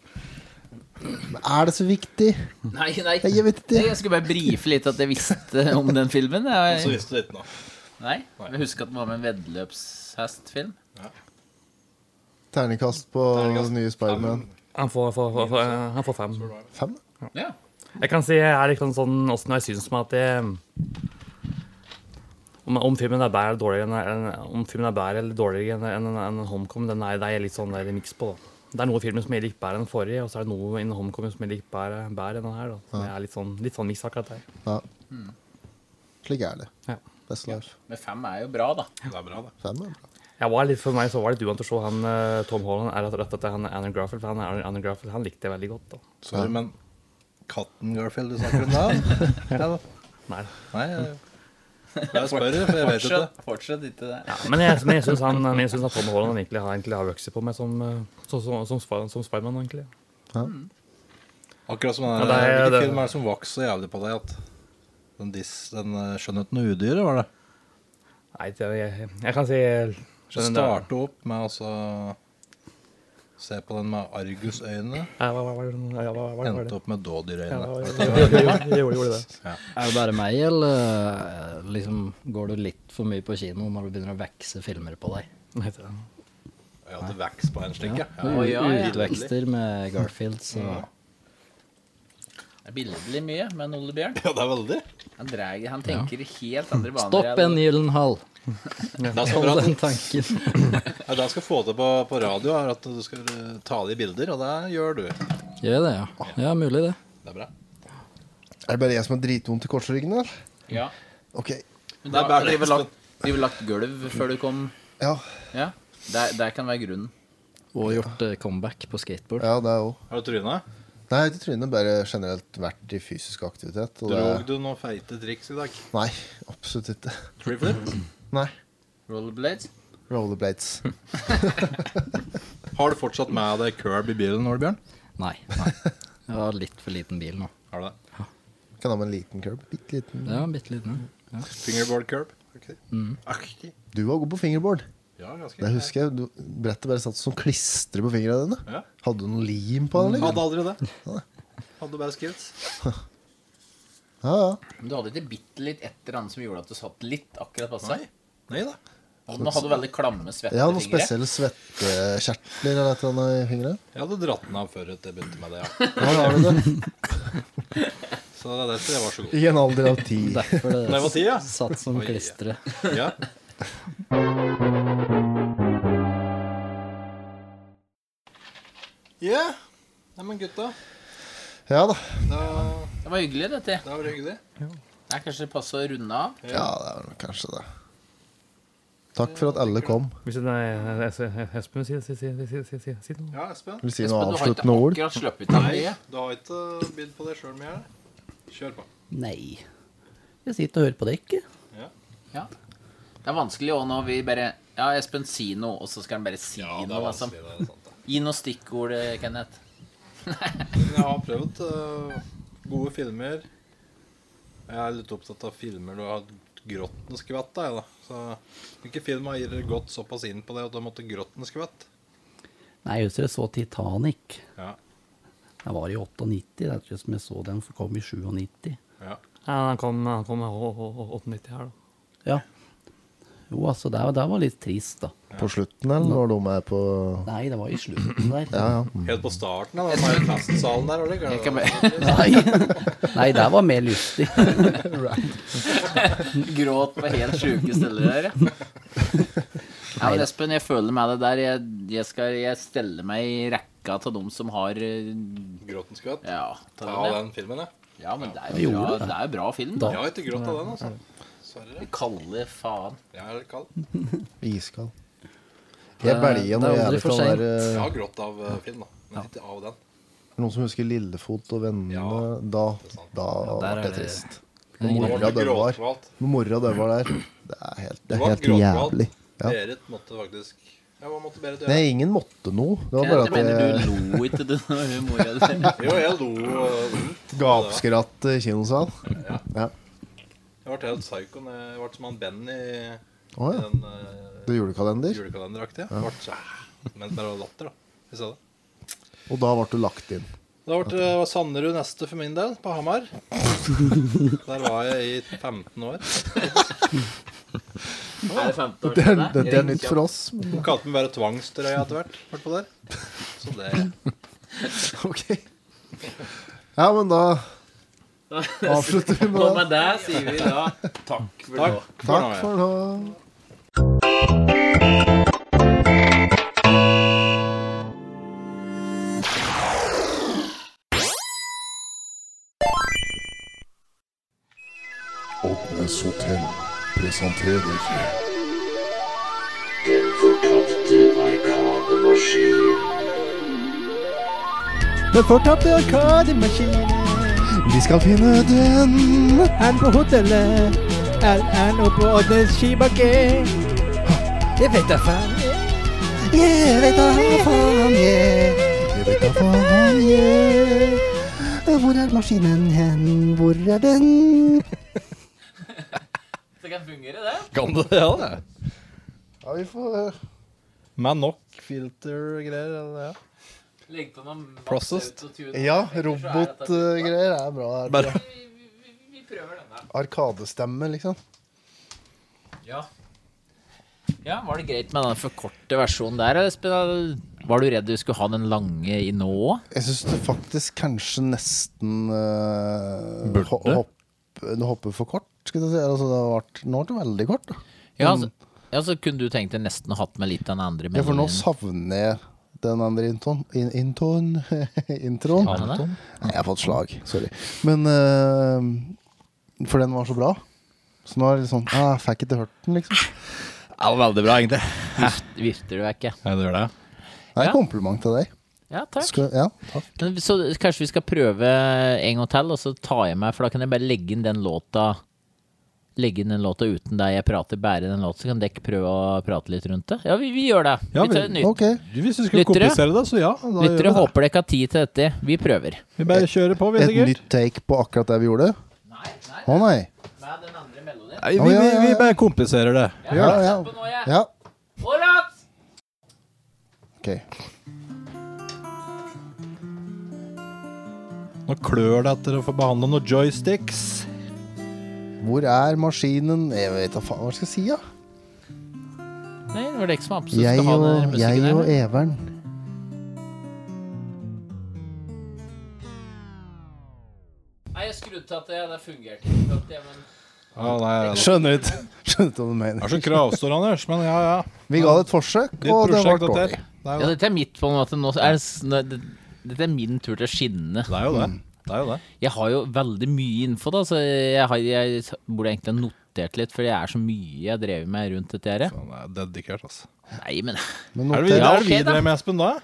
S2: Er det så viktig?
S4: Nei, nei.
S2: Jeg vet ikke.
S4: Jeg skulle bare brife litt at jeg visste om den filmen. Jeg,
S3: visste du ikke noe.
S4: nei, Jeg husker at den var med en veddeløpshestfilm.
S2: Terningkast på nye Spiderman.
S10: Han får, får, får, får, han får fem.
S2: Fem?
S4: Ja.
S10: Jeg kan si jeg er liksom sånn åssen jeg syns med at jeg om, om filmen er bedre eller dårligere enn enn- om filmen er bedre eller dårligere enn enn- enn Homecoming, den er det er jeg litt sånn der miks på. da. Det er noe i filmen som jeg liker bedre enn den forrige, og så er det noe innen Homecoming som jeg liker bedre, bedre enn den her. da. Så Jeg er litt sånn, litt sånn miks akkurat der.
S2: Ja. Slik er det.
S10: Ja.
S2: Best life.
S4: Men fem er jo bra, da.
S2: Fem er bra.
S10: Jeg var litt, for meg så var det litt uvant å se han eh, Tom Holland er rett etter han Anna Garfield, for han, Anna Anna Garfield, han likte jeg veldig godt. da.
S3: Sorry, men katten Garfield du snakker om da? Ja da.
S10: Nei.
S3: Nei, eh. jeg- jeg spør, for jeg vet ikke.
S4: Fortsatt, fortsatt ikke det.
S10: Ja, men jeg, men jeg syns han, men jeg synes at Tom Holland han egentlig har, egentlig har vokst på meg som, eh, som, som, som, Sp- som Spiderman, egentlig.
S3: Akkurat som
S10: Ja,
S3: den
S10: det er-
S3: der, hvilken
S10: det-
S3: film er det som vokser så jævlig på deg at den, dis, den eh, skjønnheten og udyret, var det?
S10: Nei, det- jeg, jeg kan si jeg
S3: Det
S10: skjønner det.
S3: startet opp med å så se på den med Argus-øyne,
S10: Ja, hva- hva- hva- ja, hva- hva- hva var
S3: endte
S10: det?
S3: opp med
S10: Ja, hva
S3: dådyrøyne.
S10: var det? Jeg gjorde- jeg gjorde det.
S7: Er det bare meg, eller eh, liksom, går du litt for mye på kino når du begynner å vekse filmer på deg?
S10: Nei, det-
S3: Jeg hadde veks på en slik, ja.
S7: U-
S4: ja, ja.
S7: Utvekster med Garfields og
S4: Det er billedlig mye, men Ole Bjørn
S3: Ja, det er veldig.
S4: han, dreier- han tenker helt andre baner.
S7: Stopp en Gyllenhaal!
S3: Det er så bra
S7: Hold
S3: at
S7: den tanken.
S3: Ja, det jeg skal få til på, på radio, er at du skal eh, ta de bilder, og det gjør du. Det
S7: Gjør jeg det, ja? Ja, mulig det.
S3: er bra.
S2: Er det bare jeg som har dritvondt i korsryggen, eller?
S4: Ja.
S2: Ok.
S4: Men da har driver lagt, driver lagt gulv før du kom.
S2: Ja.
S4: Ja. Der, der kan være grunnen.
S12: Og gjort eh, comeback på skateboard.
S2: Ja, det òg.
S3: Har du tryna?
S2: Nei, ikke trynet, bare generelt vært i fysisk aktivitet. Og
S3: Drog
S2: det,
S3: du noen feite triks i dag?
S2: nei, absolutt ikke.
S3: Triflip?
S2: Nei.
S3: Rollerblades?
S2: Rollerblades.
S3: Har du fortsatt med deg curb i bilen nå, Bjørn?
S12: Nei. nei. Jeg har litt for liten bil nå.
S3: Har du det?
S2: Kan ha med en liten curb. Bitte liten.
S12: Ja, bitte liten. Ja.
S3: Fingerboard curb? Okay.
S12: Mm.
S3: Aktig.
S2: Du var god på fingerboard.
S3: Ja, ganske.
S2: Det husker jeg. Du, brettet bare satt som klistrer på fingrene dine.
S3: Ja. Mm.
S2: Hadde du noe lim på den?
S3: Hadde
S2: Liksom?
S3: aldri det. Hadde bare skutt.
S2: Ja, ja.
S4: Men du hadde ikke bitte litt et eller annet som gjorde at du satt litt akkurat passe?
S3: Nei. Nei da.
S4: Og nå hadde du veldig klamme, svette
S2: Jeg har noen
S4: fingre.
S2: spesielle svettekjertler eller et eller annet i fingrene.
S3: Jeg hadde dratt den av før jeg begynte med det, ja.
S2: Ja, da har du det.
S3: Så det er derfor jeg var så god.
S2: I en alder av ti.
S12: Derfor det
S3: Når jeg var ti, ja.
S12: satt som
S3: Oi.
S12: klistre.
S3: ja.
S13: Ja. Neimen, gutta.
S2: Ja da.
S13: Da,
S4: Det var hyggelig, dette.
S13: da var det hyggelig.
S4: Det er kanskje passe å runde av.
S2: Ja, det er vel kanskje det. Takk for at alle kom.
S5: Hvis det er Espen sier si, si, si, si, si, si noe.
S3: Ja, Espen.
S2: Vil du si
S4: Espen,
S2: noen
S4: du har ikke
S2: avsluttende ord?
S4: akkurat sluppet av
S3: Nei,
S4: det.
S3: du har ikke bidd på deg sjøl mer? Kjør på.
S7: Nei. Jeg sitter og hører på dere.
S4: Ja. Det er vanskelig òg når vi bare Ja, Espen, si noe, og så skal han bare si noe. Altså.
S3: det er sant. det.
S4: Gi noe stikkord, eh, Kenneth.
S3: Men jeg har prøvd øh, gode filmer. Jeg er litt opptatt av filmer du har grått en skvett av, jeg, da. Så hvilke film har dere gått såpass inn på det at du måtte grått en skvett?
S7: Nei, jeg husker jeg så Titanic.
S3: Ja.
S7: Jeg var i 98, det er ikke som jeg så den, for kom i 97.
S3: ja.
S5: Ja, han kom, han kom med å- å- å- 98 her, da.
S7: Ja. Jo, altså, det, det var litt trist, da.
S2: På slutten, eller når de er på
S7: Nei, det var i slutten der.
S2: Ja, Mm. ja.
S3: Helt på starten av den der festsalen der, eller?
S4: Jeg kan bare
S7: Nei. Nei, det var mer lystig.
S4: Gråt på helt sjuke steder der. ja. Ja, men Espen, jeg føler med deg der. Jeg, jeg skal jeg stelle meg i rekka til dem som har eh,
S3: Grått en skvett?
S4: Ja, ta
S3: Ja,
S4: den,
S3: den filmen, ja.
S4: ja. ja men det er
S7: Jeg
S4: jo
S7: gjorde
S4: bra,
S7: det.
S4: det er jo bra film.
S7: Da.
S4: Da.
S3: Jeg har ikke grått av den, altså. Sorry.
S4: Kalle faen.
S3: Jeg er litt kald.
S2: Iskald. Jeg
S7: Det-
S2: belja
S7: det
S2: noe
S7: er aldri
S2: jævlig
S7: for
S2: fra den der
S3: Jeg
S2: eh,
S3: har grått av eh, film, da. Men ikke av den.
S2: Noen som husker Lillefot og vennene?
S3: Ja,
S2: Da,
S3: sant.
S2: da
S12: der
S2: ble
S12: er
S2: det
S12: det-
S2: trist.
S3: Da
S2: Når
S3: var
S2: mora
S3: det
S2: døvar
S3: gråtvalt.
S2: Når mora døvar der Det er helt, det
S3: Det
S2: er
S3: var
S2: helt
S3: gråtvalt.
S2: jævlig. Ja.
S3: Berit måtte faktisk Ja, hva måtte Berit gjøre?
S2: Nei, ingen måtte noe. Det var
S4: Jeg
S2: bare
S4: mener
S2: at eh,
S4: du lo ikke du når hun mora di
S3: Jo, jeg lo eh, vondt.
S2: jeg gapskratt i eh, kinosal. Ja.
S3: Jeg ble helt psycho. når Jeg jeg ble som han Benny i
S2: Å ja.
S3: den eh,
S2: Det er julekalender.
S3: julekalenderaktige. Jeg Ble så eh, Men det var latter, da. Vi sa det.
S2: Og da ble du lagt inn.
S3: Da ble det var Sanderud neste for min del, på Hamar. Der var jeg i 15 år.
S4: Er det 15 år
S2: Det er,
S4: siden?
S2: det, det er nytt for oss. men
S3: Hun kalte meg bare tvangstrøya etter hvert. i hvert fall der. Så det
S2: Ok. Ja, men da avslutter vi med
S4: Og
S2: det.
S4: med det sier vi da takk for nå.
S3: Takk for nå.
S2: Takk
S3: ja.
S2: for nå.
S14: Oddnes Hotel presenterer
S10: Den fortapte arkademaskinen.
S6: Den fortapte arkademaskinen.
S15: Vi skal finne den
S6: Er på hotellet. Er, er nå på Oddnes skibakke. Jeg vet da faen.
S15: Jeg vet da faen, jeg. Jeg vet da faen, jeg. Hvor er maskinen hen? Hvor er den?
S4: Så kan fungere, det.
S3: Kan du det, ja?
S2: Ja, vi får eh,
S3: Med nok filtergreier. eller, Ja.
S4: Legg på noen Max
S3: Processed.
S4: Autotune.
S2: Ja, robotgreier er bra. her.
S3: Bare
S4: Vi, vi, vi prøver denne.
S2: Arkadestemme, liksom.
S4: Ja. ja. Var det greit med den forkorte versjonen der, Espen? Var du redd du skulle ha den lange i nå òg?
S2: Jeg syns det faktisk kanskje nesten eh,
S3: Burde?
S2: ho- hopp- Det hopper for kort, skal jeg si. Altså, det har vært, nå ble det veldig kort. Da.
S4: Ja, altså, ja, så kunne du tenkt deg nesten å hatt med litt av den andre
S2: Ja, for nå
S4: meningen.
S2: savner jeg den andre inton, in, inton, introen.
S4: Savner du den?
S2: Nei, jeg har fått slag. Sorry. Men eh, For den var så bra. Så nå er det litt sånn ah, Fikk ikke hørt den, liksom.
S3: Ja, veldig bra, egentlig.
S4: Vifter du vekk, ja.
S3: Ja, det gjør det.
S8: Det er
S4: Ja.
S8: en kompliment til deg.
S4: Ja, takk.
S8: Skal, ja, takk.
S4: Men Så kanskje vi skal prøve en gang til, og så tar jeg meg For da kan jeg bare legge inn den låta Legge inn den låta uten deg jeg prater, bære den låta, så kan dere prøve å prate litt rundt det. Ja, vi, vi gjør det.
S3: Ja,
S4: vi tar
S3: vi-
S4: nytt.
S3: ok. Hvis du skulle komplisere det, så ja, da gjør vi
S4: Lyttere
S3: det.
S4: håper dere ikke har tid til dette. Vi prøver.
S3: Vi bare kjører på,
S8: Et nytt take på akkurat det vi gjorde? Nei. Å nei.
S3: Nei, vi, vi, vi bare kompliserer det.
S8: Ja, ja. ja. Ok.
S3: Nå klør det etter å få behandla noen joysticks.
S8: Hvor er maskinen Jeg vet da faen hva jeg skal si, ja.
S4: Nei, det var dere som absolutt
S8: Jeg
S4: skal ha den
S8: og,
S4: musikken
S8: jeg
S4: her.
S8: og Evern.
S4: Nei, jeg skrudde til at det, det fungerte ikke. at det- Men
S8: Skjønner ut. Skjønner ut hva du mener.
S3: Det er så kravstor, Anders, men ja, ja.
S8: Vi ga det et forsøk,
S3: Ditt
S8: og det
S3: prosjekt,
S8: var
S3: dette her.
S8: dårlig.
S3: Det er
S4: Ja,
S3: jo
S4: dette er mitt på en måte nå. Er, det s- nå- det- dette er min tur til å skinne. Det
S3: er jo det. Det er jo det.
S4: Jeg har jo veldig mye info, da, så jeg, har, jeg burde egentlig ha notert litt, for det er så mye jeg drev med rundt dette her.
S3: dedikert, altså.
S4: Nei, men
S8: Men
S3: Er det vi,
S4: noter-
S3: er det vi
S4: Ja, ok, da.
S3: drev med, Espen, da?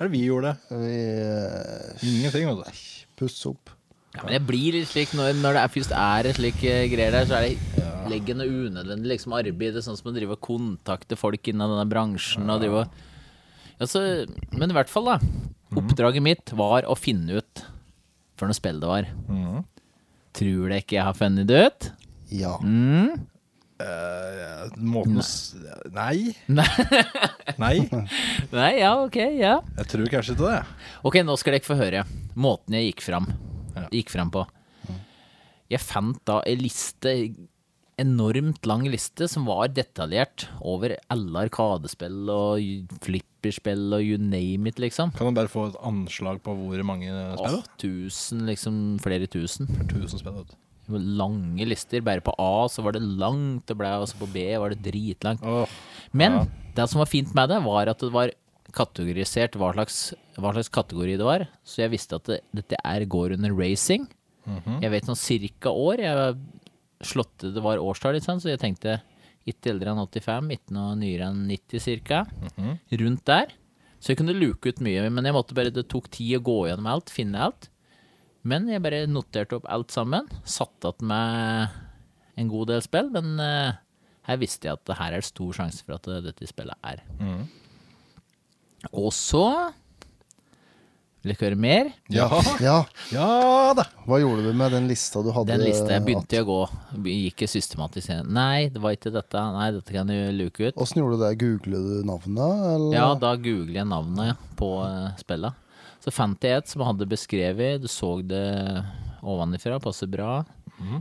S3: Er det vi gjorde det?
S8: eh,
S3: Ingenting, vet du.
S8: Pusse opp.
S4: Ja, men det blir litt slik når, når det er, først er et slik eh, greier der, så er det legge noe unødvendig liksom, arbeid. Det er sånn som å drive og kontakte folk innen denne bransjen. Og drive og, altså, men i hvert fall, da. Oppdraget mitt var å finne ut for noe spill det var. Tror dere ikke jeg har funnet det ut?
S8: Ja.
S4: Mm.
S3: Måten s- Nei. Nei.
S4: Nei, ja, ok, ja.
S3: Jeg tror kanskje ikke det.
S4: Ok, nå skal dere få høre måten jeg gikk fram, gikk fram på. Jeg fant da ei liste, enormt lang liste, som var detaljert over alle arkadespill og flipperspill og you name it, liksom.
S3: Kan man bare få et anslag på hvor mange spill?
S4: Åh, tusen, liksom flere tusen.
S3: Tusen spill, vet du.
S4: Det var Lange lister. Bare på A så var det langt, og ble, også på B var det dritlangt. Men det som var fint med det, var at det var kategorisert hva slags, hva slags kategori det var. Så jeg visste at det, dette er går under racing.
S16: Mhm.
S4: Jeg vet sånn cirka år. Jeg slått det var årstall, litt sånn, så jeg tenkte ikke eldre enn 85, ikke noe nyere enn 90 cirka.
S16: Mhm.
S4: Rundt der. Så jeg kunne luke ut mye, men jeg måtte bare, det tok tid å gå gjennom alt, finne alt. Men jeg bare noterte opp alt sammen. Satte igjen med en god del spill, men eh, her visste jeg at det her er stor sjanse for at eh, dette spillet er. Og så Vil dere høre mer?
S8: Ja. ja. da. Hva gjorde du med den lista du hadde?
S4: Den lista jeg begynte å gå. Gikk jeg systematisk igjen. Nei, det var ikke dette. Nei, dette kan du luke ut.
S8: Åssen gjorde du det? Googlet du navnet, eller?
S4: Ja, da googler jeg navnet på eh, spillet. Så fant jeg et som hadde beskrevet, du så det ovenifra, passer bra.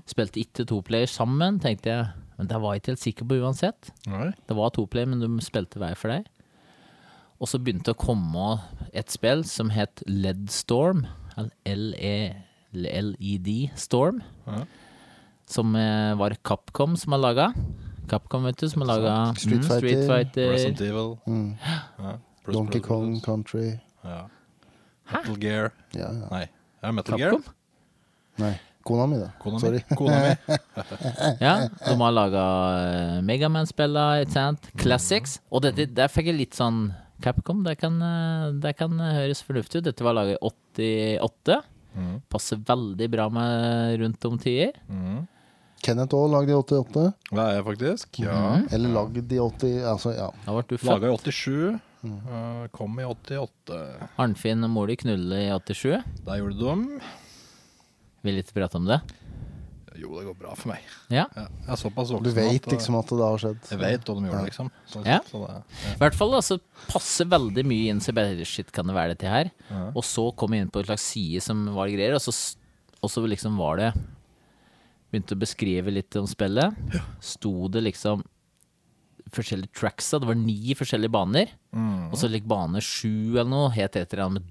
S4: Spilte ikke toplayer sammen, tenkte jeg. Men det var jeg ikke helt sikker på uansett. Det var toplayer, men de spilte hver for deg. Og så begynte det å komme et spill som het Led Storm. E eller L-E- LED E Storm. Som eh, var Capcom som har laga. Capcom, vet du, som har laga
S8: Street Fighter.
S4: Street Fighter.
S3: Resident Evil.
S8: Mm.
S3: Ja. Bruce
S8: Donkey
S3: Bruce.
S8: Kong Country.
S3: Ja. Metal Gear.
S8: Ja, ja.
S3: Nei. Er det Metal
S4: Capcom?
S3: Gear?
S8: Nei, kona mi, da.
S3: Konami.
S8: Sorry.
S3: Konami.
S4: Ja, de har laga Megaman-spillene, ikke sant? Classics. Og dette, der fikk jeg litt sånn Capcom, det kan, eh, det kan høres fornuftig ut. Dette var laga i 88.
S8: Mhm.
S4: Passer veldig bra med rundt om tider.
S8: Kenneth òg lagd i 88.
S3: Det er jeg faktisk. Ja.
S8: Eller lagd i 80 Altså, ja.
S4: Da ble du
S3: Laga i
S4: født.
S3: 87.
S8: Mm.
S3: eh, Kom i 88.
S4: Arnfinn og mor di knulla i 87.
S3: Der gjorde du dem.
S4: Vil ikke prate om det?
S3: Jo, det går bra for meg.
S4: Ja.
S3: Jeg er såpass voksen
S8: Du
S3: at,
S8: vet
S3: eh,
S8: liksom at det har skjedd.
S3: Jeg vet hva de gjorde, liksom. Sånn,
S4: Ja.
S3: så det-
S4: I hvert fall altså, passer veldig mye inn så jeg bare, shit, kan det være dette her?
S3: Ja.
S4: Og så kom jeg inn på en slags side som var greier, og så, s- og så liksom var det Begynte å beskrive litt om spillet. Sto det liksom forskjellige tracks da. Det var ni forskjellige baner.
S16: Mhm.
S4: Og så like bane sju eller noe het et eller annet med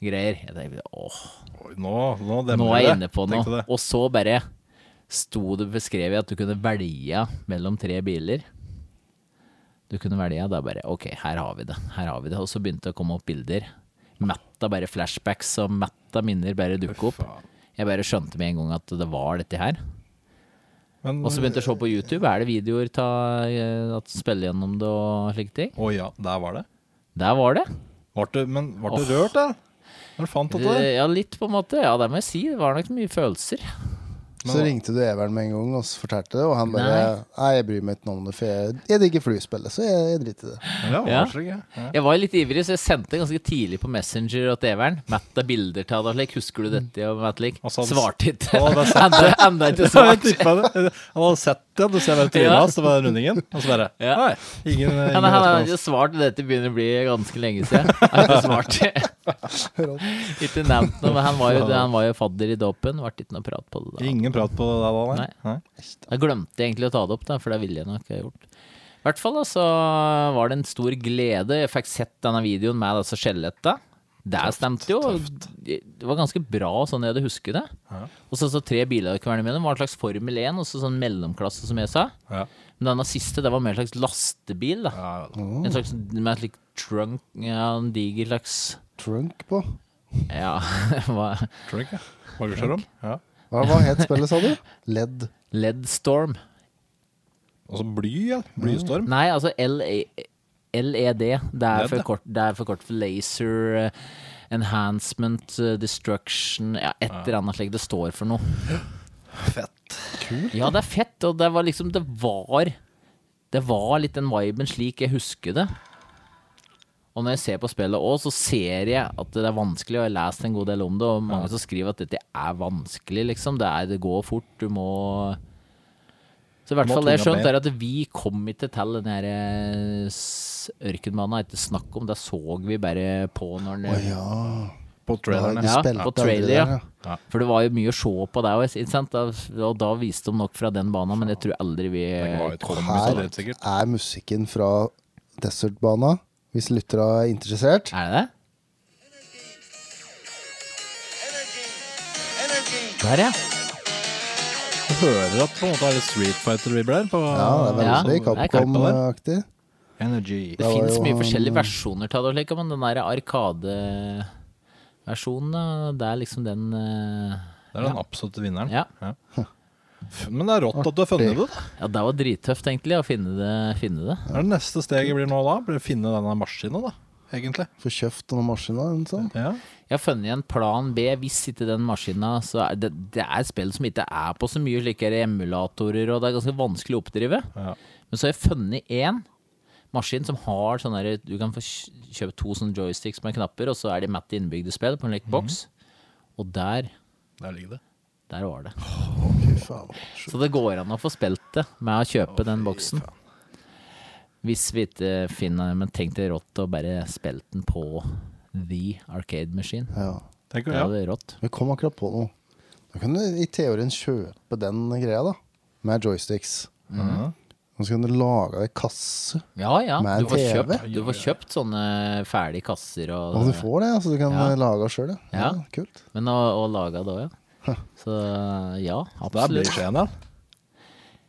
S4: desert-greier. Jeg tenkte åh.
S3: nå, nå,
S4: nå
S3: demrer
S4: er jeg
S3: det,
S4: inne på
S3: tenkte
S4: noe.
S3: det.
S4: Og så bare sto det beskrevet at du kunne velge mellom tre biler. Du kunne velge, da bare Ok, her har vi det. Her har vi det. Og så begynte det å komme opp bilder. Metta bare flashbacks og metta minner bare dukke opp. Jeg bare skjønte med en gang at det var dette her.
S3: Men-
S4: og så begynte jeg å se på YouTube. Er det videoer ta, eh, at spille gjennom det og slike ting?
S3: Å ja, der var det?
S4: Der var det.
S3: Var det men var det rørt, da? Når du fant dette?
S4: Eh, Ja, litt på en måte. Ja, det må jeg si. Det var nok mye følelser.
S2: Så ringte du Evern med en gang og så fortalte det, og han bare Nei,
S4: Nei.
S2: jeg bryr meg ikke noe om det, for jeg, jeg digger flyspillet, så jeg, jeg driter i det.
S4: Ja. Jeg var litt ivrig, så jeg sendte ganske tidlig på Messenger til Evern. Matt det er bilder til deg, slik.
S3: Mm.
S4: Husker du dette? Og Matt lik svarte ikke.
S3: Å, det er sant.
S4: Enda- Enda ikke
S3: Ja, jeg
S4: svart.
S3: tippet det. Han hadde sett det, du ser bare trynet
S4: Ja.
S3: hans, det var rundingen. Og så bare
S4: Ja.
S3: Nei, ingen,
S4: Men
S3: ingen
S4: han har
S3: respons.
S4: ikke svart, og dette begynner å bli ganske lenge siden. Han har ikke svart.
S3: Rått.
S4: ikke nevnt noe, men han var jo, han var jo fadder i dåpen. Ble ikke noe prat på det. da.
S3: Ingen prat på det da, nei. Nei.
S4: Jeg glemte egentlig å ta det opp, da, for det ville jeg nok ha gjort. I hvert fall da, så var det en stor glede. Jeg fikk sett denne videoen med disse skjeletta. Det stemte jo. Det var ganske bra sånn jeg hadde husket det.
S3: Ja.
S4: Og så så tre biler ikke være imellom. Det var en slags Formel 1 og så sånn mellomklasse, som jeg sa.
S3: Ja.
S4: Men denne siste, det var mer en slags lastebil. da. En slags med et slikt trunk Ja, en diger slags
S2: Trunk på?
S4: Ja. hva?
S3: Trunk, ja. Magasjerom. Ja.
S2: Hva, hva het spillet, sa du? Ledd.
S4: Ledd Storm.
S3: Altså bly, ja. Blystorm.
S4: Nei, altså LE LED. E Det er,
S3: LED, ja.
S4: for kort, det er for kort for laser eh, enhancement, eh, destruction Ja, et eller annet slikt det står for noe. Fett. Ja, det er fett, og det var liksom Det var Det var litt den viben slik jeg husker det. Og når jeg ser på spillet òg, så ser jeg at det er vanskelig, og jeg har lest en god del om det, og mange som skriver at dette er vanskelig, liksom. Det, er, det går fort, du må Så i hvert
S17: Du må
S4: fall det jeg
S17: tunga
S4: skjønte,
S17: ned.
S4: er at vi kom ikke til den her eh, s- ørkenmannen, er ikke snakk om. Det så vi bare på når den
S3: På trailerne. Du
S4: Ja,
S3: spilte
S4: på
S3: aldri
S4: trailer,
S3: der,
S4: ja.
S3: ja. Ja.
S4: For det var jo mye å se på der også, ikke sant? Da- Og da viste de nok fra den banen, men jeg tror aldri vi
S3: Eh,
S4: kom så
S2: Her
S4: langt.
S2: er musikken fra Desertbana, hvis lyttere er interessert.
S4: Er det det? Der, ja.
S3: hører at på en måte er det Street Fighter-vibler på
S2: Ja, det er veldig Capcom-aktig.
S3: Energy.
S4: Det, finnes mye forskjellige versjoner av det, like, men den der Arkade-versjonen, da, det er liksom den eh,
S3: Det er den
S4: ja.
S3: absolutte vinneren.
S4: Ja.
S3: Men det er rått at du har funnet det. da.
S4: Ja, det var drittøft, egentlig, å finne det. Finne det.
S3: Hva er det neste steget blir nå da? Blir å finne denne maskinen, da, egentlig.
S2: Få kjøpt noen maskiner eller noe sånt.
S3: Ja.
S4: Jeg har funnet en plan B. Hvis ikke den maskina så er det, det er et spill som ikke er på så mye slike emulatorer, og det er ganske vanskelig å oppdrive. Men så har jeg funnet én maskin som har sånn derre Du kan få kj- kjøpe to sånne joysticks med knapper, og så er de matt innebygde spill på en lik boks. Og der
S3: Der ligger det.
S4: Der var det. så det går an å få spilt det med å kjøpe den boksen. Hvis vi ikke finner Men tenk det rått å bare spilt den på The Arcade Machine.
S2: Ja.
S3: Tenk,
S4: ja. Det er rått.
S2: Vi kom akkurat på noe. Da kan du i teorien kjøpe den greia, da. Med joysticks.
S4: Mhm.
S2: Og så kan du lage ei kasse
S4: Ja, ja.
S2: med en
S4: Du får,
S2: TV.
S4: kjøpt, du får kjøpt sånne ferdige kasser og
S2: Og du får det, altså. Du kan
S4: Ja.
S2: eh, lage sjøl, ja.
S4: Ja.
S2: Kult.
S4: Men å, å lage det òg, ja. Så ja,
S3: Der blir
S4: absolutt.
S3: Skien, ja.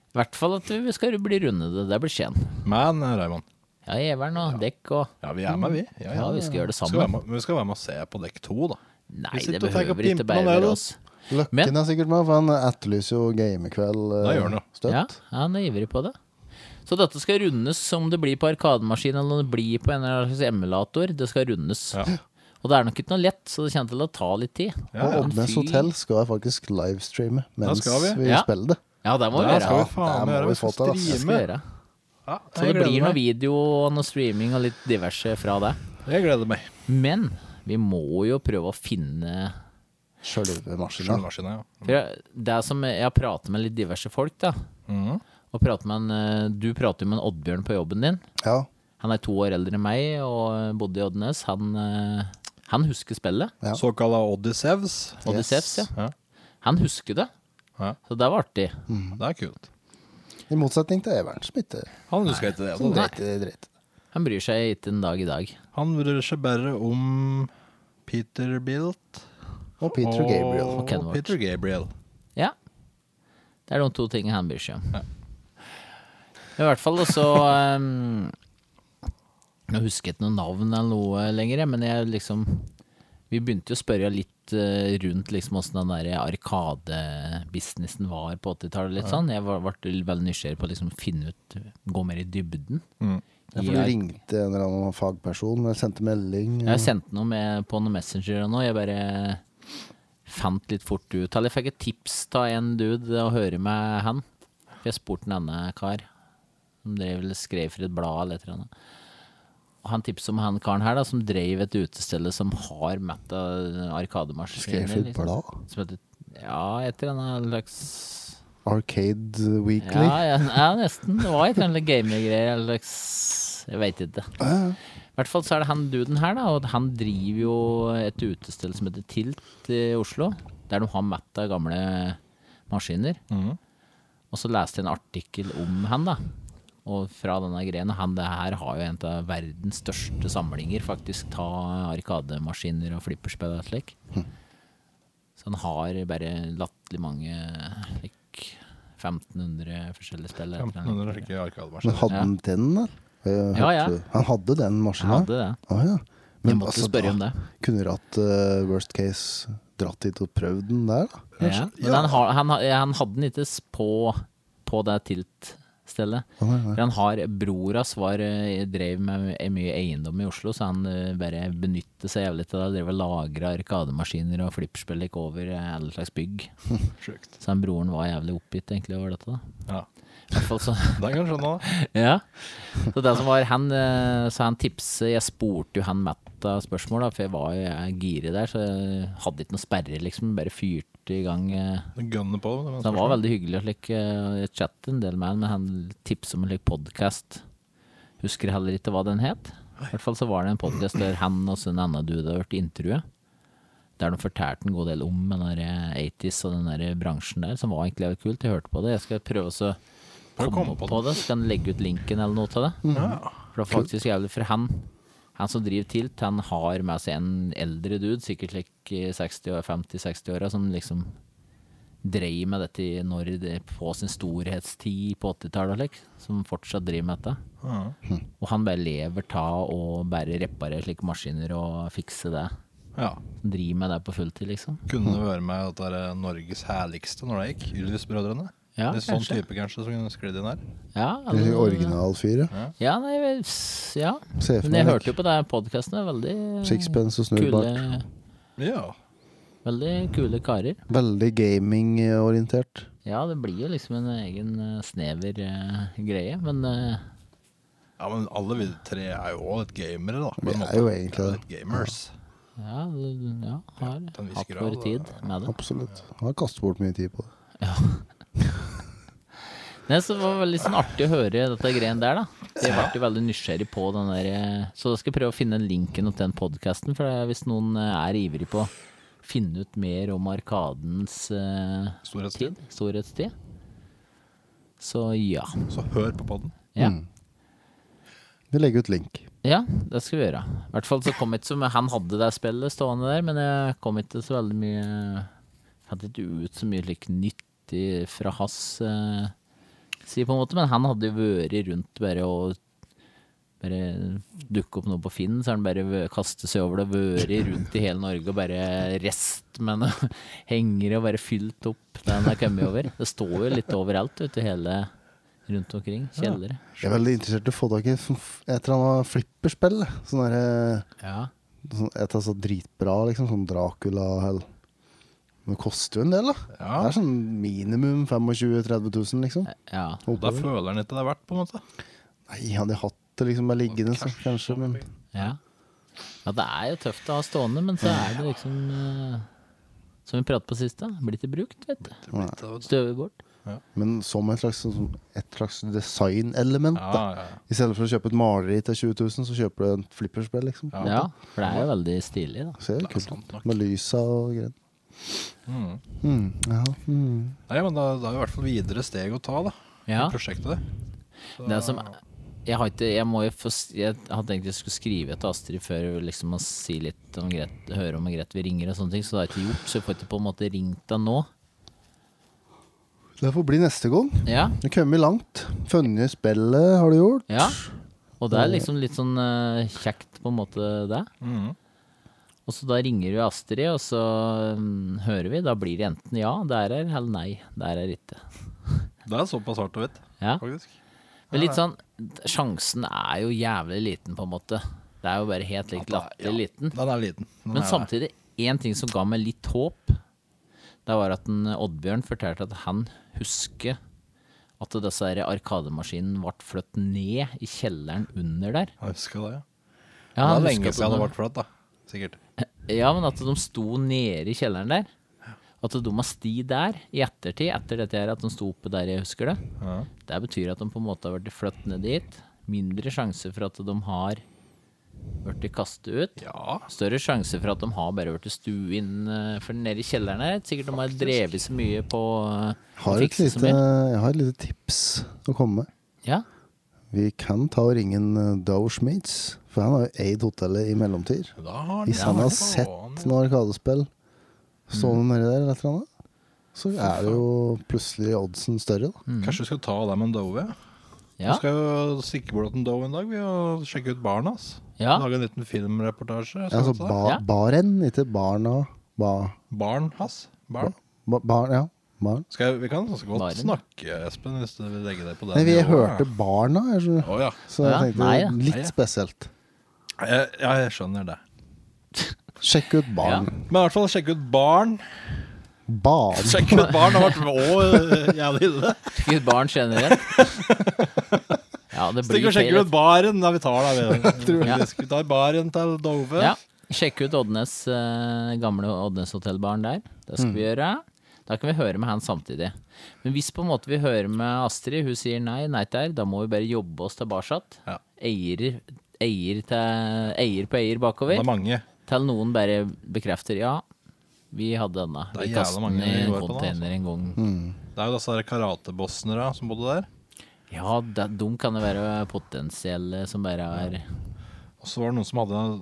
S4: I hvert fall at vi skal bli rundede. Det blir Skien.
S3: Men eh, Raymond
S4: Ja, Evern og Dekk og
S3: Ja, vi er med, vi.
S4: Ja, vi skal gjøre det
S3: Skal være
S4: sammen.
S3: med, men vi skal være med og se på dekk to, da.
S4: Nei,
S3: Vi sitter
S4: det
S3: og tenker
S4: behøver ikke
S3: pimpe
S4: bare
S3: noe der,
S4: være
S3: da.
S4: oss.
S2: Løkken er sikkert med, for han etterlyser jo gamekveld eh,
S3: Da gjør han det.
S2: støtt.
S4: Ja, han er ivrig på det. Så dette skal rundes om det blir på arkademaskin eller om det blir på en eller annen slags emulator. Det skal rundes. Og det er nok ikke noe lett, så det kommer til å ta litt tid.
S2: Og
S4: Men
S2: Oddnes
S4: fy-
S2: hotell skal jeg faktisk livestreame mens
S4: skal
S2: vi,
S4: vi. Ja.
S2: spiller det.
S4: Ja, det må vi
S2: Der
S4: gjøre.
S2: skal
S4: Ja,
S2: faen
S4: det
S2: gjøre,
S4: må
S2: vi skal
S4: til, ass. Det skal vi
S2: streame.
S4: gjøre.
S3: Ja,
S4: Så det blir noe video og noe streaming og litt diverse fra det.
S3: Jeg gleder meg.
S4: Men vi må jo prøve å finne
S2: Sjølve maskina.
S3: Sjølmaskina, ja.
S4: For jeg, det er som jeg har pratet med litt diverse folk, da.
S3: Mhm.
S4: Og pratet med en, eh, du prater jo med en Oddbjørn på jobben din.
S2: Ja.
S4: Han er to år eldre enn meg og eh, bodde i Oddnes. Han, eh, han husker spillet.
S2: Ja.
S3: Såkalla Odyssevs.
S4: Odyssevs, ja. Han husker det. Så det var artig.
S3: Det er kult.
S2: I motsetning til Evern, som ikke
S3: Han husker ikke det.
S2: som
S3: da.
S2: dreit i dritt.
S4: Han bryr seg ikke en dag i dag.
S3: Han bryr seg bare om Peterbilt
S2: Og Peter Gabriel.
S4: Og Kenworth.
S3: Peter Gabriel.
S4: Ja. Det er de to tingene han bryr seg om. I hvert fall så um, Jeg husker ikke noe navn eller noe lenger, men jeg liksom Vi begynte jo å spørre litt eh, rundt liksom åssen den der arkadebusinessen var på 80-tallet. litt
S3: Ja.
S4: sånn. Jeg var- ble veldig nysgjerrig på å liksom finne ut Gå mer i dybden.
S2: Ja, for du ringte en eller annen fagperson, eller sendte melding?
S4: Jeg sendte noe med, på noen messenger og noe. Jeg bare fant litt fort ut. Eller jeg fikk et tips av en dude å høre med han. For jeg spurte en annen kar som drev eller skrev for et blad eller et eller annet. Og han tipset om han karen her da, som drev et utested som har metta arkademaskiner.
S2: Skrev for et blad?
S4: liksom. Som heter, ja, et eller annet slags
S2: Arcade Weekly?
S4: ja, ja, ja, nesten. Det var et eller annet gaminggreier. eller slags- Jeg veit ikke. I hvert fall så er det han duden her, da. Og han driver jo et utested som heter Tilt i Oslo. Der de har mett av gamle maskiner. Og så leste jeg en artikkel om han, da. Og fra denne greia. Han det her har jo en av verdens største samlinger, faktisk. Ta arkademaskiner og flipperspill og slik.
S2: Hm.
S4: Så han har bare latterlig mange like, 1500 forskjellige spill. eller et eller
S3: 1500
S4: annet.
S3: slike arkademaskiner.
S2: Men hadde han den, da? Jeg
S4: Ja, ja.
S2: hørte- Han hadde den maskinen?
S4: Han hadde det.
S2: Å, ja. Men altså,
S4: måtte spørre om
S2: da
S4: det.
S2: Kunne ratt eh, worst case dratt dit og prøvd den der, da?
S4: Ja. Men han, har, han, har- han hadde den ikke s- på, på det tiltstedet. For han har, bror hans var, eh, drev med mye eiendom i Oslo, så han eh, bare benyttet seg jævlig til det. Drev og lagra arkademaskiner og flippspill gikk over eh, alle slags bygg. så han broren var jævlig oppgitt egentlig over dette. da.
S3: Ja.
S4: I hvert fall så
S3: Det kan jeg skjønne, da.
S4: ja. Så det som var han, eh, så han tipset Jeg spurte jo han Matta spørsmål, da, for jeg var jo jeg giret der, så jeg hadde ikke noe sperre, liksom. Bare fyrte i gang. eh.
S3: Gønne på.
S4: Så han var veldig hyggelig og slik. eh, Jeg chattet en del med han, men han tipset om en slik podkast. Husker heller ikke hva den het. I hvert fall så var det en podkast der han og så en annen dude hadde vært intervjuet. Der de fortalte en god del om den der 80s og den der bransjen der, som var egentlig jævlig kult. Jeg hørte på det. Jeg skal prøve å
S3: Prøv å
S4: komme, på, det. Så kan jeg legge ut linken eller noe til det.
S3: Ja.
S4: For det er faktisk jævlig For han Han som driver Tilt, han har med seg en eldre dude, sikkert like i 60 og 50-60-åra, som liksom dreier med dette i- når det, på sin storhetstid på 80-tallet, og slik, som fortsatt driver med dette.
S3: Ja.
S4: Og han bare lever ta og bare reparerer slike maskiner og fikser det.
S3: Ja.
S4: Driver med det på fulltid, liksom.
S3: Kunne det være med at det er Norges herligste når det gikk? Ylvis-brødrene?
S4: Ja,
S3: Litt sånn
S4: kanskje.
S3: type kanskje som kunne sklidd inn her?
S4: Ja, altså,
S2: Eller originalfyr, ja.
S4: Ja, nei, vel, s- ja.
S2: Se for
S4: Men jeg
S2: meg,
S4: hørte jo på det podkasten. Veldig eh,
S2: Sixpence og snurrebart.
S4: kule- Veldig kule karer.
S2: Veldig gamingorientert.
S4: Ja, det blir jo liksom en egen eh, snever eh, greie, men eh,
S3: Ja, men alle vi tre er jo også litt gamere, da. på en
S2: Vi
S3: måte.
S2: er jo egentlig
S3: Litt gamers.
S4: ja, det- ja har
S3: en viss
S4: hatt
S3: grad,
S4: vår tid med det.
S2: Absolutt. Han har kastet bort mye tid på det.
S4: Nei, så det var veldig sånn artig å høre dette greien der, da. Jeg ble jo veldig nysgjerrig på den der eh, Så da skal jeg prøve å finne linken til den podkasten, for det er- hvis noen eh, er ivrig på å finne ut mer om Arkadens eh,
S3: Storhetstid.
S4: tid, storhetstid, så ja.
S3: Så hør på podden.
S4: Ja.
S2: Mm. Vi legger ut link.
S4: Ja, det skal vi gjøre. I hvert fall så kom jeg ikke som Han hadde det spillet stående der, men jeg kom ikke så veldig mye Hadde ikke ut så mye like, nyttig fra hans eh, side, på en måte. Men han hadde jo vært rundt bare og bare dukke opp noe på Finn, så har han bare vø- kastet seg over det, vært rundt i hele Norge og bare rest med noe hengere og bare fylt opp det han har kommet over. Det står jo litt overalt ute i hele rundt omkring. Kjellere.
S2: Jeg er veldig interessert i å få tak i f- f- et eller annet flipperspill. Sånn derre
S4: Ja.
S2: sånn, Et av så dritbra, liksom. Sånn Dracula eller Men det koster jo en del, da.
S3: Ja.
S2: Det er sånn minimum 25 000-30 000, liksom.
S4: Ja.
S3: Og Da føler han ikke det er verdt, på en måte.
S2: Nei, hadde jeg hatt det liksom bare liggende, så kanskje, men
S4: Ja. ja, det er jo tøft å ha stående, men så er det liksom eh, Som vi pratet på sist, da. Blir ikke brukt, vet du.
S2: Nei.
S4: Støver bort.
S2: Men som et slags, som et slags designelement, da.
S4: Ja, ja, ja.
S2: I stedet for å kjøpe et maleri til 20 000, så kjøper du et flipperspill, liksom.
S4: Ja, for det er jo veldig stilig, da.
S2: Ser jo kult ut. Med lysa og greier.
S3: Mm.
S2: Mm, ja. mm.
S3: Nei, men da, da er det i hvert fall videre steg å ta, da. i
S4: Ja.
S3: Prosjektet det.
S4: Det er som jeg, har ikke, jeg, må jo få, s- jeg hadde tenkt jeg skulle skrive til Astrid før liksom, og si litt om Gret, høre om Grete vi ringer og sånne ting, så det har jeg ikke gjort. Så jeg får ikke på en måte ringt henne nå.
S2: Det får bli neste gang.
S4: Ja.
S2: Du har kommet langt. Funnet spillet har du gjort.
S4: Ja. Og det er liksom litt sånn eh, kjekt, på en måte, det.
S3: Mm.
S4: Og så da ringer vi Astrid, og så mm, hører vi. Da blir det enten ja, der er, eller nei, der er ikke.
S3: Det er såpass hardt og vidt,
S4: Ja.
S3: faktisk.
S4: Men litt sånn, sjansen er jo jævlig liten, på en måte. Det er jo bare helt likt latterlig liten.
S3: Den er liten. Den
S4: Men
S3: er det.
S4: samtidig, én ting som ga meg litt håp, det var at en Oddbjørn fortalte at han husker at disse her arkademaskinene ble flyttet ned i kjelleren under der.
S3: Jeg husker det, ja.
S4: Ja,
S3: det
S4: han
S3: er lenge
S4: husker på
S3: siden det
S4: det.
S3: ble flatt, da. Sikkert.
S4: Ja, men at de sto nede i kjelleren der. At de har sti der i ettertid, etter dette her, at de sto oppe der jeg husker det.
S3: Ja.
S4: Det betyr at de på en måte har vært flyttet ned dit. Mindre sjanse for at de har vært kastet ut. Større sjanse for at de har bare vært stuet inn, eh, for nede i kjelleren her, sikkert de har drevet så mye på eh,
S2: Har et
S4: fikset så
S2: lite,
S4: mye.
S2: jeg har et lite tips å komme med.
S4: Ja.
S2: Vi kan ta og ringe en eh, Dow Schmitz, for han har jo eid hotellet i mellomtid.
S3: Da har han-
S2: Hvis han har sett noe arkadespill
S3: Mm.
S2: stående nedi der, eller et eller annet, så er det jo plutselig oddsen større, da.
S3: Kanskje vi skal ta det med en Dove?
S2: Mm. Ja.
S3: Vi skal jo stikke bort til en Dove en dag vi og sjekke ut baren hans. Lage en liten filmreportasje.
S2: Ja, altså ba, baren, ikke barna. Ba,
S3: Barn hans. Barn.
S2: ba, barn, ja. Barn.
S3: Skal jeg, vi kan ganske godt
S2: Baren.
S3: snakke, Espen, hvis du vil legge deg på det
S2: Nei, vi
S3: nivået,
S2: hørte
S3: ja.
S2: barna, jeg skjønner.
S3: Å, ja.
S2: så jeg
S3: Ja,
S2: tenkte
S3: nei, ja. Nei,
S2: litt
S3: ja.
S2: spesielt.
S3: jeg, ja, jeg skjønner det.
S2: Sjekk ut barn.
S3: Men i hvert fall sjekk ut barn.
S2: Barn.
S3: Sjekk ut barn har vært med òg, jævlig ille.
S4: Sjekk ut barn generelt. Ja, det
S3: Stikk
S4: blir
S3: og sjekk
S4: feil.
S3: ut baren. Da vi tar da, vi.
S4: Tror jeg.
S3: faktisk. Vi tar baren til Dove.
S4: Ja. Sjekk ut Oddnes, eh, gamle Oddnes hotellbaren der. Det
S3: Mm.
S4: skal vi gjøre. Da kan vi høre med han samtidig. Men hvis på en måte vi hører med Astrid, hun sier nei, nei der, da må vi bare jobbe oss tilbake. Eier, eier, til, eier på eier bakover.
S3: Det er mange.
S4: Til noen bare bekrefter ja, vi hadde denne.
S3: Det er
S4: Vi
S3: jævla
S4: kastet
S3: mange
S4: den i
S3: vi
S4: en
S3: går på nå, altså. Mm.
S4: container en gang.
S3: Det er jo disse her karatebossene da, som bodde der.
S4: Ja, det, de kan det være potensielle som bare er
S3: Og så var det noen som hadde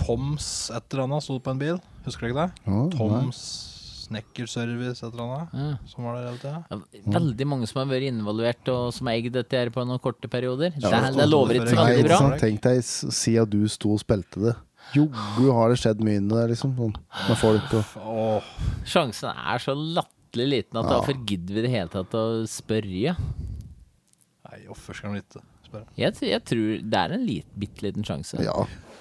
S3: Toms et eller annet, sto det på en bil. Husker du ikke det?
S4: Å, nei.
S3: Toms Snekkerservice et eller annet. Som var der hele tida.
S4: Veldig mange som har vært involvert og som har eid dette her på noen korte perioder.
S2: Ja,
S4: det, det lover ikke så
S2: Nei,
S4: veldig
S2: ikke
S4: bra.
S2: sant? Tenk deg s- si at du sto og spilte det. Joggu har det skjedd mye der, liksom. Sånn, med folk og
S4: Sjansen er så latterlig liten at
S2: Ja.
S4: hvorfor gidder vi i det hele tatt å spørre?
S3: Nei, hvorfor skal de ikke spørre?
S4: Jeg, t- jeg tror det er en lit, bitte liten sjanse.
S2: Ja,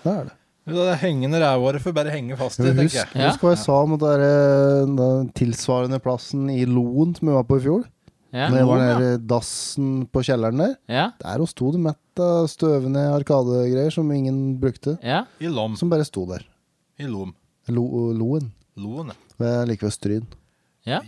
S2: det er det.
S3: Det er hengende rævåret får bare henge fast i, tenker
S2: Husk,
S3: jeg.
S2: husk hva jeg sa om den der, eh, den tilsvarende plassen i Loen som vi var på i fjor.
S4: Ja.
S2: Når jeg var
S4: Loen,
S2: nede i dassen på kjelleren der.
S4: Ja.
S2: Der og sto det mett av støvende arkadegreier som ingen brukte.
S4: Ja.
S3: I Lom.
S2: Som bare sto der.
S3: I Lom.
S2: Lo, loen.
S3: Loen, ja.
S2: Det er like ved Stryn.
S4: Ja,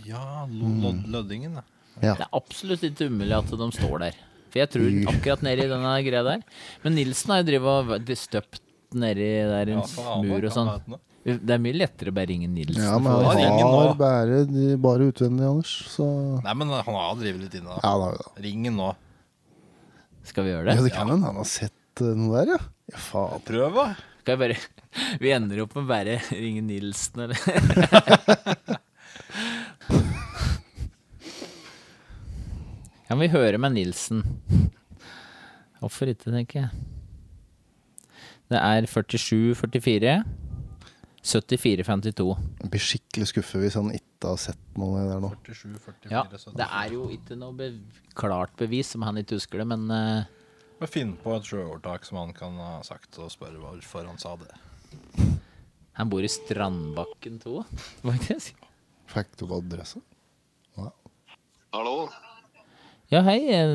S3: lo,
S4: Mm.
S3: lod, Løddingen, ja.
S2: Ja.
S4: Det er absolutt ikke umulig at de står der. For jeg tror akkurat nedi denne greia der. Men Nilsen har jo drevet og vært støpt nedi der en
S2: Ja, faen,
S4: mur og
S2: kan
S4: sånn.
S2: det hete noe?
S4: Det er mye lettere å bare ringe Nilsen.
S2: Ja, men
S4: for å-
S2: han har bare, bare utvendig, Anders. Så
S3: Nei, men han har drevet litt inne, da.
S2: Ja, han har det.
S3: Ringen nå.
S4: Skal vi
S2: ja,
S4: gjøre det?
S2: det kan hende han har sett eh, noe der, ja. Ja, faen.
S3: Prøv, da.
S4: Skal jeg bare Vi ender opp med å bare ringe Nilsen, eller? Kan vi høre med Nilsen? Hvorfor ikke, tenker jeg. Det er 47-44. 74-52.
S2: Jeg blir skikkelig skuffet hvis han ikke har sett noe der nå.
S4: Ja, det er jo ikke noe be klart bevis om han ikke husker det, men eh,
S3: Men Finn på et sjøovertak som han kan ha sagt, og spørre hvorfor han sa det.
S4: han bor i Strandbakken 2, faktisk.
S2: Fikk du på adressa?
S10: Hallo?
S4: Ja, hei. eh,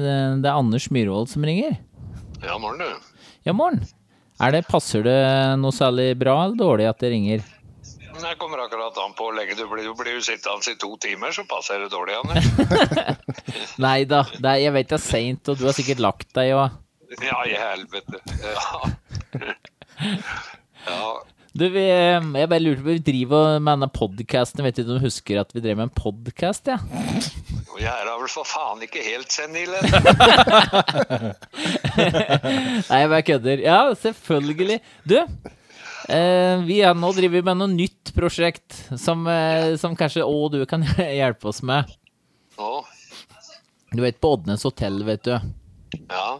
S4: Det er Anders Myhrvold som ringer.
S10: Ja, morgen, du.
S4: Ja, morgen. Er det, passer det noe særlig bra eller dårlig at det ringer?
S10: Jeg kommer akkurat an på hvor lenge du blir. Du blir jo sittende i to timer, så passer det dårlig, Anders.
S4: Nei da, det er, jeg vet det er seint, og du har sikkert lagt deg og
S10: Ja, i helvete. Ja. ja.
S4: Du, vi, eh, jeg bare lurte på Vi driver med denne podkasten. Vet ikke om du husker at vi drev med en podkast, ja?
S10: Og jeg er da vel for faen ikke helt senil ennå.
S4: Nei, jeg bare kødder. Ja, selvfølgelig. Du, eh, vi er nå driver vi med noe nytt prosjekt som, eh, som kanskje å, du kan hjelpe oss med.
S10: Å?
S4: Du vet på Oddnes hotell, vet du.
S10: Ja.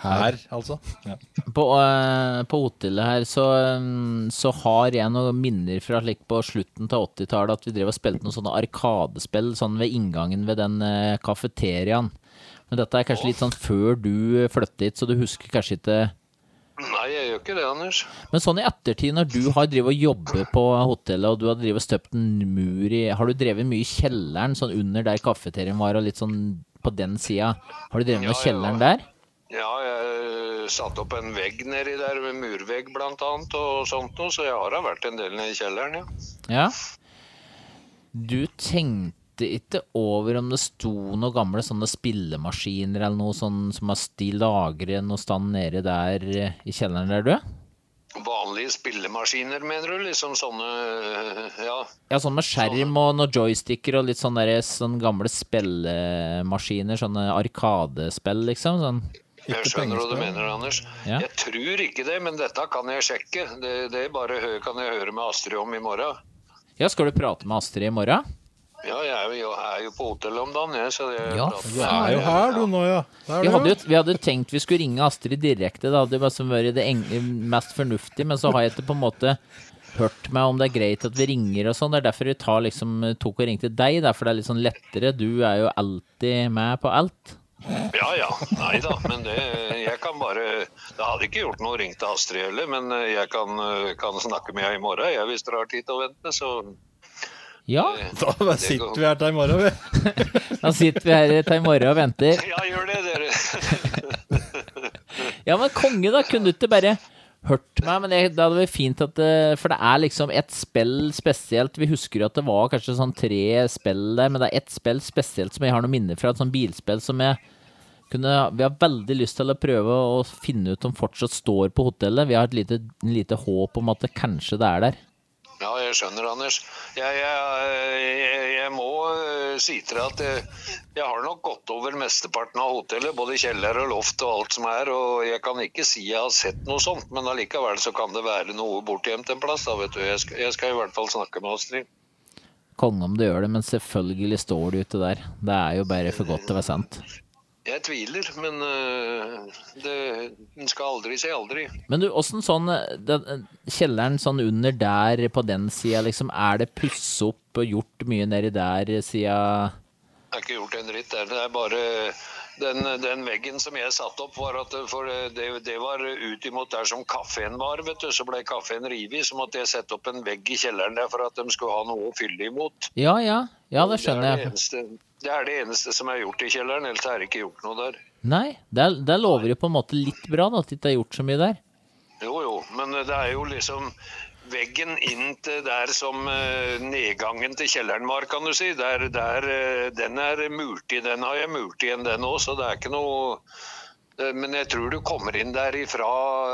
S3: Her, altså. Ja.
S4: På, eh, på hotellet her så, eh, så har jeg noen minner fra like, på slutten av 80-tallet at vi drev og spilte noen sånne arkadespill sånn ved inngangen ved den eh, kafeteriaen. Men dette er kanskje litt sånn før du flyttet hit, så du husker kanskje ikke
S10: Nei, jeg gjør ikke det, Anders.
S4: Men sånn i ettertid, når du har drevet og jobbet på hotellet, og du har drevet og støpt en mur i Har du drevet mye i kjelleren, sånn under der kafeterien var, og litt sånn på den sida? Har du drevet med kjelleren der?
S10: Ja, jeg satte opp en vegg nedi der, med murvegg blant annet, og sånt noe, så jeg har da vært en del nede i kjelleren, ja.
S4: Ja. Du tenkte ikke over om det sto noen gamle sånne spillemaskiner eller noe sånn som har sti lagre noe stand nede der eh, i kjelleren der du er?
S10: Vanlige spillemaskiner, mener du? Liksom sånne øh, Ja.
S4: Ja, sånn med skjerm og noen joysticker og litt sånne, der, sånn gamle spillemaskiner, sånne arkadespill, liksom. Sånn.
S10: Jeg skjønner hva du mener, Anders.
S4: Ja.
S10: Jeg tror ikke det, men dette kan jeg sjekke. Det, det bare hø kan jeg høre med Astrid om i morgen.
S4: Ja, skal du prate med Astrid i morgen?
S10: Ja, jeg er jo, jeg er jo på hotellet om dagen, jeg, så jeg
S4: Ja,
S10: prater
S4: du
S10: med
S4: er jo
S10: henne.
S4: her,
S10: Ja.
S4: nå, ja.
S10: er
S4: Vi
S10: du.
S4: hadde, jo, vi hadde tenkt vi skulle ringe Astrid direkte, det hadde jo bare som vært det eng mest fornuftige, men så har jeg ikke på en måte hørt meg om det er greit at vi ringer og sånn. Det er derfor vi tar, liksom, tok og ringte deg, derfor det er litt sånn lettere. Du er jo alltid med på alt.
S10: Ja ja, nei da. Men det, jeg kan bare Det hadde ikke gjort noe å ringe til Astrid heller, men jeg kan, kan snakke med henne i morgen jeg, hvis dere har tid til å vente. Så
S4: Ja.
S18: Da bare sitter vi her til i morgen, vi.
S4: Da sitter vi her til i morgen og venter.
S10: ja, gjør det, dere.
S4: Ja, men konge, da. Kunne du ikke bare hørt meg? Men det, det hadde vært fint at det, For det er liksom et spill spesielt. Vi husker jo at det var kanskje sånn tre spill der, men det er ett spill spesielt som jeg har noen minner fra. Et sånt bilspill som jeg kunne Vi har veldig lyst til å prøve å finne ut om fortsatt står på hotellet. Vi har et lite, lite håp om at det kanskje det er der.
S10: Ja, jeg skjønner, Anders. Jeg, jeg, jeg, jeg må eh, si til deg at jeg, jeg har nok gått over mesteparten av hotellet, både kjeller og loft og alt som er, og jeg kan ikke si jeg har sett noe sånt, men allikevel så kan det være noe bortgjemt en plass, da, vet du. Jeg skal, jeg skal i hvert fall snakke med Astrid.
S4: Konge om det gjør det, men selvfølgelig står det ute der. Det er jo bare for godt til å være sant.
S10: Jeg tviler, men eh, det, en skal aldri si aldri.
S4: Men du, åssen sånn den, Kjelleren sånn under der på den sida, liksom, er det pussa opp og gjort mye nedi der sida
S10: Jeg har ikke gjort en dritt der. Det er bare den, den veggen som jeg satte opp, var at for det, det var ut imot der som kaffen var, vet du. Så ble kaffen revet, så måtte jeg sette opp en vegg i kjelleren der for at de skulle ha noe å fylle imot.
S4: Ja, ja. Ja, det skjønner
S10: Det er det
S4: jeg.
S10: eneste, det, er det eneste som er gjort i kjelleren, ellers er det ikke gjort noe der.
S4: Nei, der, der lover det på en måte litt bra da, at det ikke er gjort så mye der.
S10: Jo, jo, men det er jo liksom Veggen inn til der som eh, nedgangen til kjelleren var, kan du si. Der, der, eh, den er murt i. Den har jeg murt igjen, den òg, så det er ikke noe eh, Men jeg tror du kommer inn der ifra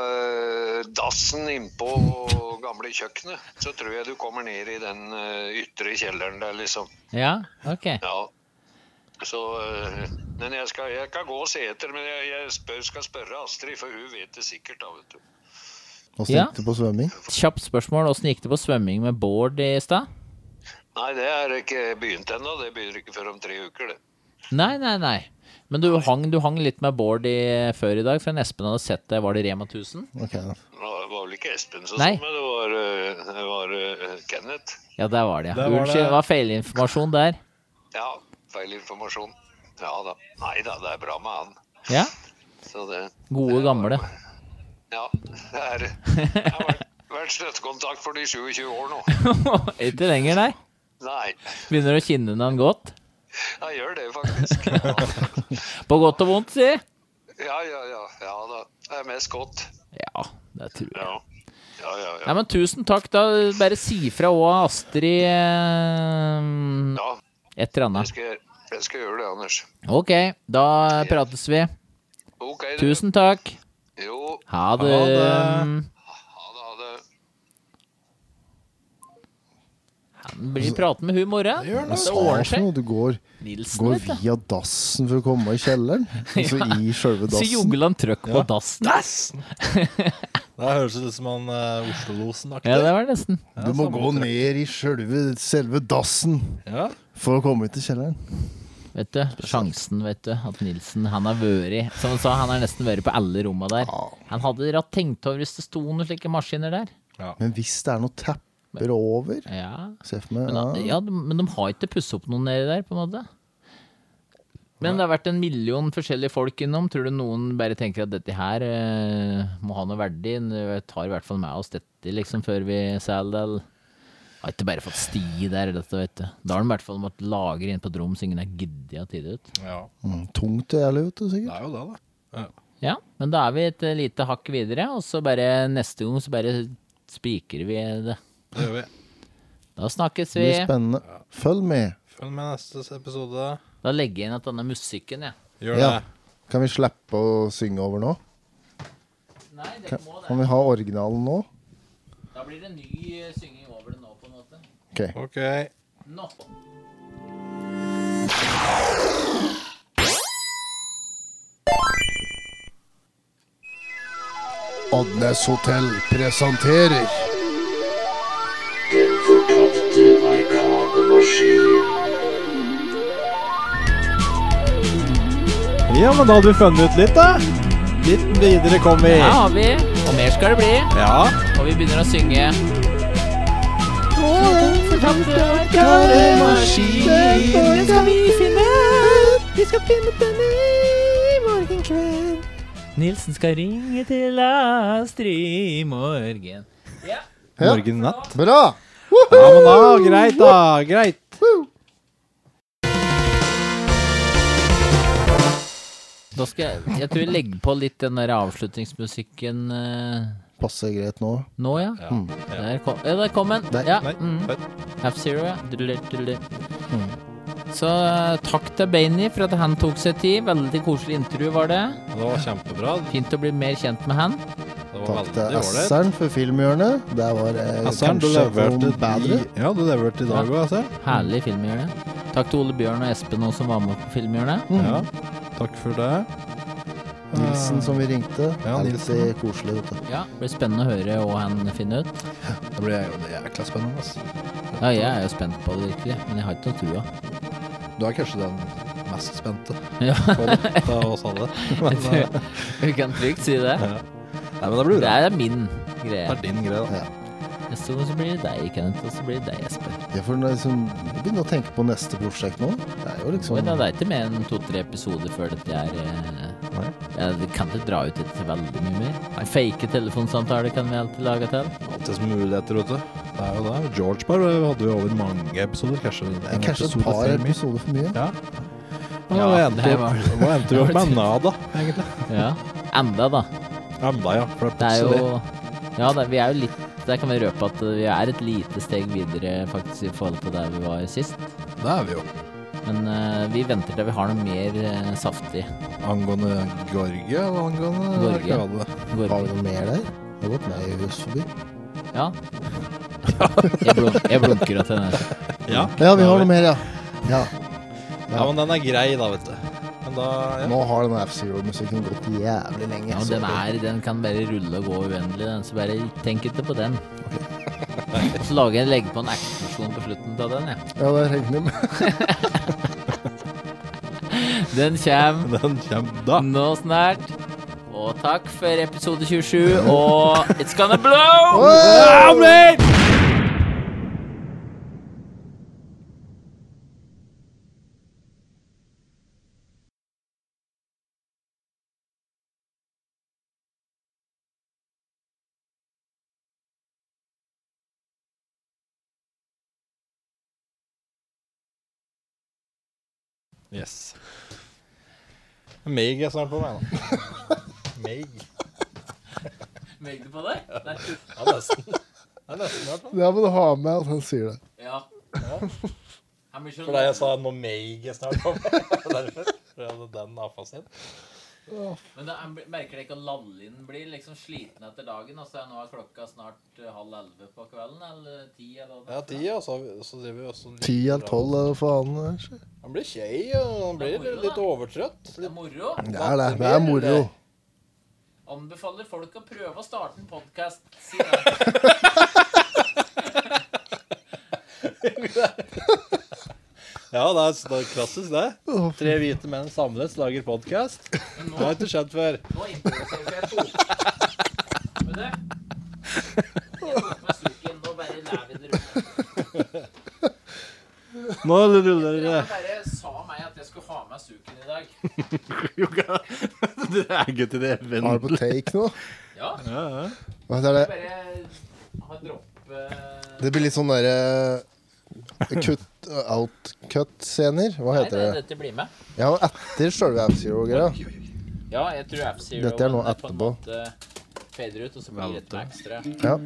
S10: eh, dassen innpå gamle kjøkkenet. Så tror jeg du kommer ned i den eh, ytre kjelleren der, liksom.
S4: Ja, ok.
S10: Ja. Så, eh, men jeg skal, jeg kan gå og se etter. Men jeg, jeg spør, skal spørre Astrid, for hun vet det sikkert, da, vet du.
S2: Åssen
S4: Ja.
S2: gikk det på svømming?
S4: Kjapt spørsmål. Åssen gikk det på svømming med Bård i stad?
S10: Nei, det er ikke begynt ennå. Det begynner ikke før om tre uker, det.
S4: Nei, nei, nei. Men du hang, du hang litt med Bård i, før i dag, for en Espen hadde sett deg. Var det Rema 1000?
S10: Det var var vel ikke Espen som sa
S4: Nei.
S10: det, det var, øh, det var øh, Kenneth.
S4: Ja, der var det, ja.
S10: Der var
S4: Unnskyld,
S10: det-
S4: det var feilinformasjon der.
S10: Ja, feil informasjon. Ja da. Nei da, det er bra med han.
S4: Ja.
S10: Så det
S4: Gode, gamle.
S10: Ja. Det er Jeg har vært- vært støttekontakt for de 27 år nå.
S4: Ikke lenger, nei.
S10: Nei.
S4: Begynner å kjenne den godt.
S10: Jeg gjør det faktisk.
S4: På godt og vondt, si.
S10: Ja, ja, ja. Ja da. Det er mest godt.
S4: Ja, det tror jeg.
S10: Ja, ja, ja.
S4: Nei, men tusen takk. Da bare si fra òg, Astrid eh, Et eller
S10: Jeg
S4: annet.
S10: skal, jeg skal gjøre det, Anders.
S4: Ok, da prates vi.
S10: Ok, du.
S4: Tusen takk.
S10: Jo.
S4: Ha det.
S10: Ha det.
S4: Han blir pratet med hun i morgen.
S2: Hva
S4: Det
S2: sa
S4: ordner
S2: for
S4: seg.
S2: noe? Du går,
S4: Nilsen,
S2: går
S4: vet du.
S2: via dassen for å komme i kjelleren, og så
S4: Ja.
S2: i sjølve
S4: Så
S2: dassen.
S4: jogler han trøkk på
S2: Ja.
S4: dassen.
S18: Det høres ut som han
S3: eh,
S18: uh, Oslo-losen-aktig.
S4: Ja, det var nesten.
S2: Du må gå ned i sjølve, selve dassen
S18: Ja.
S2: for å komme ut i kjelleren.
S4: Vet du, sjansen, vet du, at Nilsen han har vært Som han sa, han har nesten vært på alle rommene der. Han hadde ratt tenkt over hvis det sto noen slike maskiner der.
S2: Men hvis det er noe tepper over
S4: Ja.
S2: Se for meg
S4: Men,
S2: ja.
S4: ja, de- men de har ikke pusset opp noen nedi der, på en måte. Men det har vært en million forskjellige folk innom. Tror du noen bare tenker at dette her eh, må ha noe verdi? Vi tar i hvert fall med oss dette liksom før vi selger det. Har ikke bare fått sti der, dette, vet du. Da har de i hvert fall måttet lagre inn på et rom så ingen har giddet å tide ut.
S3: Ja.
S2: Mm, tungt det gjelder, vet du, sikkert.
S3: Det er jo det, da.
S4: Ja, men da er vi et eh, lite hakk videre, og så bare neste gang så bare spiker vi det.
S3: Det gjør vi.
S4: Da snakkes
S2: Det
S4: vi.
S2: blir spennende. Følg med.
S3: Følg med neste episode.
S4: Da legger jeg inn at denne musikken, jeg.
S2: Ja. Kan vi slippe å synge over nå? Nei,
S4: det
S2: må det. Kan vi ha originalen nå?
S4: Da blir det ny eh, synging over det nå, på en måte.
S2: Ok.
S4: Nå.
S8: Oddnes Hotel presenterer
S16: Den fortapte arkademaskin.
S19: Ja, men da hadde vi funnet ut litt, da. Litt videre kom vi.
S4: Her har vi, og mer skal det bli.
S19: Ja.
S4: Og vi begynner å synge.
S16: Den skal vi finne. Vi skal finne denne i morgen kveld.
S4: Nilsen skal ringe til Astrid i morgen.
S3: Morgen natt.
S2: Bra!
S19: Ja, men da, greit, da. Greit.
S4: Da skal jeg, jeg tror jeg legger på litt den der avslutningsmusikken eh,
S2: Passer greit nå.
S4: nå, ja.
S2: Ja,
S4: Mm. Der kom, ja, der kom den. Ja. Mm. F-Zero, ja. Dudler, dudler.
S2: Mm.
S4: Så eh, takk til Bainey for at han tok seg tid. Veldig koselig intervju var det.
S3: Det var kjempebra.
S4: Fint å bli mer kjent med han.
S2: Takk til Assern for filmhjørnet. Det var eh,
S3: Assern, du
S2: kanskje
S3: leverte
S2: noe bedre.
S3: i- Ja, du leverte i dag òg, Assern.
S2: Mm.
S4: Herlig filmhjørne. Takk til Ole Bjørn og Espen også, som var med på filmhjørnet.
S3: Ja, takk for det.
S2: Nilsen som vi ringte.
S4: Ja, Nilsen.
S2: Alltid koselig, vet du.
S4: Ja, det blir spennende å høre hva han finner ut.
S3: Det blir jo jækla spennende, ass.
S4: Ja, jeg er jo spent på det virkelig, men jeg har ikke noe trua.
S3: Du er kanskje den mest spente
S4: Ja.
S3: på det, av oss alle. Men, eh,
S4: Vi kan trygt si det.
S3: Ja. Nei, men det blir bra.
S4: Det er min greie.
S3: Det er din greie, da.
S4: Neste gang så blir det deg, Kenneth, og så blir det deg, Espen.
S2: Ja, for nå liksom, jeg begynner å tenke på neste prosjekt nå. Det er jo liksom
S4: Men det er ikke mer enn to-tre episoder før dette er eh, ja, Vi kan ikke dra ut dette veldig mye mer. Fake telefonsamtaler kan vi alltid lage til.
S3: Alltids muligheter, vet du. Det er jo det. George Bar hadde vi over mange episoder. Kanskje en
S2: Kanskje et
S3: episode
S2: par
S3: for mye.
S2: episoder for mye.
S3: Ja,
S4: Ja,
S3: og endte
S4: det
S3: opp-
S4: var-
S3: og endte vi opp med Nada, egentlig.
S4: Ja. Enda, da.
S3: Enda, ja. For
S4: Det er
S3: plutselig-
S4: jo Ja, det, vi er jo litt Der kan vi røpe at vi er et lite steg videre faktisk i forhold til der vi var sist.
S3: Det er vi jo.
S4: Men eh, vi venter til vi har noe mer eh, saftig.
S3: Angående Gorge eller angående
S4: Gorge.
S3: Arkade?
S2: Har vi noe mer der? Det har gått meg i hus forbi.
S4: Ja. Jeg, blunk, jeg blunker til den.
S3: Ja.
S2: Ja, vi har noe mer, ja. ja.
S3: Ja, men den er grei, da, vet du. Men da ja.
S2: Nå har den F-Zero-musikken gått jævlig lenge.
S4: Ja, men den, er, den kan bare rulle og gå uendelig, den. Så bare tenk ikke på den. Så lager jeg legger på en eksplosjon på slutten av den, jeg.
S2: Ja, det regner jeg med.
S4: Den kjem.
S3: Den kjem da.
S4: Nå snart. Og takk for episode 27, og it's gonna blow!
S16: Wow!
S4: Wow, mate!
S3: Yes. Meg er snart på meg, da. Meg.
S4: Meg du på deg? Nei.
S3: Ja, nesten. Det er nesten, i hvert fall.
S2: Ja, men ha med at han sier det.
S4: Ja.
S3: For da jeg sa nå meg er snart på meg, derfor prøvde den avfasen.
S4: Men da, jeg merker det ikke at Lallin blir liksom sliten etter dagen. Altså, nå er klokka snart eh, halv elleve på kvelden, eller ti, eller hva
S3: Ja, ti, og så, så driver vi også
S2: Ti eller tolv, eller faen. kanskje.
S3: Han blir kjei, og han blir litt eh, overtrøtt.
S4: Det er moro.
S2: Det er det. Det er moro.
S4: Anbefaler folk å prøve å starte en podkast, sier jeg.
S3: Ja, det er, det er klassisk, det. Tre hvite menn samles, lager podkast. Det har ikke skjedd før.
S4: Nå improviserer jeg to. Vet du? Jeg tok meg sukken, nå bare lar vi det rulle.
S3: Nå eh. ruller det.
S4: Dere bare sa meg at jeg skulle ha med suken i dag.
S3: Jo, hva- det er ikke til det vennen.
S2: Har du på take nå?
S4: Ja.
S2: Hva heter det?
S4: Bare eh,
S2: Det blir litt sånn derre Cut out-cut-scener? Hva
S4: Nei,
S2: heter
S4: nei,
S2: det?
S4: dette blir med.
S2: Ja, men etter sjølve F-Zero-greia.
S4: Ja, jeg tror F-Zero
S2: Dette er nå
S4: men på en
S2: etterpå.
S4: måte Fader ut, og så blir det et ekstra.
S2: Ja.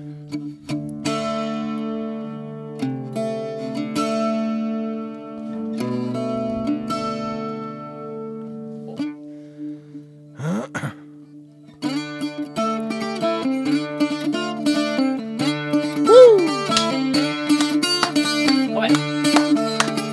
S4: Kom igjen.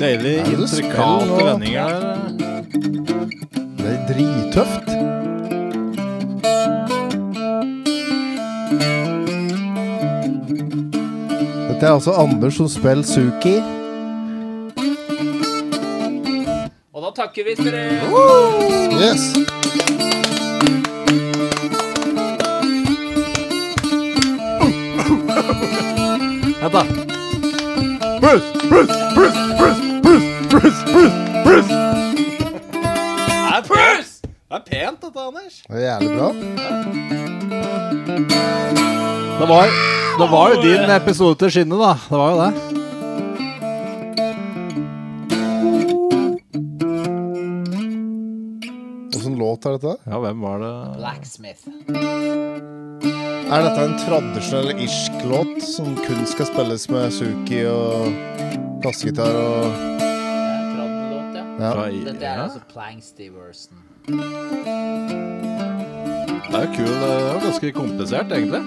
S3: Deilig
S2: Er det spill
S3: intrikate
S2: nå?
S3: vendinger der.
S2: Det er drittøft. Dette er altså Anders som spiller Suki.
S4: Og da takker vi for eh, det.
S2: Yes.
S20: Vent, da.
S3: Bruce, Bruce, Bruce, Bruce, Bruce, Bruce, Bruce, Bruce. Det er pent, det er pent dette, Anders.
S2: Det er jævlig bra.
S3: Det var, det var jo din episode til skinnet, da. Det var jo det.
S2: Åssen låt er dette?
S3: Ja, hvem var det?
S4: Blacksmith.
S2: Er dette en tradisjonell irsk låt som kun skal spilles med Suki og kassegitar og
S4: Trad-låt, ja.
S2: Ja.
S4: Dette er
S2: Ja.
S4: altså Plank Steverson.
S3: Det er jo kul. Det er jo ganske komplisert, egentlig.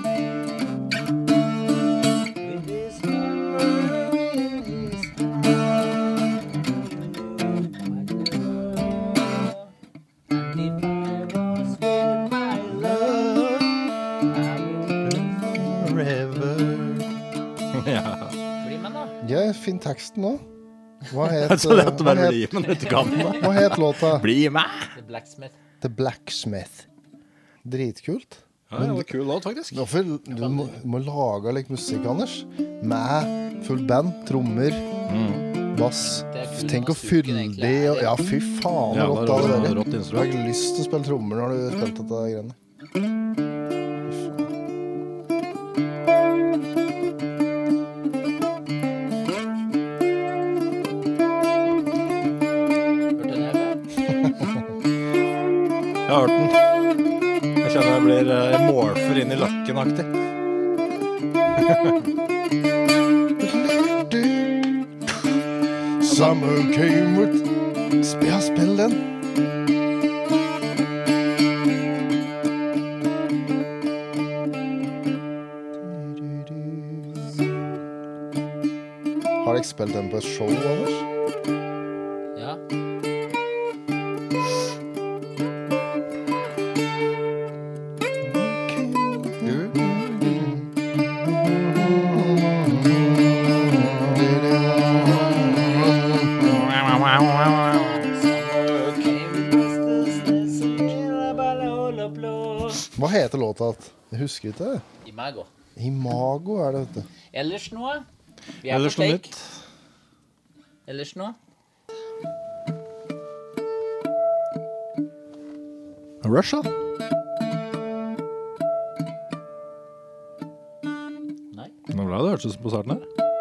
S2: Ja.
S4: Bli med, da.
S2: Jeg finner teksten nå. Hva het,
S3: Det er så lett å
S2: hva
S3: bare
S2: het-
S3: bli med når du kan.
S2: Hva het låta?
S3: Bli med!
S4: The Blacksmith.
S2: The Blacksmith. Dritkult.
S3: Ja, det var en kul låt, faktisk.
S2: Hvorfor, du må, må lage litt musikk, Anders. Med fullt band, trommer, bass.
S4: Mm. Det er kult
S2: Tenk
S4: når
S2: å fylle
S4: egentlig
S2: de og Ja, fy faen,
S3: Ja,
S2: så rått
S3: det er
S2: det
S3: rått-
S2: hadde vært.
S3: rått
S2: Du har
S3: instrument.
S2: ikke lyst til å spille trommer når du spilte dette greiene.
S3: Jeg har hørt den. Jeg kjenner jeg blir eh, jeg morfer inn i lakken-aktig.
S2: Summer came with Spill, spill den. Har dere spilt den på et show, Anders?
S4: Ja.
S2: Hva heter låta? Jeg husker ikke.
S4: Imago.
S2: Imago er det, vet du.
S4: Ellers noe? Vi er
S2: Ellers
S4: på
S2: noe
S4: take. Ellers noe?
S3: Rush, da?
S4: Nei.
S3: Nå ble det hørtes ut som på starten her.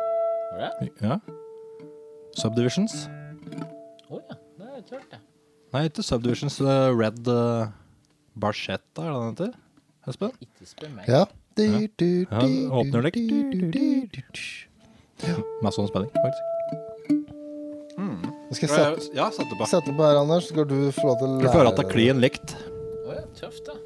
S4: Var det?
S3: Ja. Subdivisions?
S4: Å ja. Det er tørt, det.
S3: Nei, ikke Subdivisions. eh, Red uh, Barchetta, er det den heter? Espen?
S4: Ikke spør meg.
S3: Ja. ja. den Åpner litt. Med sånn spenning, faktisk.
S2: Jeg skal sette,
S3: Ja, sett det på.
S2: sette den på her, Anders. Så Skal du få lov til å
S3: Du får høre at det er klin likt.
S4: Å ja, tøft, da.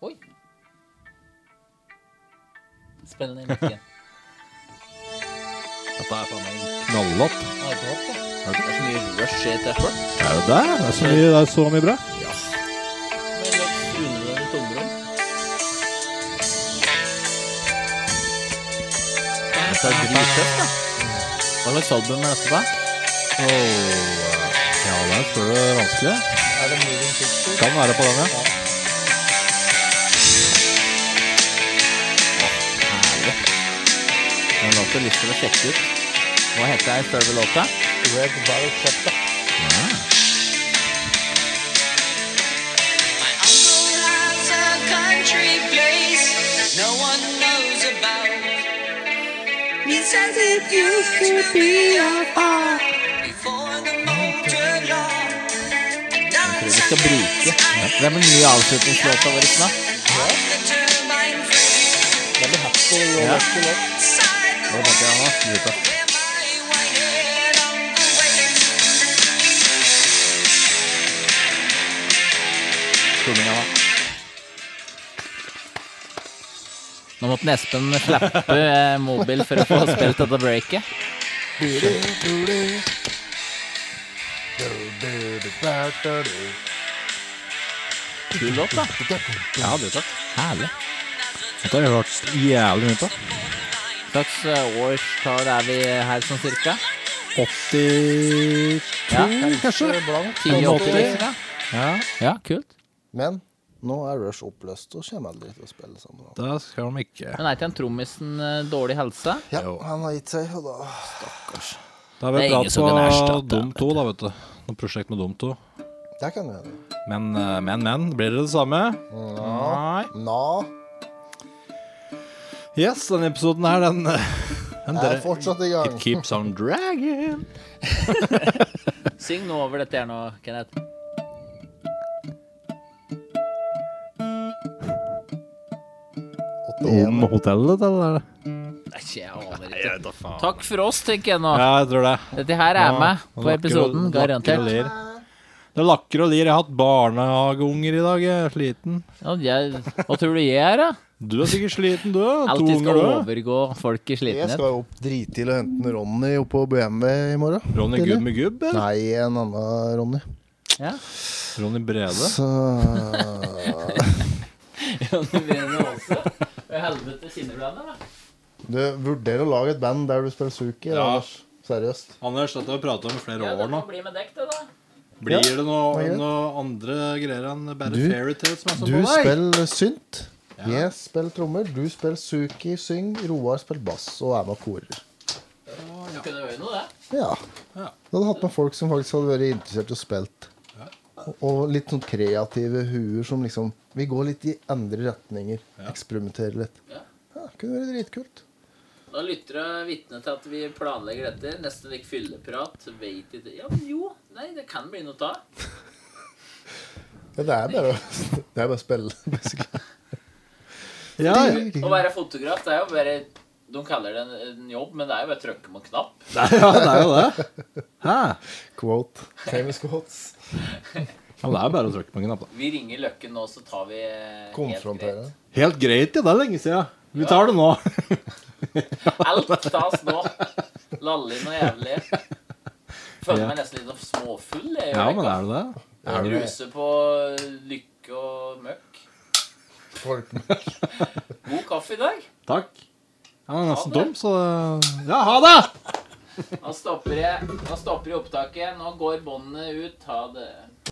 S4: Oi. Spennende mikken.
S3: Dette er faen meg en knallåt.
S4: Har du hørt det? Det er så mye rush i et etter.
S21: Er det der? Det er så mye, det er så mye bra.
S4: Det er drittøft, da. Hva slags album er dette på?
S3: Ja, der står det vanskelig.
S4: Er det Moving Picture?
S3: Kan være på den, ja.
S4: Herlig. Den låten lyst til å sjekke ut. Hva heter den selve låta? Red Barrel Chopper.
S10: Says it used to be a bar.
S4: Jeg tror vi skal bruke Det er vel nye avslutningslåta vår snart.
S21: Veldig happy
S4: og lekker Nå tenker jeg nå. Nyta. Tullinga, da. Nå måtte Espen slappe eh, mobil for å få spilt dette breaket. Kul låt, da. Ja, du takk. Herlig.
S3: Dette har jeg hørt jævlig mye på.
S4: Slags eh, årstall er vi her sånn cirka?
S3: 82,
S4: Ja, kanskje blankt. 1080, liksom,
S3: Ja.
S4: ja, kult.
S2: Men nå er Rush oppløst og kommer aldri til å spille sammen.
S3: Da skal de ikke
S4: Men er ikke han trommisen eh, dårlig helse?
S2: Ja, han har gitt seg, og da
S3: Da har vi
S4: Det er ingen
S3: prat
S4: som kan
S3: på
S4: erstatte
S3: Dom 2, da, vet du. Noe prosjekt med Dom 2.
S2: Det kan vi gjøre.
S3: Men, eh, men, men. Blir det det samme?
S2: Nei.
S3: Yes, denne episoden her, den eh, den
S2: Er
S3: dre-
S2: fortsatt i gang.
S3: It keeps on dragging.
S4: Syng nå over dette her nå, Kenneth.
S3: Om hotellet, eller?
S4: Nei, jeg aner ikke. Takk for oss, tenker jeg nå.
S3: Ja, jeg tror det.
S4: Dette her er
S3: Ja,
S4: med
S3: og
S4: på
S3: lakker og-
S4: episoden,
S3: lakker og
S4: garantert.
S3: lir. Det lakker og lir. Jeg har hatt barnehageunger i dag. Jeg er sliten.
S4: Ja, jeg, hva tror du jeg er, da?
S3: Du er sikkert sliten, du. To
S4: Alltid
S3: unger,
S4: skal
S3: du.
S4: overgå folk i
S2: Jeg
S4: slitenhet.
S2: skal jo opp dritidlig og hente en Ronny oppå BMW i morgen.
S3: Ronny
S2: Tidlig.
S3: Gubb med gubb, eller?
S2: Nei, en annen Ronny.
S4: Ja.
S3: Ronny Brede.
S2: Så
S4: Helvete, kinneblader, da.
S2: Du vurderer å lage et band der du spiller Suki,
S3: Ja.
S2: Anders. Seriøst.
S3: Anders, dette har vi pratet om i flere år nå.
S4: Bli med dekk, det, da.
S3: Blir
S2: Ja.
S3: det
S2: Det
S3: noe,
S2: er greit.
S3: noe andre greier enn bare
S2: Du-
S3: fairytales som er
S2: Du
S3: sånn på deg?
S2: spiller synt. Jeg spiller trommer. Du spiller Suki, syng. Roar spiller bass og er med og korer.
S4: Du kunne øye noe, det.
S2: Ja.
S4: Ja.
S2: Du hadde hatt med folk som faktisk hadde vært interessert og spilt. Og- Og litt sånn kreative huer som liksom Vi går litt i andre retninger. Eksperimenterer litt. Ja, kunne vært dritkult.
S4: Da lytter jeg vitne til at vi planlegger dette. Nesten vekk fylleprat. Vet ikke Ja, men jo. Nei, det kan bli noe av.
S2: Ja, det er bare å- det er bare å spille, basically.
S4: Å være fotograf, det er jo bare De kaller det en, en jobb, men det er jo bare å trykke på en knapp.
S3: det. Hæ?
S2: Quote. Famous quotes.
S3: Ja, men det er bare å trykke på en knapp, da.
S4: Vi ringer Løkken nå, så tar vi eh, helt greit.
S3: Helt greit, ja. Det er lenge siden. Vi tar det nå.
S4: Alt stas nå. Lallin og jævlig. Føler
S3: Ja.
S4: meg nesten litt sånn småfull. Jeg,
S3: Ja, men er du det? Er du
S4: Ruser på lykke og møkk. God kaffe i dag.
S3: Takk. Ja, den er nesten tom, så eh, Ja, ha det!
S4: Nå stopper jeg, nå stopper jeg opptaket. Nå går båndene ut. Ha det.